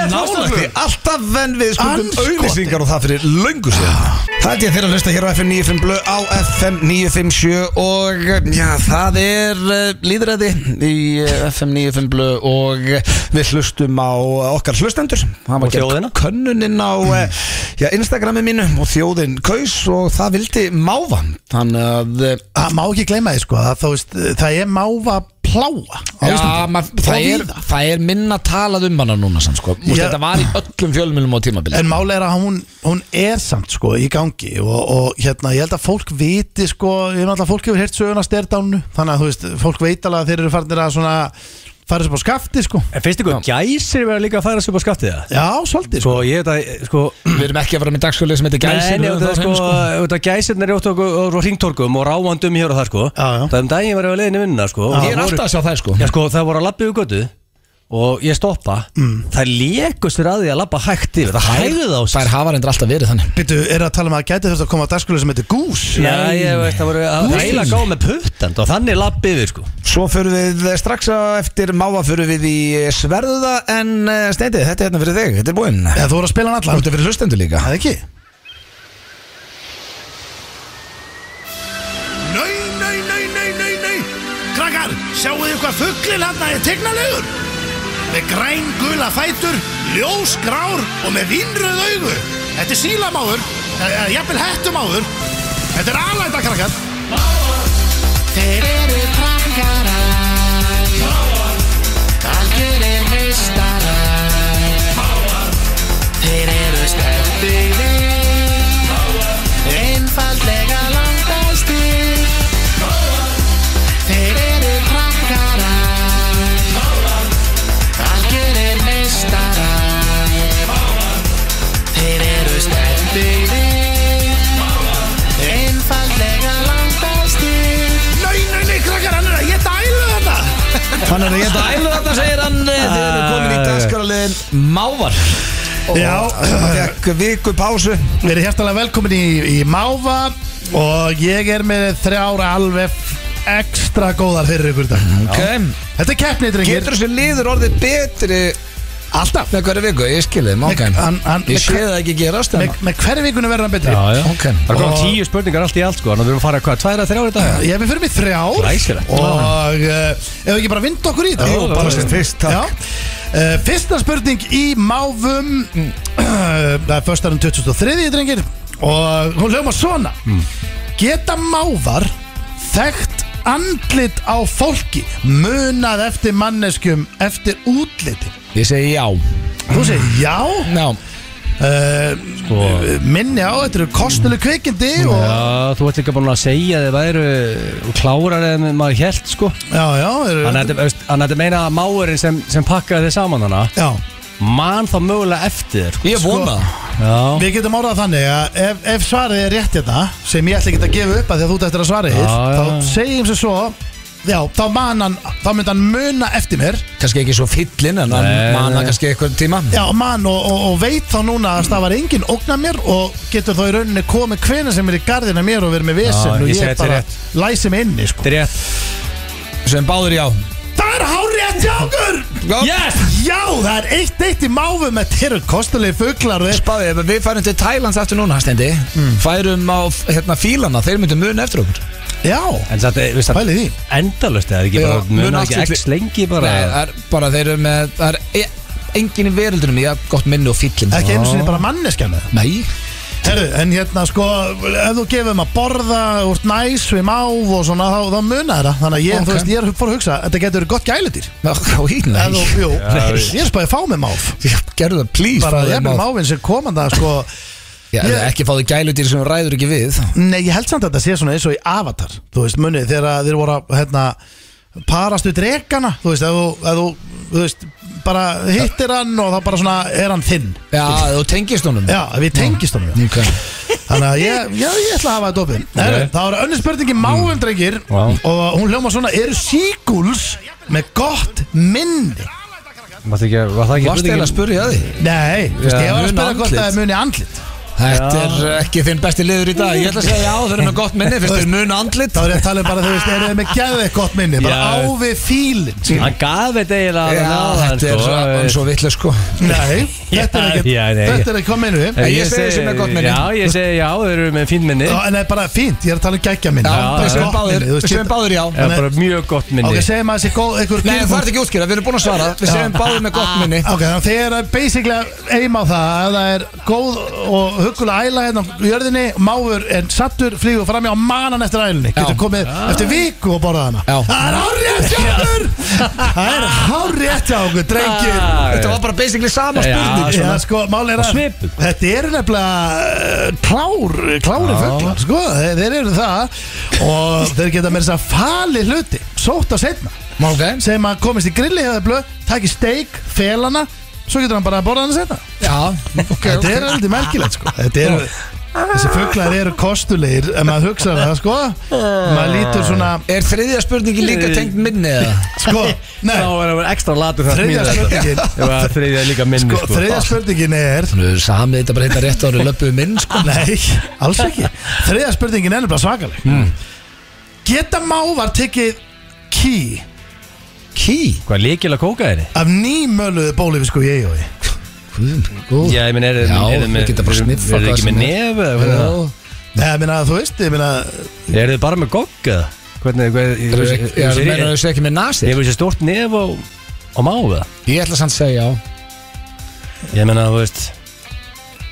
Speaker 1: Alltaf venn við skuldum
Speaker 3: Andskotinn.
Speaker 1: auðlýsingar og það fyrir löngu sér Það held ég þeirra að hlusta hér á FM 95 blö á FM 957 og já, það er uh, líðræði í uh, FM 95 blö og uh, við hlustum á uh, okkar hlustendur Það
Speaker 2: Og
Speaker 1: var gerð
Speaker 2: þjóðina.
Speaker 1: könnuninn á mm. já, Instagrami mínu og þjóðin kaus og það vildi máfa Þannig að uh,
Speaker 3: Það má ekki gleyma því sko, að þá veist, það er máva pláa á
Speaker 1: Já,
Speaker 3: Íslandi.
Speaker 1: maður-
Speaker 3: Og
Speaker 1: það, er,
Speaker 3: víða.
Speaker 1: það er minna talað um hana núna samt, sko. Múst,
Speaker 3: Já.
Speaker 1: Þetta var í öllum fjölmjölum á tímabili
Speaker 3: En máli er að hún, hún er samt sko í gangi og, og hérna ég held að fólk viti sko, ég held að fólk hefur heyrt söguna styrdánu þannig að þú veist, fólk veit alveg að þeir eru farnir að svona fara þessu upp á skafti sko
Speaker 2: En finnst ykkur gæsir verða líka að færa sig upp á skaftið það?
Speaker 3: Já, svolítið sko
Speaker 2: Sko ég veit að, sko
Speaker 1: Við erum ekki að fara með dagskölu sem heitir gæsir
Speaker 2: Nei,
Speaker 1: við
Speaker 2: ég
Speaker 1: höfum
Speaker 2: veit
Speaker 1: þá
Speaker 2: að, sko,
Speaker 1: hreinu,
Speaker 2: ég veit að gæsirnar er ótt okkur og ringtorkum og ráandum hér og það sko
Speaker 3: Já, já.
Speaker 2: Það um daginn var ég að leiðinni vinnuna sko og
Speaker 1: Ég er
Speaker 2: það voru-
Speaker 1: alltaf að sjá það sko
Speaker 2: Já sko, það voru að labba yfir götu og ég stoppa Það lékust þér að því að labba hægt yfir Það hægði þá sko.
Speaker 1: Það er hafarendur alltaf verið þannig
Speaker 3: Býttu, er það að tala um að gæti þess að koma að dagskólu sem heitir Gús?
Speaker 2: Já, ég veist, það voru að reyla gá með puttand og þannig labba yfir sko
Speaker 1: Svo förum við strax á eftir máva förum við í sverða en steindi, þetta er hérna fyrir þig, þetta er búinn
Speaker 3: Eða þú voru að spila hann
Speaker 1: Það
Speaker 3: allan?
Speaker 1: er fyrir hlustendur líka
Speaker 3: Það ekki?
Speaker 6: Nei, nei, nei, nei, nei, nei Krakkar, sjáu þið hvað fugglinn hann er tegnalegur Með græn gula fætur, ljós grár og með vinnröð augu Þetta er sílamáður, eða jafnvel hettumáður Þetta er alæta, krakkar Þeir eru krakkarar Algjörir meistarar Þeir eru stefnir Einfallega langastir Þeir eru krakkarar Algjörir mestarar Þeir eru stendinir Einfallega langastir Nei, nei, nei, krakkar, hann er að geta ælu þetta
Speaker 1: Hann er að geta ælu þarna segir hann Þið erum komin í dagskaraliðin Mávar
Speaker 3: Já,
Speaker 1: Fekk viku pásu
Speaker 3: við erum hjertalega velkomin í, í Máva og ég er með þrjára alveg ekstra góðar fyrir ykkur í dag
Speaker 1: okay.
Speaker 3: Þetta er keppnið, drengir
Speaker 1: Getur þessi liður orðið betri
Speaker 3: Alltaf
Speaker 1: með hverju viku? Ég skilði, máka
Speaker 3: Með- hann- hann-
Speaker 1: Ég sé það ekki gerast en
Speaker 3: Með, með hverju vikunni verður hann betri?
Speaker 2: Já, já
Speaker 1: Ok.
Speaker 2: Það kom
Speaker 3: Og-
Speaker 2: tíu spurningar allt í allt sko Þannig að við erum að fara hvað, tværa, þrjára í dag?
Speaker 3: Ég er með fyrir mig þrjár
Speaker 2: Glæsilegt.
Speaker 3: Og uh, ef við ekki bara vinda okkur í þetta
Speaker 1: Jú, bara sem fyrst, takk.
Speaker 3: uh, Fyrsta spurning í máfum Eh, Það er um föstarum 2003 drengir Og hún hljóma svona Geta mávar Þekkt andlit á fólki Munað eftir manneskjum Eftir útliti
Speaker 1: Ég segi já
Speaker 3: Þú segir já
Speaker 1: Já, Sko.
Speaker 3: uh, Minni á, þetta eru kostuleg kveikindi og,
Speaker 2: Já, þú ert líka búin að segja að þið væru klárar en maður hélt sko
Speaker 3: Já, já, eru,
Speaker 2: Þannig að þetta- þannig að þetta meina að máurinn sem, sem pakkaði þið saman hana
Speaker 3: já
Speaker 2: Man þá mögulega eftir þér, sko.
Speaker 1: ég vona
Speaker 2: Já,
Speaker 3: Við getum orðað þannig að ef, ef svarið er rétt hérna sem ég ætla ekki að gefa upp að því að þú ert eftir að svarið
Speaker 2: Já, já,
Speaker 3: þá
Speaker 2: já.
Speaker 3: segjum sem svo já, þá, man hann, þá mynd hann muna eftir mér
Speaker 1: Kannski ekki svo fyllin en hann
Speaker 2: Nei.
Speaker 1: manna kannski eitthvað tíma
Speaker 3: já, man og, og, og veit þá núna að það var enginn ógna mér og getur þá í rauninni komið hvena sem er í gardina mér og verið með vesen
Speaker 2: Já,
Speaker 3: og
Speaker 2: ég
Speaker 3: ég
Speaker 2: segi þetta er
Speaker 3: bara
Speaker 2: rétt.
Speaker 3: læsi mig inni sko.
Speaker 2: þetta er rétt
Speaker 1: Sem báður já
Speaker 3: það er hár rétt hjá okkur
Speaker 2: Yes!
Speaker 3: já, það er eitt eitt í máfum þetta eru kostulegi fuglar og þeir
Speaker 1: Spáði, ef við færum til Thailands eftir núna, Stendi Færum á hérna, fílana, þeir myndum mun eftir okkur
Speaker 3: já,
Speaker 2: En þetta, er- veist það,
Speaker 3: pælið því
Speaker 2: endalust Það er ekki bara,
Speaker 1: Já, mun
Speaker 2: muna
Speaker 1: allt
Speaker 2: ekki
Speaker 1: við-
Speaker 2: x lengi
Speaker 1: Nei,
Speaker 2: bara
Speaker 1: það er bara þeir eru með Það er e- enginn í veröldunum í að gott minni og fyllin
Speaker 3: ekki einu sinni bara manneskjan eða?
Speaker 1: Nei,
Speaker 3: Herru, en hérna sko, ef þú gefum að borða úr næs við máf og svona, þá, þá muna þeirra. Þannig að ég,
Speaker 1: Ok.
Speaker 3: þú veist, ég er fór að hugsa, þetta getur verið gott gæludýr.
Speaker 1: Ná, í,
Speaker 3: Ef Þú,
Speaker 1: nei
Speaker 3: jú, ég er spæðið að fá með máf.
Speaker 1: Gerðu það, please
Speaker 3: Bara,
Speaker 1: fáðu
Speaker 3: ég er með
Speaker 1: mál.
Speaker 3: máfinn sem komanda, sko,
Speaker 1: Já,
Speaker 3: Ég-
Speaker 1: eða Ekki fáðu gæludýr sem þú ræður ekki við
Speaker 3: nei, ég held samt að þetta sé svona eins og í Avatar, þú veist, munið, þegar að þeir voru að, hérna, parast við dregana, þú veist, ef þú, ef þú, þú veist, bara hittir hann og þá bara svona er hann þinn.
Speaker 1: Já, þú tengist honum
Speaker 3: Já, við tengist honum.
Speaker 1: Ok.
Speaker 3: Þannig að ég, já, ég ætla að hafa þetta opið Heru, Það var önnur spurningi
Speaker 1: Mm.
Speaker 3: máum, drengir
Speaker 2: Vá.
Speaker 3: Og hún hljóma svona Eru síkuls með gott minni?
Speaker 2: Varst ekki, var það ekki
Speaker 1: Varst eða að
Speaker 2: spurningin?
Speaker 1: spurja því
Speaker 3: Nei, þú veist,
Speaker 1: Já,
Speaker 3: ég var að
Speaker 1: muna
Speaker 3: spyrja hvort
Speaker 1: andlit.
Speaker 3: það er muni andlit
Speaker 1: Þetta er eh, ekki þinn besti liður í dag Ég ætla að segja já, þeir eru með gott minni Fyrst þeir mun andlit
Speaker 3: Þá er ég að tala um bara, þú veist, eru þið með geðveikt gott minni Bara
Speaker 2: Já.
Speaker 3: á við fílinn
Speaker 2: Hann gaf þetta eiginlega
Speaker 1: Já,
Speaker 2: alveg náðan,
Speaker 1: þetta er
Speaker 2: sko.
Speaker 1: rann svo vitlega sko
Speaker 3: Nei, þetta er
Speaker 2: Já,
Speaker 3: ekki
Speaker 2: já, nei, eh, ég-
Speaker 3: Þetta er ekki hvað minni við
Speaker 2: En
Speaker 1: Ég segi þessu með gott minni.
Speaker 2: Já, ég segi já, þeir eru með fín minni
Speaker 3: En það er bara fínt, ég er að tala um geggja minni
Speaker 1: Já,
Speaker 2: já,
Speaker 1: við
Speaker 3: Bara
Speaker 1: sem
Speaker 3: gott
Speaker 1: báðir,
Speaker 3: minni, þú
Speaker 1: við
Speaker 3: veist,
Speaker 1: sem báðir já
Speaker 2: Það er bara mjög gott minni
Speaker 3: Ok, segjum að þessi góð, einhver
Speaker 1: Nei, það er ekki útskýra, við erum búin að svara Við segjum báðum með gott minni
Speaker 3: Ok, þannig að þegar að basically eim á það að það er góð og hugulega æla hérna á jörðinni máfur en sattur flýgur fram hjá manan eftir ælunni getur komið eftir viku og borða hana
Speaker 1: Já.
Speaker 3: Það er hárrétt hjá okkur Það er hárrétt hjá okkur, drengir
Speaker 1: Þetta var bara basically sama
Speaker 2: Já,
Speaker 1: spurning
Speaker 3: Já,
Speaker 2: svona.
Speaker 3: sko, mál er
Speaker 2: Og
Speaker 3: að
Speaker 2: svipuð.
Speaker 3: Þetta eru nefnilega uh, klár, klári fugglar sko, þeir, þeir eru það og þeir geta með þess að segja falið hluti sótt að setna
Speaker 1: Ok.
Speaker 3: sem að komist í grilli hefði blöð taki steik, felana svo getur hann bara að borða hann að setja
Speaker 1: Já, ok,
Speaker 3: þetta er heldur merkilegt sko þetta er Þessi fugglar eru kostulegir ef maður hugsa það, sko maður lítur svona,
Speaker 1: Er þriðja spurningi líka tengt minni eða?
Speaker 3: sko nei,
Speaker 2: Þá er það ekstra latur þarna
Speaker 3: Þriðja
Speaker 2: mín þetta.
Speaker 3: spurningin.
Speaker 2: Ef að Þriðja er líka minni
Speaker 3: sko,
Speaker 2: sko.
Speaker 3: þriðja spurningin er
Speaker 1: Nú, samið þetta bara heita rétt ári löpuðu minn sko
Speaker 3: Nei, alls ekki Þriða spurningin er nefnilega svakaleg Geta mávar tekið ký
Speaker 1: Ký?
Speaker 2: Hvað er líkil að kóka þeirri?
Speaker 3: af nýmöluðu bólífisku ég og ég
Speaker 1: Guð,
Speaker 2: Já, ég minn, er
Speaker 1: Já,
Speaker 2: er-
Speaker 1: þau geta bara sniffað
Speaker 2: Er þið
Speaker 1: hvað
Speaker 2: ekki með
Speaker 1: sem
Speaker 2: nef eða hvað er það?
Speaker 1: góð
Speaker 3: Nei, ég meina þú veist, ég meina
Speaker 2: Er þið bara með gogg eða? Hvernig, hvað
Speaker 1: Þú
Speaker 2: ég-
Speaker 1: veist, ég
Speaker 2: ég-
Speaker 1: meina
Speaker 2: ég-
Speaker 1: þessu ekki með nasi
Speaker 2: Ég veist, stort nef á, á máða
Speaker 1: Ég ætla samt að segja já
Speaker 2: Ég meina, þú veist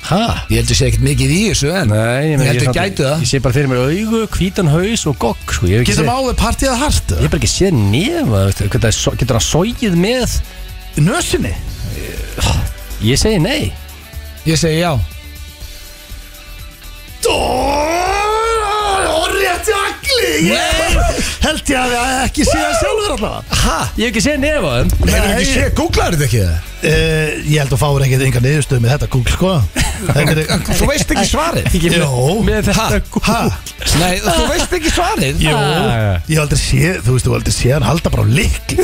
Speaker 2: Hæ?
Speaker 1: Ég heldur sé ekkert mikið í þessu en
Speaker 2: Nei, ég meina
Speaker 1: Ég held
Speaker 2: samt-
Speaker 1: þau gætu það.
Speaker 2: Ég sé bara fyrir mér augu, hvítan haus og gogg sko. Ég hef ekki
Speaker 3: Geta
Speaker 2: séð-
Speaker 3: mávar partíða hart
Speaker 2: ég hef bara ekki séð nefa veistu, hvernig það er so- Getur það sógið með?
Speaker 3: í nösinni
Speaker 2: Ég segi nei
Speaker 1: Ég segi já
Speaker 3: Orrétti agli Ég Held ég að ég ekki sé það sjálfur allavega
Speaker 1: Hæ?
Speaker 2: Ég hef ekki séð nefa á þeim.
Speaker 1: Hefur ekki séð, googlaður þetta ekki það?
Speaker 3: uh, Ég held þú fáir ekkert enga niðurstöð með þetta Google sko Þetta er
Speaker 1: Þú veist ekki svarið
Speaker 2: Ekki með-
Speaker 3: Jó.
Speaker 2: Með þetta
Speaker 3: Ha,
Speaker 1: Nei, þú veist ekki svarið
Speaker 3: jú,
Speaker 2: Ah.
Speaker 3: ég hef aldrei séð, þú veist, þú hef aldrei séð hann halda bara á likli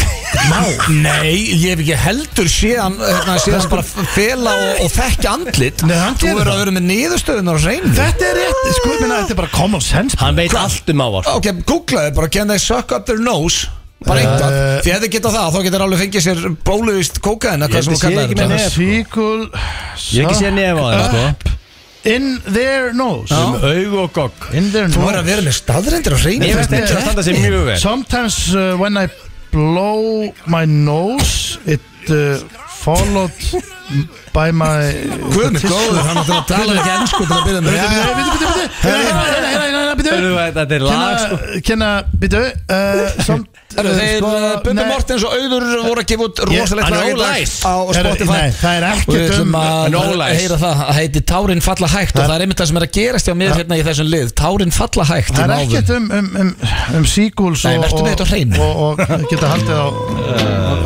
Speaker 3: Má,
Speaker 1: Nei, ég hef ekki heldur séðan hérna, séðan bara fela og, og þekki andlit
Speaker 3: Nei, hann
Speaker 1: Þú
Speaker 3: gerir
Speaker 1: verður
Speaker 3: það.
Speaker 1: að vera með niðurstöðunar á reynu
Speaker 3: Þetta er rétt, sko, ég minna, þetta er bara common sense
Speaker 2: Hann veit allt um ávar
Speaker 1: Ok, googlaðu bara, can they suck up their nose? Bara eitthvað,
Speaker 3: Eh.
Speaker 1: því að þið geta það, þá getur alveg fengið sér bóluvist kókaðina, hvað
Speaker 2: Ég
Speaker 1: sem
Speaker 2: held
Speaker 1: þú
Speaker 2: ég sé
Speaker 1: kallar
Speaker 2: ekki með
Speaker 1: þetta
Speaker 2: nef.
Speaker 3: Svíkul
Speaker 2: Ég hef ekki séð nefa á þeim, sko
Speaker 3: In their nose
Speaker 2: Um augu og gogg
Speaker 3: In their
Speaker 1: Þú verður að
Speaker 3: nose
Speaker 1: vera með staðrindir á reynu
Speaker 2: Ég veist
Speaker 3: þetta
Speaker 2: ekki
Speaker 3: er
Speaker 2: að standa sér mjög vel
Speaker 3: Sometimes uh, when I blow my nose It uh, followed by my
Speaker 1: Guðmi góður, hann ætlar að tala ekki ennsku til að byrja með
Speaker 3: Bíddu,
Speaker 1: Já,
Speaker 3: bíddu, bíddu, bíddu. Hérna, hérna, hérna, hérna, bíddu.
Speaker 2: Hörðu, Þetta er lag sko.
Speaker 3: Kenna- Kenna, bíddu uh, samt, uh,
Speaker 1: Þeir,
Speaker 3: sko,
Speaker 1: Bubbi
Speaker 3: nei,
Speaker 1: Mortens og Auður uh, voru að gefa út
Speaker 3: Ég-
Speaker 1: rosalegt
Speaker 2: hann
Speaker 1: lag
Speaker 2: er
Speaker 1: í dag
Speaker 2: ólæs.
Speaker 1: á
Speaker 3: Herru,
Speaker 1: Spotify
Speaker 3: nei, það er
Speaker 1: Og við
Speaker 3: ekkert
Speaker 1: ætlum
Speaker 3: um
Speaker 1: að
Speaker 2: en ólæs.
Speaker 1: heyra það Það heiti Tárin falla hægt og það er einmitt það sem er að gerast hjá mér hérna í þessum lið Tárin falla hægt hérna í náðum.
Speaker 3: Það er ekkert um, um, um, um sequels
Speaker 1: Nei, vertu með
Speaker 3: og,
Speaker 1: þetta á hreinu.
Speaker 3: og, og, og geta haldið á,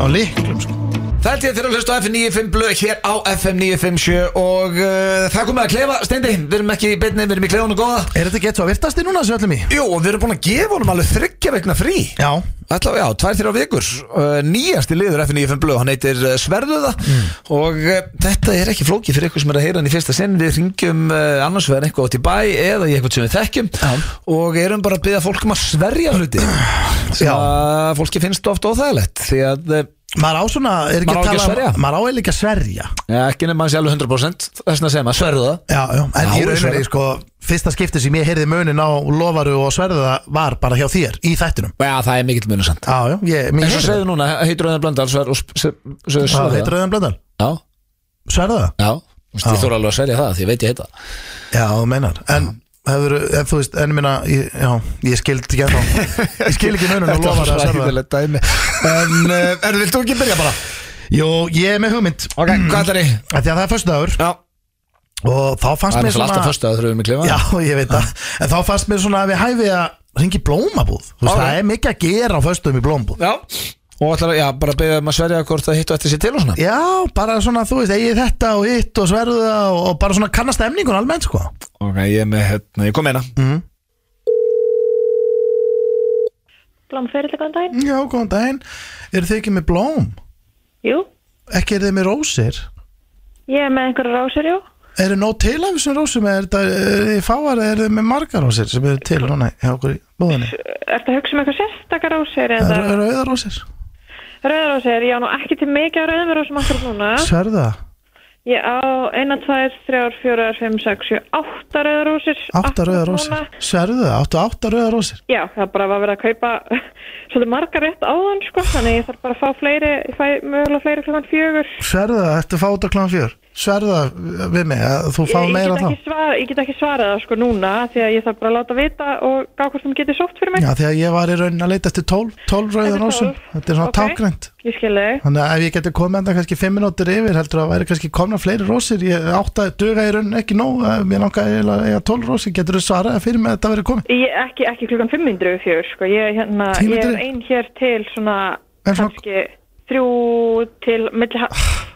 Speaker 3: á liklum sko.
Speaker 1: Það er til að hlusta á FM 95 blöð hér á FM 957 og uh, það komið að klefa, Steindi, við erum ekki í beinni, við erum í klefun og góða
Speaker 3: Er þetta gett svo að virtast í núna sem öllum í?
Speaker 1: Jú, og við erum búin að gefa honum alveg þryggja vegna frí
Speaker 3: Já
Speaker 1: Ætla, já, tvær þrjá vikur uh, Nýjasti liður FNF Blöð, hann heitir uh, Sverðuða
Speaker 3: Mm.
Speaker 1: Og uh, þetta er ekki flókið fyrir ykkur sem er að heyra hann í fyrsta sinn Við ringjum uh, annars vegar eitthvað átt í bæ Eða í eitthvað sem við þekkjum Og erum bara að byggja fólk um að sverja hluti Sem
Speaker 3: Já.
Speaker 1: að fólki finnst oft óþægilegt Því að, uh,
Speaker 3: Maður á svona, er ekki
Speaker 1: Maður á ekki að
Speaker 3: að tala um-
Speaker 1: sverja?
Speaker 3: Maður á eiginlega ekki að sverja
Speaker 1: ja, ekki nema að sé alveg 100% Þessna segja maður Sverðuða
Speaker 3: Já, já,
Speaker 1: Já,
Speaker 3: en í
Speaker 1: ég
Speaker 3: rauninni
Speaker 1: sverja.
Speaker 3: sko Fyrsta skipti sem ég heyrði munin á lofaru og sverða var bara hjá þér í þættinum
Speaker 1: Já, það er mikill munur samt
Speaker 3: Já, já, ég, mér
Speaker 1: En svo
Speaker 3: heyrði
Speaker 1: segðu núna, heitir auðvitað Blöndal Sverð og sp- s- s-
Speaker 3: Það heitir
Speaker 1: Sverðuða
Speaker 3: auðan blöndal
Speaker 1: Já,
Speaker 3: Sverða?
Speaker 1: já Þú veist, Ég þóra alveg að sverja það, því ég veit ég heita það.
Speaker 3: Já, þú meinar En hefur, ef þú veist, en minna ég, Já, ég skild ekki að Ég skil ekki munin á
Speaker 1: Þetta var
Speaker 3: lofaru og sverða
Speaker 1: svæðilegt dæmi En, uh, er, vilt þú ekki byrja bara?
Speaker 3: Jó, ég er með hugmynd
Speaker 1: Ok, hvað er þið?
Speaker 3: Af Því að það er föstudagur
Speaker 1: Já
Speaker 3: og þá fannst
Speaker 1: Það er
Speaker 3: mér
Speaker 1: svona alltaf fyrstu að þurfum við klifa
Speaker 3: Já, ég veit það En þá fannst mér svona að við hæfi að ringi blómabúð Þú veist,
Speaker 1: Ok.
Speaker 3: það er mikið að gera á föstum í blómabúð
Speaker 1: Já Og ætlar að, já, bara beðið um að sverja hvort það hittu eftir sér til og svona
Speaker 3: Já, bara svona, þú veist, eigi þetta og hitt og sverða og, og bara svona kannast emningun almennt, sko
Speaker 1: Ok, ég er með, hérna, ég kom meina
Speaker 7: Blómferilega góðan daginn?
Speaker 3: Já, góðan daginn Eru þið ekki með blóm?
Speaker 7: Jú,
Speaker 3: Ekki eru þið með rósir?
Speaker 7: ég er með einhverja rásur, jú.
Speaker 3: Eru nóg til af þessum rósum? Er það, eru þið fáar eða eru þið með margar rósir sem eru til núna hjá okkur í búðinni?
Speaker 7: Ertu að hugsa um eitthvað sérstakar rásur eða
Speaker 3: Eru eru auðar rósir?
Speaker 7: rauðarásur? Já, nú ekki til mikið af rauðarásum akkur núna.
Speaker 3: Sverða?
Speaker 7: Ég á 1, 2, 3, 4, 5, 6, 7, 8 rauðarásur.
Speaker 3: Átta rauðar rósir? Sverða? Áttu átta rauðar rósir?
Speaker 7: Já, það er bara var verið að kaupa svolítið margar rétt áðan, sko. Þannig ég þarf bara að fá fleiri, ég fæ mögulega fleiri klokkan fjögur.
Speaker 3: Sverða, ertu að fá út á kláðan fjör? Sverða eh, við mig, að þú fá
Speaker 7: Ég, ég,
Speaker 3: meira
Speaker 7: get
Speaker 3: þá?
Speaker 7: ekki svara, ég get ekki svarað það sko núna því að ég þarf bara að láta vita og gá hvort hún getur sótt fyrir mig.
Speaker 3: Já, þegar ég var í raunin að leita eftir 12, 12 rauðan
Speaker 7: Eftir
Speaker 3: rósum.
Speaker 7: 12,
Speaker 3: Þetta er svona
Speaker 7: ok.
Speaker 3: tágrænt.
Speaker 7: Ég skil þig.
Speaker 3: Þannig að ef ég geti komið enda kannski 5 minútur yfir, heldur að væri kannski komna fleiri rósir. Ég átt að duga í raunin ekki nóg. eh, Mér langar eiginlega að eiga 12 rósir. Getur þú svarað fyrir mig að þetta verið komið?
Speaker 7: Ég, ekki, ekki klukkan 500 fjör, sko. Ég, hérna, ég er
Speaker 3: 500?
Speaker 7: ein hér til svona
Speaker 3: En svona-
Speaker 7: kannski þrjú til milli, ha-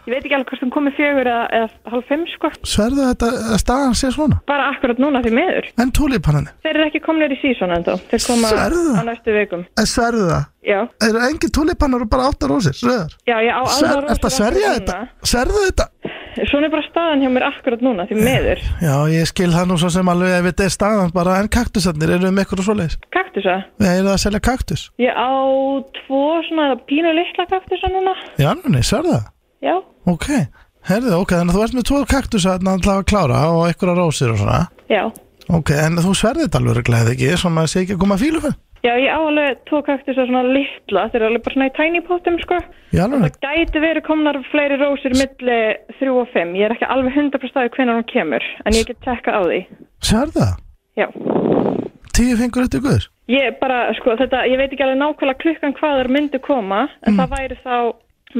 Speaker 7: ég veit ekki alveg hvort hún komið fjögur eða, eða halv fimm sko
Speaker 3: Sverðu þetta að staðan sé svona
Speaker 7: bara akkurat núna því miður
Speaker 3: En túlipananir,
Speaker 7: þeir eru ekki komnir í sísón ennþá þeir koma
Speaker 3: Sérðu?
Speaker 7: á næstu vikum
Speaker 3: en sverðu það
Speaker 7: já,
Speaker 3: Það eru engin túlipanar og bara átta rósir Sverður,
Speaker 7: já ég á
Speaker 3: Sver,
Speaker 7: aðra
Speaker 3: ertu
Speaker 7: rósir
Speaker 3: að
Speaker 7: akkurat
Speaker 3: sverja
Speaker 7: núna.
Speaker 3: þetta? Sverðu þetta?
Speaker 7: svona er bara staðan hjá mér akkurat núna því miður
Speaker 3: Já, ég skil það nú svo sem alveg ef þetta er staðan bara En kaktusarnir, eru með ykkur og svoleiðis
Speaker 7: kaktusa,
Speaker 3: Við erum að selja kaktus
Speaker 7: ég á tvo svona pínu litla kaktusa núna
Speaker 3: Já, nei, sverðu það
Speaker 7: já,
Speaker 3: Ok, herðu, ok, þannig að þú ert með tvo kaktusa Þannig að að klára og einhverja rósir og svona
Speaker 7: já
Speaker 3: Ok, en þú sverði þetta alveg glæði ekki, svona að sé ekki að koma að fílu fyrir.
Speaker 7: Já, ég á alveg tvo kaktusa svona litla, þeir eru alveg bara svona í tiny potum, sko.
Speaker 3: Í alveg,
Speaker 7: Það gæti verið komnar fleiri rósir milli 3 og 5. Ég er ekki alveg 100% að hvenar hún kemur, en ég get tekka á því.
Speaker 3: sverði það?
Speaker 7: Já.
Speaker 3: Tíu fingur eftir guður?
Speaker 7: Ég bara, sko, þetta, ég veit ekki alveg nákvæmlega klukkan hvað þær myndu koma,
Speaker 3: Mm.
Speaker 7: en það væri þá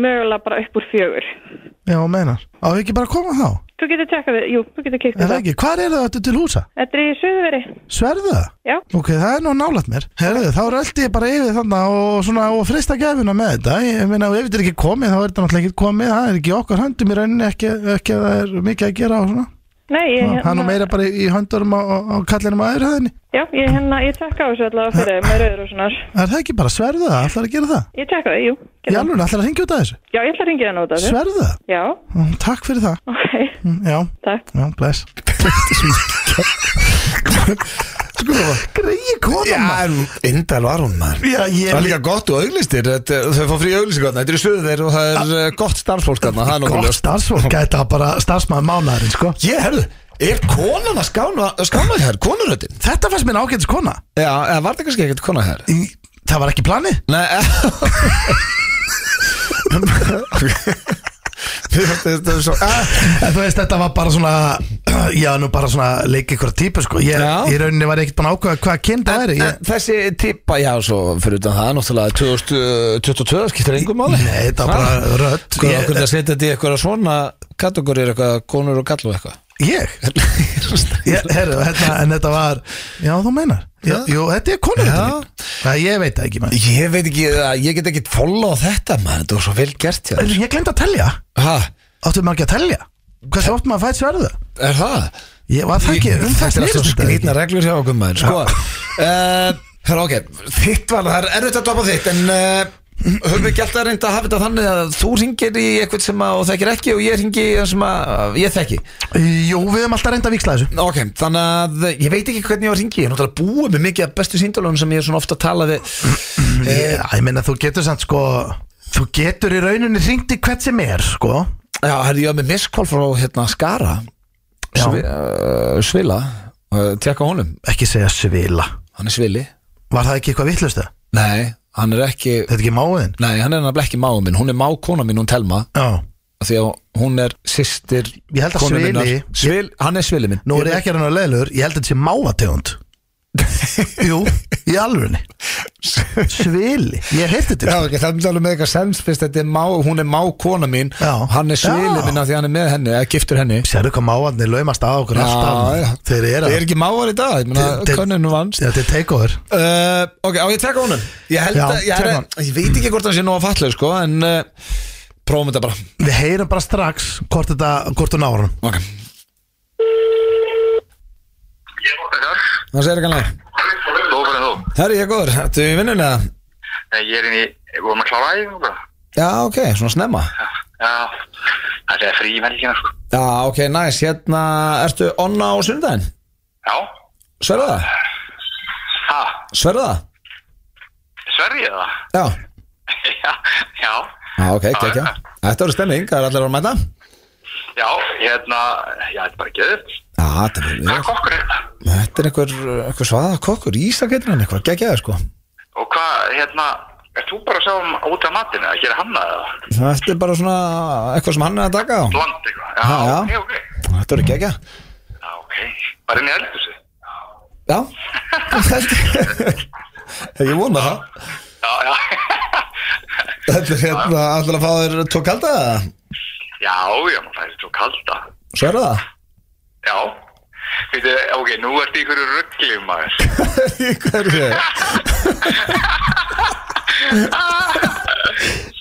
Speaker 7: mögulega bara upp úr fjögur.
Speaker 3: Já, meinar. Á ekki bara að koma þá?
Speaker 7: Þú getur tekkað við, jú, þú getur
Speaker 3: Er
Speaker 7: kiktið
Speaker 3: það
Speaker 7: það.
Speaker 3: ekki? Hvar er það til húsa?
Speaker 7: Þetta er í suðveri,
Speaker 3: Sverðu það?
Speaker 7: já.
Speaker 3: Ok, það er nú nálat mér. Herðu, þá röldi ég bara yfir þannig og, svona, og frista gefuna með þetta. Ég meina, ef þetta er ekki komið, þá er þetta náttúrulega ekki komið. Það er ekki í okkar höndum í rauninni, ekki, ekki að það er mikið að gera og svona.
Speaker 7: Nei, ég hérna-
Speaker 3: Það er nú meira bara í höndurum á, á, á kallinum á öðru höðinni.
Speaker 7: já, ég hérna, ég tekka á þessu allavega fyrir með rauður og svona.
Speaker 3: Er það ekki bara sverðu það? Ætlar að gera það?
Speaker 7: Ég tekka því, jú.
Speaker 3: Ég
Speaker 7: gerðu það.
Speaker 3: alveg ætlar að hringja út af þessu.
Speaker 7: Já, ég ætla að ringja það nota þessu.
Speaker 3: Sverðu það?
Speaker 7: Já,
Speaker 3: Mm, Takk fyrir það.
Speaker 7: ok,
Speaker 3: Mm, Já,
Speaker 7: takk.
Speaker 3: já, bless. Sko, greið kona maður.
Speaker 1: Já, indal var hún maður
Speaker 3: Já, ég
Speaker 1: Það er líka gott og auglistir þetta- Þau fá frí auglýsing þarna, þetta er í söðu þeir og það er eh, gott starfsfólk þarna Það er nokkuð
Speaker 3: Gott
Speaker 1: ljóst
Speaker 3: starfsfólk gæti að bara starfsmaður mánaðurinn sko
Speaker 1: Ég, herðu, er konan að skána, skána hér, konuröttin?
Speaker 3: Þetta fannst mér ágætis kona
Speaker 1: Já, eða var það kannski ekkert kona hér?
Speaker 3: Í, Það var ekki planið
Speaker 1: Nei, Þið fannst þetta svo eh,
Speaker 3: En Þú veist þetta var bara svona Já nú bara svona leik ykkur típu sko Ég
Speaker 1: Já.
Speaker 3: í rauninni var ekkert búin að ákveða hvað kyn það er
Speaker 1: en
Speaker 3: ég,
Speaker 1: Þessi tippa, já, svo fyrir utan það Náttúrulega 2022 skiptir engum máli
Speaker 3: Nei þetta var bara
Speaker 1: Hvað,
Speaker 3: rödd ég,
Speaker 1: sko. okkur það setja þetta í eitthvað svona kategóri eitthvað, konur og kall og eitthvað
Speaker 3: ég? ég heru, hérna, En þetta var Já þú meinar já. Jú þetta er konu
Speaker 1: Já.
Speaker 3: þetta Ég veit það ekki maður
Speaker 1: Ég veit ekki, að- ég get ekki follow þetta maður, þetta var svo vel gert hjá þér
Speaker 3: Ég glemt að telja
Speaker 1: Hæ,
Speaker 3: Áttu maður ekki að telja Hversu oft maður fætt sverðu
Speaker 1: er það?
Speaker 3: Ég var það ekki um
Speaker 1: Þetta er alltaf
Speaker 3: snerist þetta ekki?
Speaker 1: skrýtna reglur hjá okkur maður, sko Það er ok, þitt var það, það er erfitt að dopa þitt En uh, höfum við ekki alltaf reynd að hafa þetta þannig að þú ringir í eitthvað sem að þú þekkir ekki og ég ringi í það sem að uh, ég þekki
Speaker 3: Jú, við höfum alltaf reynda að víksla þessu
Speaker 1: Ok, þannig að ég veit ekki hvernig ég var að ringi Ég er náttúrulega búið með mikið af bestu síndalunum sem ég er svona ofta að tala við Eh,
Speaker 3: Já, Eh, ég meina þú getur samt sko Þú getur í rauninni hringt í hvert sem er sko
Speaker 1: Já, herri, ég var með miskól frá hérna Skara
Speaker 3: Já.
Speaker 1: Svi, uh, Svila uh, Tjekka honum,
Speaker 3: Ekki segja svila
Speaker 1: hann er Svili
Speaker 3: Var það ekki eitthvað vittlust það?
Speaker 1: Nei, hann er ekki
Speaker 3: Þetta er ekki máðin?
Speaker 1: Nei, hann er nefnilega ekki máum minn, hún er mákona mín, hún Telma
Speaker 3: Já
Speaker 1: af Því að hún er systir
Speaker 3: Ég held að
Speaker 1: konu
Speaker 3: Svili-
Speaker 1: minnar. Svil, Hann er Svili minn
Speaker 3: Nú er ég ekki að reyna leðlur Ég held að þetta sé mávategund Jú, í alvörni Svili Ég
Speaker 1: Já,
Speaker 3: heyrti þetta
Speaker 1: ok, það er alveg með eitthvað sens fyrst þetta er má, hún er mákona mín
Speaker 3: Já.
Speaker 1: hann er svili
Speaker 3: Já.
Speaker 1: minn af því að hann er með henni eða giftur henni
Speaker 3: Sérðu hvað mávarnir laumast að okkur alltaf
Speaker 1: já.
Speaker 3: Þeir eru
Speaker 1: Ég er
Speaker 3: að
Speaker 1: ekki máar í dag, ég
Speaker 3: Þeir-
Speaker 1: meina
Speaker 3: þeir-
Speaker 1: könnun vannst
Speaker 3: Þetta er takeover
Speaker 1: Uh, ok, á ég að taka honum Ég held
Speaker 3: Já,
Speaker 1: að, ég,
Speaker 3: taka
Speaker 1: er,
Speaker 3: hann.
Speaker 1: ég veit ekki hvort hann sé nóg að falla sko, En uh, prófum þetta bara
Speaker 3: Við heyrum bara strax hvort þetta, hvort þú náður hann
Speaker 1: Ok Það segir ekki hann leið
Speaker 8: Góð fyrir þú.
Speaker 1: Herri, ég er góður, ertu í vinnunni eða?
Speaker 8: Nei, ég er inn í, við vorum að klára æfingu bara.
Speaker 1: Já, ok, svona snemma
Speaker 8: Já, það er frí í velkina, sko.
Speaker 1: Já, ok, næs, hérna Ertu onna á sundaginn?
Speaker 8: Já,
Speaker 1: Sverða það?
Speaker 8: ha,
Speaker 1: Sverða það?
Speaker 8: sverjið það?
Speaker 1: Já,
Speaker 8: já, já,
Speaker 1: já ok, ekki, ekki Þetta voru stemming, það er allir að mæta
Speaker 8: já, hérna, já, þetta er bara geður.
Speaker 1: Já, þetta er
Speaker 8: Hvað er
Speaker 1: vel
Speaker 8: kokkur hérna?
Speaker 1: Þetta er einhver, einhver svaða kokkur Ísakettir hann eitthvað, geggjaði sko
Speaker 8: Og hvað, hérna, er þú bara að sjá um út af matinu eða gera hann að það?
Speaker 1: Þetta er bara svona eitthvað sem hann er að taka á
Speaker 8: Bland eitthvað?
Speaker 1: Ha, já.
Speaker 8: ok, ok.
Speaker 1: Þetta voru geggja
Speaker 8: Já, ok. Bara inn í eldhúsi?
Speaker 1: Já Ég vona það
Speaker 8: Já, já.
Speaker 1: Þetta er hérna allir að fá þér tvo kalda eða?
Speaker 8: já, já, maður færi svo kalda.
Speaker 1: Sverða það?
Speaker 8: Já. Veitu, ok, nú ertu í hverju ruggli, maður.
Speaker 1: Í hverju?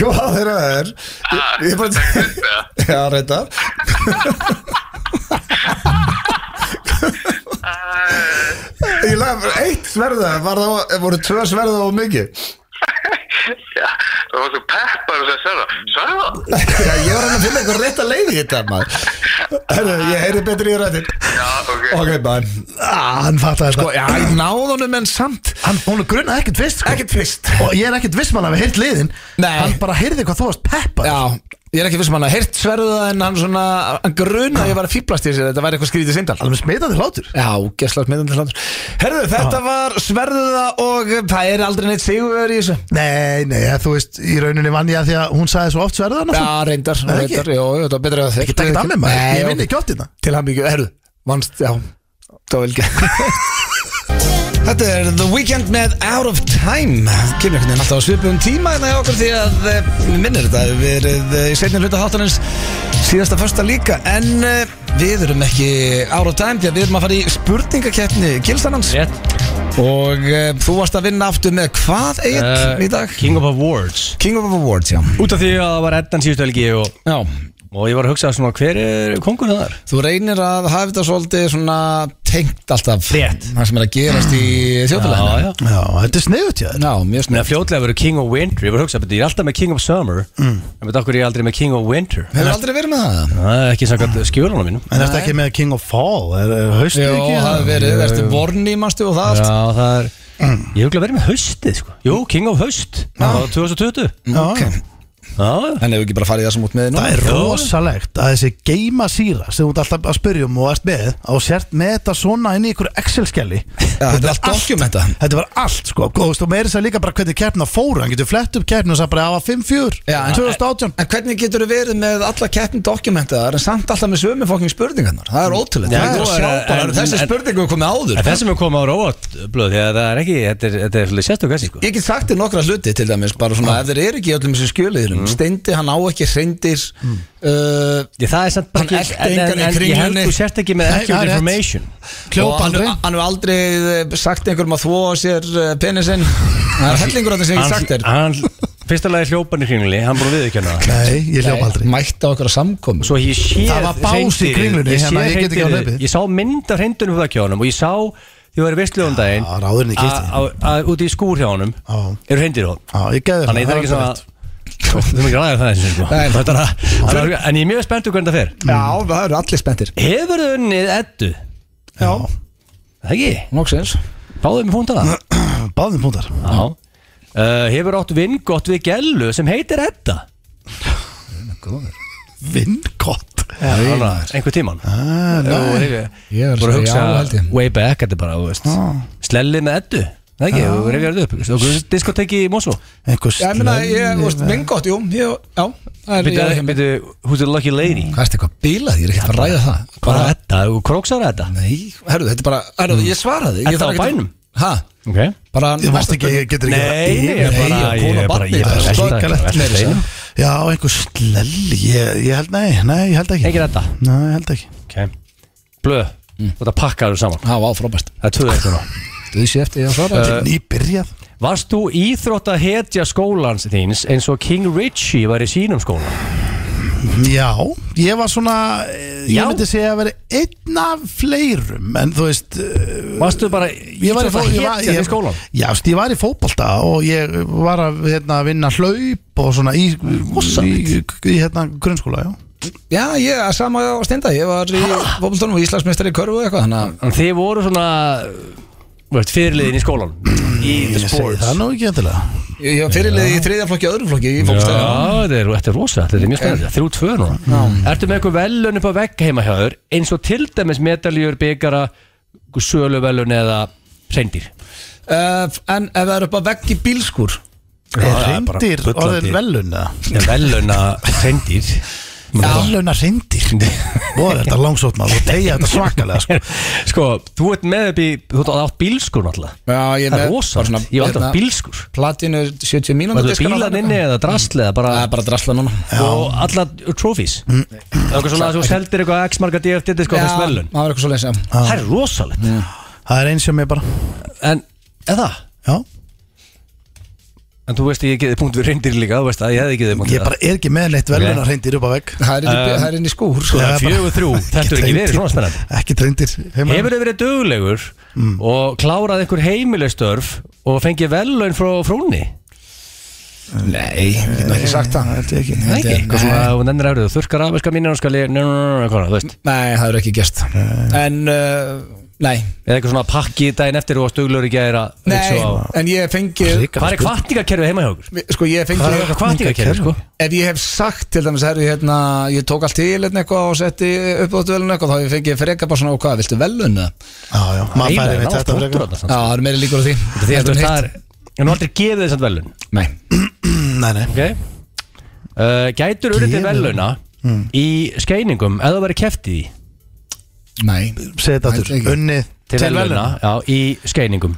Speaker 1: Hvað er það er? Ég er bara Já, reyndar Ég laf eitt sverða var það, voru tvö sverða og mikið
Speaker 8: Já, það var svo peppar og sagði Sörða, Sörða?
Speaker 1: Já, ég var hann að finna eitthvað rétt að leiði þetta maður Herru, ég heyri betri í rættin
Speaker 8: Já, ok.
Speaker 1: Ok, maður
Speaker 3: ah, Hann fattar
Speaker 1: Sko,
Speaker 3: þetta
Speaker 1: já, ég náði honum en samt
Speaker 3: Hann bónu grunna ekkert fyrst sko.
Speaker 1: Ekkert fyrst
Speaker 3: Og ég er ekkert viss mann að við heyrt liðin
Speaker 1: Nei.
Speaker 3: Hann bara heyrði hvað þú varst peppa
Speaker 1: Já, ég er ekki um fyrst manna heyrt sverða en hann svona hann gruna að ég var að fýblast í þessu þetta væri eitthvað skrítið sindal
Speaker 3: Alveg smitaði hlátur
Speaker 1: Já, gæsla smitandi hlandur Herðu, þetta var sverða og það er aldrei neitt sigur í þessu
Speaker 3: Nei, nei, þú veist, í rauninni vann ég að því að hún sagði svo oft sverðan
Speaker 1: Já, reyndar,
Speaker 3: Nei, ekki.
Speaker 1: reyndar, jú, jú, þetta var betra að þið
Speaker 3: Ekki takkt af mér maður, ég vinn ekki oft í það
Speaker 1: Til hann byggju, herðu, vannst, já, það var vel ekki Þetta er The Weeknd með Out of Time Kemur einhvern veginn alltaf á svipum tíma en það er okkur því að eh, mig minnir þetta hefur verið eh, í seinni hluta þáttanins síðasta första líka en eh, við erum ekki Out of Time því að við erum að fara í spurningakeppni Gilstanans
Speaker 2: Rétt Eh,
Speaker 1: og uh, þú varst að vinna aftur með hvað eitt í dag?
Speaker 2: King of Awards
Speaker 1: King of Awards, já
Speaker 2: Út af því að það var eddan síðustu helgi og,
Speaker 1: Já,
Speaker 2: og ég var að hugsa svona hver er kongur þar?
Speaker 1: þú reynir að hafa þetta svolítið svona tengt alltaf
Speaker 2: Rétt.
Speaker 1: það sem er að gerast í þjóðfélaginu
Speaker 2: já
Speaker 3: Já, þetta er sniðut hjá þér
Speaker 1: Já, mjög
Speaker 2: Mér
Speaker 1: snöf
Speaker 2: að fljótlega verið King of Winter Ég var að hugsa, betur ég er alltaf með King of Summer mm. En betur okkur ég er aldrei með King of Winter
Speaker 1: Hefur aldrei verið með það?
Speaker 2: Það er ekki sagt skjölunum mínum
Speaker 3: En þetta ekki með King of Fall, er, er haustu
Speaker 1: Já,
Speaker 3: ekki? hérna?
Speaker 1: það hefur verið, verður vorni, manstu og það
Speaker 2: Já,
Speaker 1: allt
Speaker 2: það er Ég hef ekki verið með haustið sko Jú, King of Haust Það var 2020
Speaker 1: Já, ok
Speaker 2: Já,
Speaker 1: Þannig hefur ekki bara farið það sem út með þið nú
Speaker 3: Það er rosalegt að þessi geima síra sem þú ert alltaf að spyrja um og ert með og sért með þetta svona inn í ykkur Excel-skelli
Speaker 1: Já, þetta er allt dokumenta.
Speaker 3: Þetta var allt sko og þú veist, og meira þess að líka bara hvernig keppna fóru hann getur flett upp keppna og sagði bara að var 5-4
Speaker 1: Já, en-
Speaker 3: 2018
Speaker 1: En hvernig getur þið verið með alla keppin dokumentaðar en samt alltaf með sömu fokking spurningarnar? Það er ótrúlega,
Speaker 2: Já,
Speaker 1: það er að sjá
Speaker 2: en-
Speaker 1: bara þessi
Speaker 2: en-
Speaker 1: spurningu komið áður
Speaker 2: En þessum er komið á róat blöð Því að það er ekki, þetta er, þetta er svolítið sérstök þessi sko
Speaker 1: Ég get sagt þér nokkra hluti til dæmis bara svona ef þeir eru ekki í öllum þessum skjöliðurum Steindi, hann á ekki hreindir uh,
Speaker 2: Ég, það er samt bara
Speaker 1: Hann elti engan í
Speaker 2: ég held
Speaker 1: Kringlunni.
Speaker 2: þú sért ekki með
Speaker 3: Nei, það
Speaker 2: accurate
Speaker 3: er rétt.
Speaker 2: information
Speaker 1: og
Speaker 3: Kljópa
Speaker 1: hann
Speaker 3: aldrei
Speaker 1: hann hefur aldrei eh, sagt einhverjum að þvó sér eh, penisinn Það er hellingur að það sem ég get sagt þér
Speaker 2: Hann, fyrsta lagi hljópan í kringlunni Hann búið við ekki hana
Speaker 3: Nei, ég hljópa aldrei
Speaker 1: Mætti á okkur að samkomi
Speaker 2: Svo ég sé
Speaker 3: Það var bás í Kringlunni,
Speaker 2: Ég sé
Speaker 3: hérna, ég get ekki á
Speaker 2: hreindýrið.
Speaker 3: hlaupið.
Speaker 2: Ég sá mynd af hreindunum fyrir kjónum Og ég sá, því að vera vistlu um daginn
Speaker 3: Já, ráðurinn í kistunni.
Speaker 2: að- að- að Úti í skúr hjá honum
Speaker 3: Já.
Speaker 2: Eru hreindir hún
Speaker 3: Já, ég geði
Speaker 2: Þannig það er ekki svona Þú erum ekki ræðið það þessu sko
Speaker 1: Nei.
Speaker 2: Þetta er að- það er- En ég er mjög spenntur hvernig það fer
Speaker 1: Já, það eru allir spenntir
Speaker 2: Hefur þau unnið eddu?
Speaker 3: Já,
Speaker 2: Það ekki?
Speaker 1: Nóksins
Speaker 2: Báðum við púntana?
Speaker 3: báðum púntar
Speaker 2: Já uh, Hefur átt vingott við gellu sem heitir edda
Speaker 3: Vindgott
Speaker 2: Þannig að einhver tíman
Speaker 1: Ég er
Speaker 2: Ég
Speaker 1: að segja
Speaker 2: voru að hugsa
Speaker 1: já, held ég.
Speaker 2: way back Þetta er bara, þú veist
Speaker 3: Ah.
Speaker 2: Slellið með eddu Það ekki, þú reyfjar þetta upp Þú veist, diskoteki í Mosó
Speaker 3: Einhver
Speaker 1: Já, ég meina, ég, þú
Speaker 3: slæmi-
Speaker 1: veist, minn gott, jú ég, Já, það er ég er ekki með
Speaker 2: Býttu, who's the lucky lady?
Speaker 1: Hvað er þetta eitthvað bílað? Ég er ekki að fara að ræða það
Speaker 2: Bara edda, þú króksar edda
Speaker 1: Nei, herru, þetta er bara Herru, ég svaraði ég þarf
Speaker 2: Þetta Mm. á
Speaker 1: ekki að-
Speaker 2: bænum?
Speaker 1: Ha?
Speaker 2: Ok
Speaker 1: Bara
Speaker 3: Þú varst ekki, ég getur ekki
Speaker 2: Nei, nei, ég er bara
Speaker 1: Nei,
Speaker 2: Ég er
Speaker 1: og
Speaker 2: bara,
Speaker 1: barnið,
Speaker 2: ég er
Speaker 1: það
Speaker 2: bara
Speaker 1: er
Speaker 3: svakalegt
Speaker 2: Ég
Speaker 1: meira
Speaker 2: er
Speaker 1: að segja.
Speaker 2: bara
Speaker 3: Já, einhver slelli ég, ég held, nei, nei, ég held ekki
Speaker 2: Engin edda
Speaker 3: Nei, ég held ekki
Speaker 2: Ok Blöð Þú þetta pakkar þú saman
Speaker 1: Há, á, frábært
Speaker 2: Það er tvöðu eftir nú
Speaker 1: Þú sé eftir ég að
Speaker 2: Uh,
Speaker 1: svara
Speaker 3: Þetta er nýbyrjað
Speaker 2: Varst þú íþrótt að hetja skólans þíns eins og King Richie var í sínum skóla?
Speaker 3: Já, ég var svona eh, Ég
Speaker 2: Já.
Speaker 3: myndi segja að vera einn af fleirum En þú veist eh,
Speaker 2: Varst þú bara
Speaker 3: Ég var, í
Speaker 2: íþrótt
Speaker 3: fó-
Speaker 2: að
Speaker 3: ég, var,
Speaker 2: hetja í
Speaker 3: ég,
Speaker 2: skólan?
Speaker 3: já, veist, ég var í fótbolta og ég var að hérna, vinna hlaup og svona í, í, í, í hérna, grunnskóla já.
Speaker 1: Já, ég, að sama á steinda Ég var í fókbaltónum og Íslandsmeistari í körfu og eitthvað Þannig að
Speaker 2: En þið voru svona þú veist, fyrirliðin í skólan Í the
Speaker 3: Ég segi
Speaker 2: sports
Speaker 3: það nú ekki endilega
Speaker 1: ég var fyrirlið í þriðja flokki og öðrum flokki í
Speaker 2: Já,
Speaker 1: fókbaltónum
Speaker 2: þetta er, þetta er rosa, þetta er mjög spennandi Þrjú tvö núna Ertu með eitthvað velun upp á vegg heima hjá þur eins og til dæmis medaljur, byggara söluvelun eða reyndir
Speaker 1: uh, En ef það er upp að vegg í bílskur
Speaker 3: Er
Speaker 2: það er bara
Speaker 3: reyndir
Speaker 2: bullandi.
Speaker 3: Eh, orðin velun eða?
Speaker 2: Velun að reyndir
Speaker 3: Veluna reyndir Bóð þetta langsótt maður og tegja þetta svakalega sko.
Speaker 2: Sko, þú ert með upp í þú ert átt bílskur náttúrulega
Speaker 1: Já, ég er með-
Speaker 2: Það er
Speaker 1: bara
Speaker 2: rosalegt,
Speaker 1: svona,
Speaker 2: ég var alltaf
Speaker 1: hérna,
Speaker 2: bílskur
Speaker 1: Platinu 70 mínútur
Speaker 2: Var þetta bílan inni eða drastlega bara
Speaker 1: Það er bara drasla núna
Speaker 2: og alla trophies Það er svona að þú seldir eitthvað X marga DFT sko
Speaker 1: Já,
Speaker 2: þess
Speaker 1: það
Speaker 2: velun
Speaker 1: var eitthvað svo leins
Speaker 2: Það er rosalegt
Speaker 3: Það er eins hjá mig bara
Speaker 2: En eða
Speaker 3: Já
Speaker 2: En þú veist að ég geði punkt við reyndir líka Þú veist að ég hefði geði punkt
Speaker 3: Ég bara er ekki með neitt velunar reyndir upp á vegg
Speaker 1: Það er inn í-
Speaker 2: Um,
Speaker 1: það er inn í skúr sko.
Speaker 2: það er
Speaker 3: Ég bara-
Speaker 2: fjögur þrjú. Þetta er ekki verið
Speaker 3: reyndir.
Speaker 2: svona spennandi.
Speaker 3: Ekki reyndir heima.
Speaker 2: Hefur þau verið dögulegur og klárað einhver heimilistörf og fengið vellaun frá frúnni?
Speaker 1: Nei, ég get nú ekki sagt það
Speaker 3: held ég ekki.
Speaker 2: Nei,
Speaker 1: Held
Speaker 2: ekki.
Speaker 1: ég-
Speaker 2: Eitthvað svona, þú nefnir afrið, þú þurkar afveska mínir og skal ég, njá, eitthvað, þú veist.
Speaker 1: Nei, það er ekki gerst En, uh, nei
Speaker 2: Eða eitthvað svona pakki daginn eftir og stuglegur í gæra.
Speaker 1: Nei, en ég fengi
Speaker 2: Hvað er kvartingakerfi heima hjá okkur?
Speaker 1: Sko, ég fengi
Speaker 2: Hvað er eitthvað kvartingakerfi, sko?
Speaker 1: Ef ég hef sagt til dæmis, herri, hérna, ég tók allt til hérna eitthvað og setti uppáttuvelun eitthvað, þá hef ég fengið freka bara svona og hvað, viltu velun? eða?
Speaker 3: Já, já, maður færi við þetta
Speaker 2: frekar.
Speaker 3: frekar.
Speaker 1: Já, það eru meiri líkur á því.
Speaker 2: Því að
Speaker 1: Heldur
Speaker 2: þú
Speaker 1: en
Speaker 2: veist,
Speaker 1: hitt.
Speaker 2: það er, en þú aldrei gefið þessant velun,
Speaker 1: Nei.
Speaker 3: Mm, Nei, nei
Speaker 2: ok? Uh, gætur urið til veluna
Speaker 3: Hmm.
Speaker 2: í skeiningum, eða þú verið keftið í?
Speaker 1: Nei.
Speaker 3: Segð þetta
Speaker 1: Nei,
Speaker 3: aftur
Speaker 1: ekki.
Speaker 3: Unnið
Speaker 2: til veluna já, í skeiningum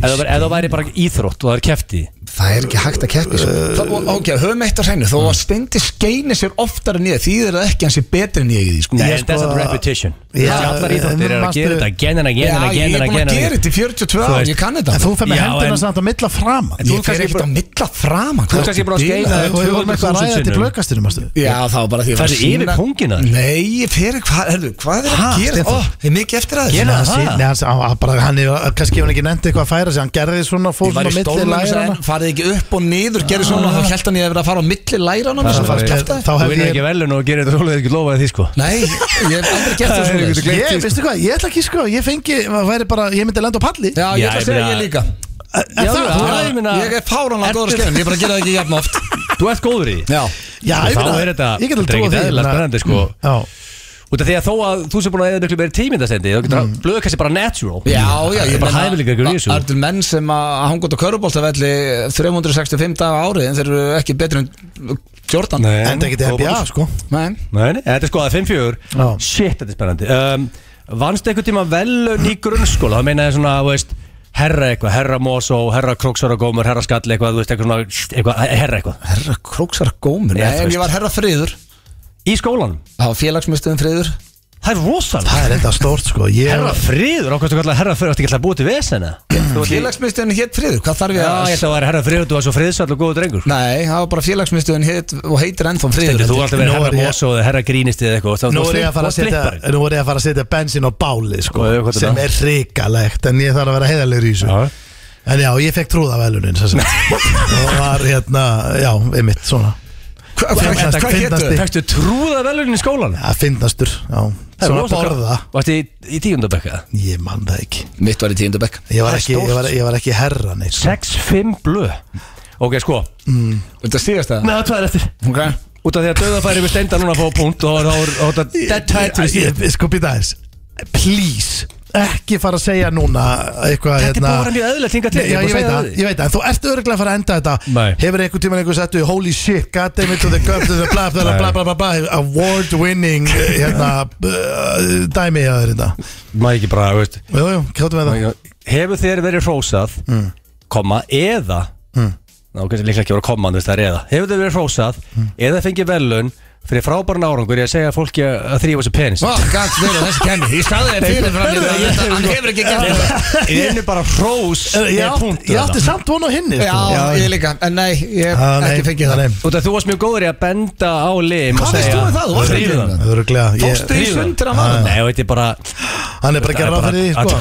Speaker 2: eða það væri- eða það væri bara íþrótt og það er kefti
Speaker 1: Það er ekki hægt að keppi sko. uh, Ok, höfum eitt á hreinu Þó að steindi skeini sér oftar en ég Þýðir það ekki að hann sé betri en ég í því sko.
Speaker 2: Nei,
Speaker 3: Ég
Speaker 2: en
Speaker 3: sko-
Speaker 2: that's not repetition
Speaker 3: Já,
Speaker 2: Þessi allar íþróttir eru að
Speaker 3: manstu-
Speaker 2: gera þetta again and
Speaker 1: Já,
Speaker 2: again and
Speaker 1: ég
Speaker 2: again
Speaker 1: er búin
Speaker 2: and again
Speaker 1: að
Speaker 2: and
Speaker 1: gera
Speaker 2: again
Speaker 1: þetta í 42
Speaker 2: Þú
Speaker 1: ára
Speaker 2: veist-
Speaker 1: Ég kann þetta
Speaker 3: En þú fyrir með
Speaker 2: Já,
Speaker 3: hendina
Speaker 2: en-
Speaker 3: samt að milla framan
Speaker 1: Þú fer
Speaker 2: Ég kannski
Speaker 1: ekkert að milla framan
Speaker 2: Þú kannski bara að skeina
Speaker 3: Það
Speaker 2: þér
Speaker 3: er vorum eitthvað að
Speaker 2: 200.000
Speaker 3: ræða þetta í
Speaker 2: sinnum.
Speaker 3: blökastinu, mástu
Speaker 1: Já, það var bara því að ég var
Speaker 2: Færðu
Speaker 1: að sýna-
Speaker 2: yfir kóngina?
Speaker 1: Nei, ég fyrir hvað Herðu, hvað er
Speaker 2: Ha,
Speaker 1: að gera?
Speaker 2: Stefán.
Speaker 1: Ó, ég er mikið eftir að
Speaker 2: Gera
Speaker 1: þessu
Speaker 3: Hann
Speaker 2: það?
Speaker 3: sé- Nei, hann, hann, hann, bara, hann er, kannski hefur hann ekki nefndi eitthvað að færa sig Hann gerði svona fór
Speaker 1: Ég var í
Speaker 3: svona á milli
Speaker 1: stólnum og
Speaker 3: læranna.
Speaker 1: sagði, farið ekki upp og niður, gerði svona og þá held hann ég að vera að fara á milli læranum
Speaker 2: Það
Speaker 1: sem
Speaker 2: var-
Speaker 1: fara að kæfta
Speaker 3: Þá
Speaker 2: Þú
Speaker 3: hef
Speaker 2: vinnur
Speaker 3: ég
Speaker 2: ekki velun og gerir þetta þú hefur ekki lofaði því sko
Speaker 1: Nei, ég hef aldrei gert þessu
Speaker 2: Það er einhvern
Speaker 1: svoleiðis.
Speaker 3: Ég, veistu hvað, ég ætla ekki sko, ég fengi, maður væri bara, ég myndi lenda á palli
Speaker 1: Já, ég ætla
Speaker 2: Já,
Speaker 1: að
Speaker 2: ég
Speaker 1: segja
Speaker 2: meina-
Speaker 1: ég líka
Speaker 3: En
Speaker 2: Já,
Speaker 3: það-
Speaker 2: já.
Speaker 3: þú-
Speaker 2: ég meina-
Speaker 1: Ég er fáranlega góður að skefum, ég bara gera það ekki jafn oft
Speaker 2: Þú ert góður í
Speaker 1: Já,
Speaker 2: því
Speaker 3: Já,
Speaker 2: Og
Speaker 3: ég
Speaker 2: Þá
Speaker 3: meina,
Speaker 2: er þetta,
Speaker 3: ég get alveg
Speaker 2: þetta er
Speaker 3: trúað
Speaker 2: ekki
Speaker 3: því, Hmm.
Speaker 2: eðlilega
Speaker 3: ég meina-
Speaker 2: spennandi sko
Speaker 3: Já,
Speaker 2: Út af því að þó að þú sem búin að eða miklu meiri tímið það sendi Þá
Speaker 3: Hmm.
Speaker 2: getur það blöðu kannski bara natural
Speaker 1: já, já
Speaker 2: Það er bara hæfilega ykkur í þessu
Speaker 1: Það er til menn sem að hanga út á körubóltavelli 365 daga á ári en þeir eru ekki betri en 14
Speaker 2: Nei.
Speaker 3: enda ekki til
Speaker 2: Góð
Speaker 3: NBA
Speaker 2: bónus.
Speaker 3: sko
Speaker 1: Nei.
Speaker 2: Nei, nei, þetta er sko skoðað 5-4
Speaker 3: Já.
Speaker 2: Shit, þetta er spennandi um, Vannstu einhvern tíma velun í grunnskóla Það meina ég svona, þú veist Herra eitthvað, herra mosó, herra króksaragómur Herra skalli eitthvað, þú veist, eitthvað svona shit, eitthvað, Herra eitthvað,
Speaker 1: Herra króksar gómur Nei,
Speaker 2: Já, þú
Speaker 1: en
Speaker 2: veist.
Speaker 1: ég var herra friður
Speaker 2: í skólan
Speaker 1: Það var félagsmyndstöðum friður
Speaker 2: Það er rosalega
Speaker 3: Það er enda stórt sko Ég
Speaker 2: Herra friður, ákvæmstu kallar herra friður Þetta er ekki alltaf búið til vesena Þú ert í-
Speaker 1: Félagsmyndstöðun hétt friður, hvað þarf
Speaker 2: Já,
Speaker 1: ég
Speaker 2: ég
Speaker 1: að
Speaker 2: ætla að vera herra friður, þú var svo friðsall og góður drengur
Speaker 1: Nei, það var bara félagsmyndstöðun hét og heitir ennþá friður
Speaker 2: Stendur, Þú var alltaf verið
Speaker 3: Nú er
Speaker 2: herra
Speaker 3: ég-
Speaker 2: mosó eða herra grínisti eða eitthvað
Speaker 3: Nú er ég að fara að setja Nú er ég að fara að setja bensin á báli sko
Speaker 2: Hvað er- hvað er
Speaker 3: Sem
Speaker 2: það?
Speaker 3: er hrikalegt En ég þarf að vera heiðalegur í þessu
Speaker 2: Já.
Speaker 3: En já, ég fekk trúða velunin Og var hérna, já, einmitt svona
Speaker 1: Hva- hva-
Speaker 3: Þetta
Speaker 1: Hvað héttu?
Speaker 3: fyndnasti.
Speaker 2: Fækstu trúða velunin í skólan
Speaker 3: Það finnastur, já Svona borða
Speaker 2: Varstu í, í tíundabekka?
Speaker 3: Ég man það ekki
Speaker 1: Mitt var í tíundabekk
Speaker 3: Ég var
Speaker 2: Það er
Speaker 3: ekki, ég var, ég var ekki herra neitt sko.
Speaker 2: 6-5 blöð Ok, sko
Speaker 1: Þetta síðast það?
Speaker 2: Nei, það er eftir
Speaker 1: Okay.
Speaker 2: Út af því að döðafæri við steinda núna að fá punkt og þá er þetta dead title í
Speaker 3: Ég-
Speaker 2: stíð
Speaker 3: ég- Sko býta aðeins Please Ekki fara að segja núna eitthvað hérna-
Speaker 2: Þetta er búið að vera mjög eðlilegt hingað til,
Speaker 3: Nei,
Speaker 2: ég
Speaker 3: Já,
Speaker 2: er
Speaker 3: ég
Speaker 2: búin að
Speaker 3: veit
Speaker 2: segja
Speaker 3: það,
Speaker 2: það.
Speaker 3: ég veit það En þú ert örglega að fara að enda þetta
Speaker 2: Nei.
Speaker 3: Hefur einhvern tímann einhver settu Holy shit, goddammit to the cup to the bla bla bla bla bla bla bla Award winning hérna, uh, Dæmi að þeir þetta
Speaker 2: Má ekki bara, veist
Speaker 3: Jú, jú, kjáttu með það
Speaker 2: Hefur þér verið hrósað
Speaker 1: Mm.
Speaker 2: Komma, eða Ná, kannski líklega ekki voru komma, þú veist það er eða Hefur þér verið hrósað
Speaker 1: Mm.
Speaker 2: Eða fengið velun Fyrir frábæran árangur Ég að segja fólki að þrýfa þessu penis
Speaker 1: Vá, gæt verið þessi kenni Ég staði þér fyrir fram í það þetta- Hann hefur ekki gert þetta
Speaker 2: Ég er bara hrós
Speaker 1: Eh,
Speaker 3: Ég
Speaker 2: er
Speaker 3: átti,
Speaker 2: punktur
Speaker 3: ég átti
Speaker 2: þarna.
Speaker 3: samt von á hinni
Speaker 1: Já,
Speaker 3: sko.
Speaker 1: ég líka En nei, ég hef
Speaker 3: Ah, nei,
Speaker 1: ekki fengið það
Speaker 3: nei.
Speaker 2: Út af því að þú varst mjög góður í að benda á lim og
Speaker 1: Hvað veist
Speaker 2: segja,
Speaker 1: þú um það? Þú varst
Speaker 2: "Þrífðu
Speaker 1: ekki um
Speaker 2: það."
Speaker 1: það.
Speaker 3: Örugglega, ég-
Speaker 1: Fórstu í sundur að
Speaker 2: Ah,
Speaker 1: maður
Speaker 2: Nei, þetta er bara
Speaker 3: Hann er bara að gera ráð fyrir því sko.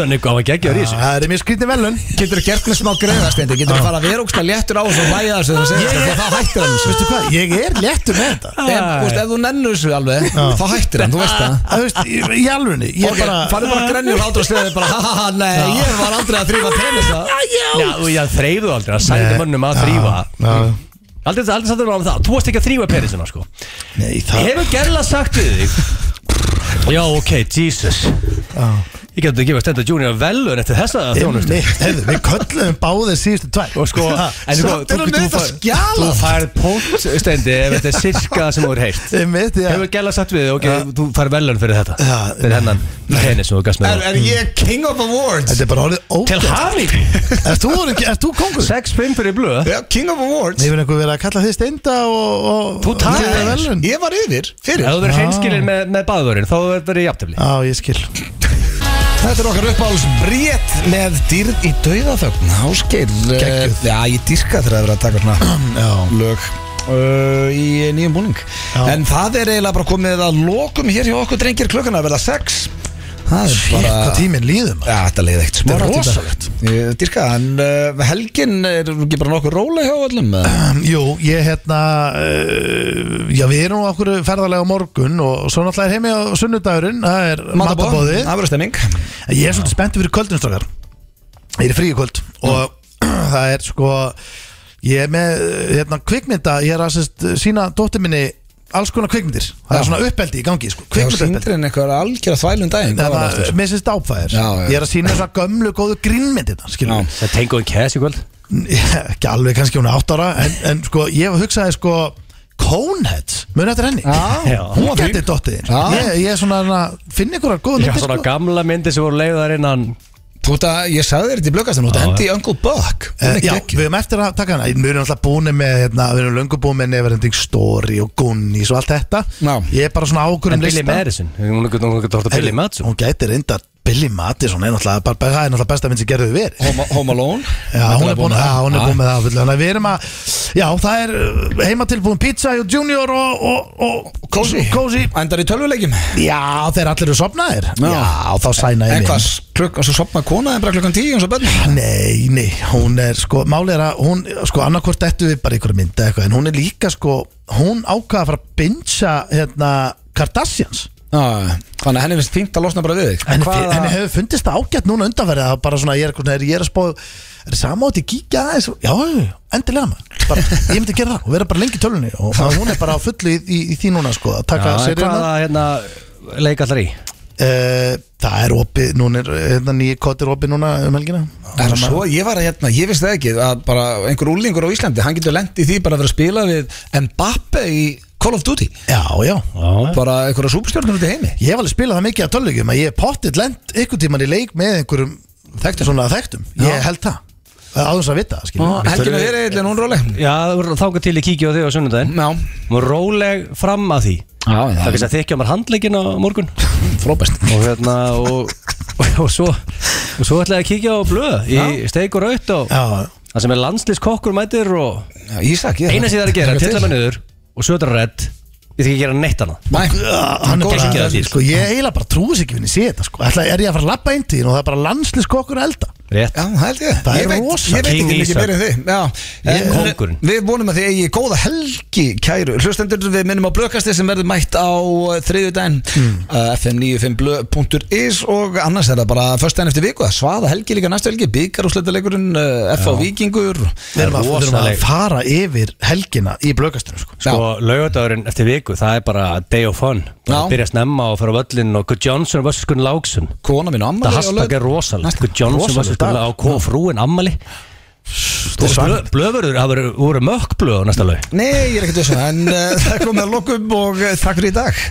Speaker 2: Hann er góð að gegja því
Speaker 3: Það er mjög skrítið velun
Speaker 1: Getur þú gert með smá greiðastendi Getur þú fara að vera ógsta léttur á þessu og læja þessu þegar þú segir þetta, Þá hættir hann þessu
Speaker 3: Veistu hvað, ég er léttur með þetta
Speaker 1: Ef þú veist, ef þú nennur þessu alveg Þá hættir hann, þú veist það
Speaker 3: Það veist, í í alvörunni Ég
Speaker 1: Ok,
Speaker 3: bara
Speaker 1: farðu bara að grenja úr átur og sleði bara Haha, nei, ég var aldrei að þrýfa
Speaker 3: Mm.
Speaker 1: penisa
Speaker 2: Já, og ég þreyfðu aldrei að sæta
Speaker 3: Nei.
Speaker 2: mönnum að
Speaker 3: Já,
Speaker 2: þrýfa
Speaker 3: já.
Speaker 2: Aldrei aldrei sæta mönnum að það Þú varst ekki að þrýfa penisina, sko
Speaker 3: Nei, það
Speaker 2: Hefur gerla sagt við þig Já, ok, Jesus Ég getur að gefa Stenda Junior velun eftir þessa þjónustu
Speaker 3: Nei, heyrðu, Við köllum báðið síðustu tvær
Speaker 2: Og sko, en sko,
Speaker 1: Samt er hann með þetta skjala.
Speaker 2: þú færð punkt Stendi ef þetta er sirka sem þú er heilt
Speaker 3: Ég mitt, já
Speaker 2: Hefur gerla sagt við þig, ok, þú færð velun fyrir þetta
Speaker 3: Já.
Speaker 2: Fyrir hennan penis sem þú gast
Speaker 1: Er,
Speaker 2: með
Speaker 1: er ég king of awards?
Speaker 3: Þetta er bara orðið
Speaker 2: Til
Speaker 3: ógæð
Speaker 2: haming
Speaker 3: Erst þú, orðinn- ert þú kongur?
Speaker 2: 6-5 fyrir blöð
Speaker 1: Já, king of awards
Speaker 3: Nei, við einhver verið að kalla þið steinda og, og
Speaker 2: Þú talar
Speaker 3: og-
Speaker 2: eins.
Speaker 3: velun.
Speaker 1: Ég var yfir,
Speaker 2: Ef
Speaker 1: fyrir
Speaker 2: þú verður hreinskilin með, með baðvörin þá verður það jafntefni
Speaker 3: Já, ég skil
Speaker 1: Þetta er okkar uppáhalds brét með dýrð í dauðaþögn Ásgeir eh,
Speaker 3: Geggjuð.
Speaker 1: Já, ég dýrka þegar það er verið að taka svona lög uh, í nýjum búning
Speaker 3: Já.
Speaker 1: En það er eiginlega bara komið að lokum hér hjá okkur drengir klukkan að verða sex Það er
Speaker 3: Shit,
Speaker 1: bara
Speaker 3: hvað tíminn líður maður
Speaker 1: Já, þetta leiði eitt smá
Speaker 3: Þetta er
Speaker 1: rosalegt Ég Dýrka, en uh, helgin er ekki bara nokkuð róleg hjá öllum eh, eða?
Speaker 3: Jú, ég hérna uh, Já, við erum á okkur ferðarlega á morgun og svo náttúrulega er heimi á sunnudagurinn það er
Speaker 1: Matarboð,
Speaker 3: matabóði
Speaker 1: Það verður stemming
Speaker 3: Ég er svolítið spenntið fyrir kvöldin strákar Ég er frí í kvöld og það er sko ég er með hérna, kvikmynda ég er að sérst, sína dóttir minni alls konar kvikmyndir það
Speaker 1: Já.
Speaker 3: er svona uppeldi í gangi sko.
Speaker 1: Hvað
Speaker 3: kvikmyndaupeldi.
Speaker 1: sýndir en eitthvað algjör að þvælum daginn Hvað
Speaker 3: Það
Speaker 1: var það
Speaker 3: var
Speaker 1: aftur?
Speaker 3: með þessi dáfæðir
Speaker 1: Já, já.
Speaker 3: Ég er að sína þessa gömlu góðu grínmyndir
Speaker 1: Já.
Speaker 3: skilur við.
Speaker 2: Það tengur en kæs í kvöld
Speaker 3: Ekki alveg kannski hún er átt ára En, en sko, ég hugsaði sko Conehead, muni eftir henni
Speaker 2: Já.
Speaker 3: Hún var fín dottiðin
Speaker 1: Já.
Speaker 3: ég, ég er svona að finna ykkur að góða
Speaker 2: Já, svona gamla myndi sem voru leiðar innan
Speaker 1: Þú veit að ég sagði þér þetta í blöggast Þú veit að
Speaker 2: Já.
Speaker 1: hendi í Uncle Buck Hún
Speaker 3: Uh,
Speaker 1: er
Speaker 3: já,
Speaker 1: geggjuð.
Speaker 3: við erum eftir að taka hana Við erum alltaf búin með, hérna, við erum löngu búin með Neverending Story og Gunnis og allt þetta
Speaker 1: Já.
Speaker 3: Ég er bara svona ákvörðum
Speaker 2: En Billy Madison Hún er hún er ekki tórt að Billy Madison
Speaker 3: Hún gæti reynda Billy Madison er náttúrulega, bara, bara, það er náttúrulega besta minn sem gerðu við verið
Speaker 1: Home, home Alone
Speaker 3: Já, hún er búin,
Speaker 1: með
Speaker 3: já,
Speaker 1: það.
Speaker 3: hún er
Speaker 1: Já.
Speaker 2: Ah.
Speaker 3: búin með það fullu. Þannig að við erum að, já, það er uh, heimatilbúin pizza og junior og, og, og
Speaker 1: Cozy
Speaker 3: Cozy.
Speaker 1: Endar í tölvuleikjum
Speaker 3: Já, þeir allir eru sopnaðir
Speaker 1: Já.
Speaker 3: Já, þá sæna ég
Speaker 1: En
Speaker 3: mig.
Speaker 1: hvað, klukk, og svo sopna kona en bara klukkan tíu eins og bönn
Speaker 3: Nei, nei, hún er sko Málið er að hún, sko annarkvort ættu við bara einhverja mynda eitthvað En hún er líka sko Hún ákvaða að fara að binja hérna Kardashians
Speaker 1: Þannig að henni finnst fínt að losna bara við þig
Speaker 3: Henni,
Speaker 2: Hvaða-
Speaker 3: henni hefur fundist það ágætt núna undanverið að bara svona, ég er, svona, er, ég er að spá er sama átt í kíkja aðeins já, endilega maður, bara, ég myndi gera það og vera bara lengi í tölunni og, og hún er bara á fullu í, í, í því núna sko, að
Speaker 2: Já,
Speaker 3: taka
Speaker 2: en
Speaker 3: seríuna
Speaker 2: hvaða hérna leik allar í?
Speaker 3: uh, það er opið, núna er hérna, nýja kott er opið núna um helgina
Speaker 1: En svo ég var að hérna, ég vissi það ekki að bara einhver úlingur á Íslandi, hann getur lent í því bara að vera að spila við Mbappe í Call of Duty
Speaker 3: já, já
Speaker 2: Já
Speaker 1: bara einhverja súpstjórnur út í heimi
Speaker 3: Ég hef alveg spilað það mikið að tölvögjum að ég er pottitt lent ykkur tíman í leik með einhverjum þekktum, svona þekktum, ég
Speaker 1: Já.
Speaker 3: held það áðurins að vita, skiljum
Speaker 1: Helginu er eiginlega núna róleg
Speaker 2: Já, þáka til í kíkja á þig á sunnudaginn
Speaker 1: Já,
Speaker 2: Mm. Hún er róleg fram að því Það er
Speaker 1: já,
Speaker 2: kannski að þykja mér handlegin á morgun
Speaker 1: frábæst
Speaker 2: Og hérna og, og, og svo Og svo ætla ég að kíkja á blöð Í steik og raut og
Speaker 3: Já,
Speaker 2: Það sem er landsliskokkur mætir og
Speaker 1: Ísak, ég
Speaker 2: Eina sem það er að gera,
Speaker 1: Taka til.
Speaker 2: tilla mig niður Og svo er þetta redd Ég þarf ekki að gera neitt annað
Speaker 1: Nei,
Speaker 3: Ah, hann er
Speaker 1: Góð
Speaker 3: bara,
Speaker 2: skyggjaður dýr.
Speaker 3: sko, ég eiginlega bara trúi sér ekki finn ég sé þetta, sko, ætla er ég að fara að labba einn tíðin og það er bara landsliskokkur að elda
Speaker 2: Rétt
Speaker 1: Já, það held ég
Speaker 3: Það
Speaker 1: ég
Speaker 3: er
Speaker 1: veit,
Speaker 3: rosa.
Speaker 1: Ég veit
Speaker 2: King
Speaker 1: ekki mikið
Speaker 2: Ísak.
Speaker 1: meira en þið Já,
Speaker 2: Ég er
Speaker 1: En
Speaker 2: kóngurinn.
Speaker 1: Við vonum að þið eigi góða helgi kæru Hlustendur við minnum á blökasti sem verður mætt á eh, þriðju daginn
Speaker 2: Hmm.
Speaker 1: fm95blö.is og annars er það bara först daginn eftir viku að svaða helgi líka næstu helgi byggar úrslutaleikurinn uh, FH Víkingur
Speaker 3: Við erum að, við erum að
Speaker 2: rosaleg.
Speaker 3: fara yfir helgina í blökastunum, sko
Speaker 2: Sko, laugardagurinn eftir viku, það er bara day of fun
Speaker 1: Já.
Speaker 2: Bara að byrja snemma og fara á völlin og Good Johnson vs. Gunn Láksson
Speaker 1: Kona mín og amma
Speaker 2: Það hashtag er rosalegt Good Johnson vs. Gunn Láksson og hvað frúin ammali Blöfurður, það voru- voru mökk blöð á næsta laug
Speaker 1: um eh, Nei, ég er ekkert þessum en uh, það er komið að lokum og uh, takk fyrir í dag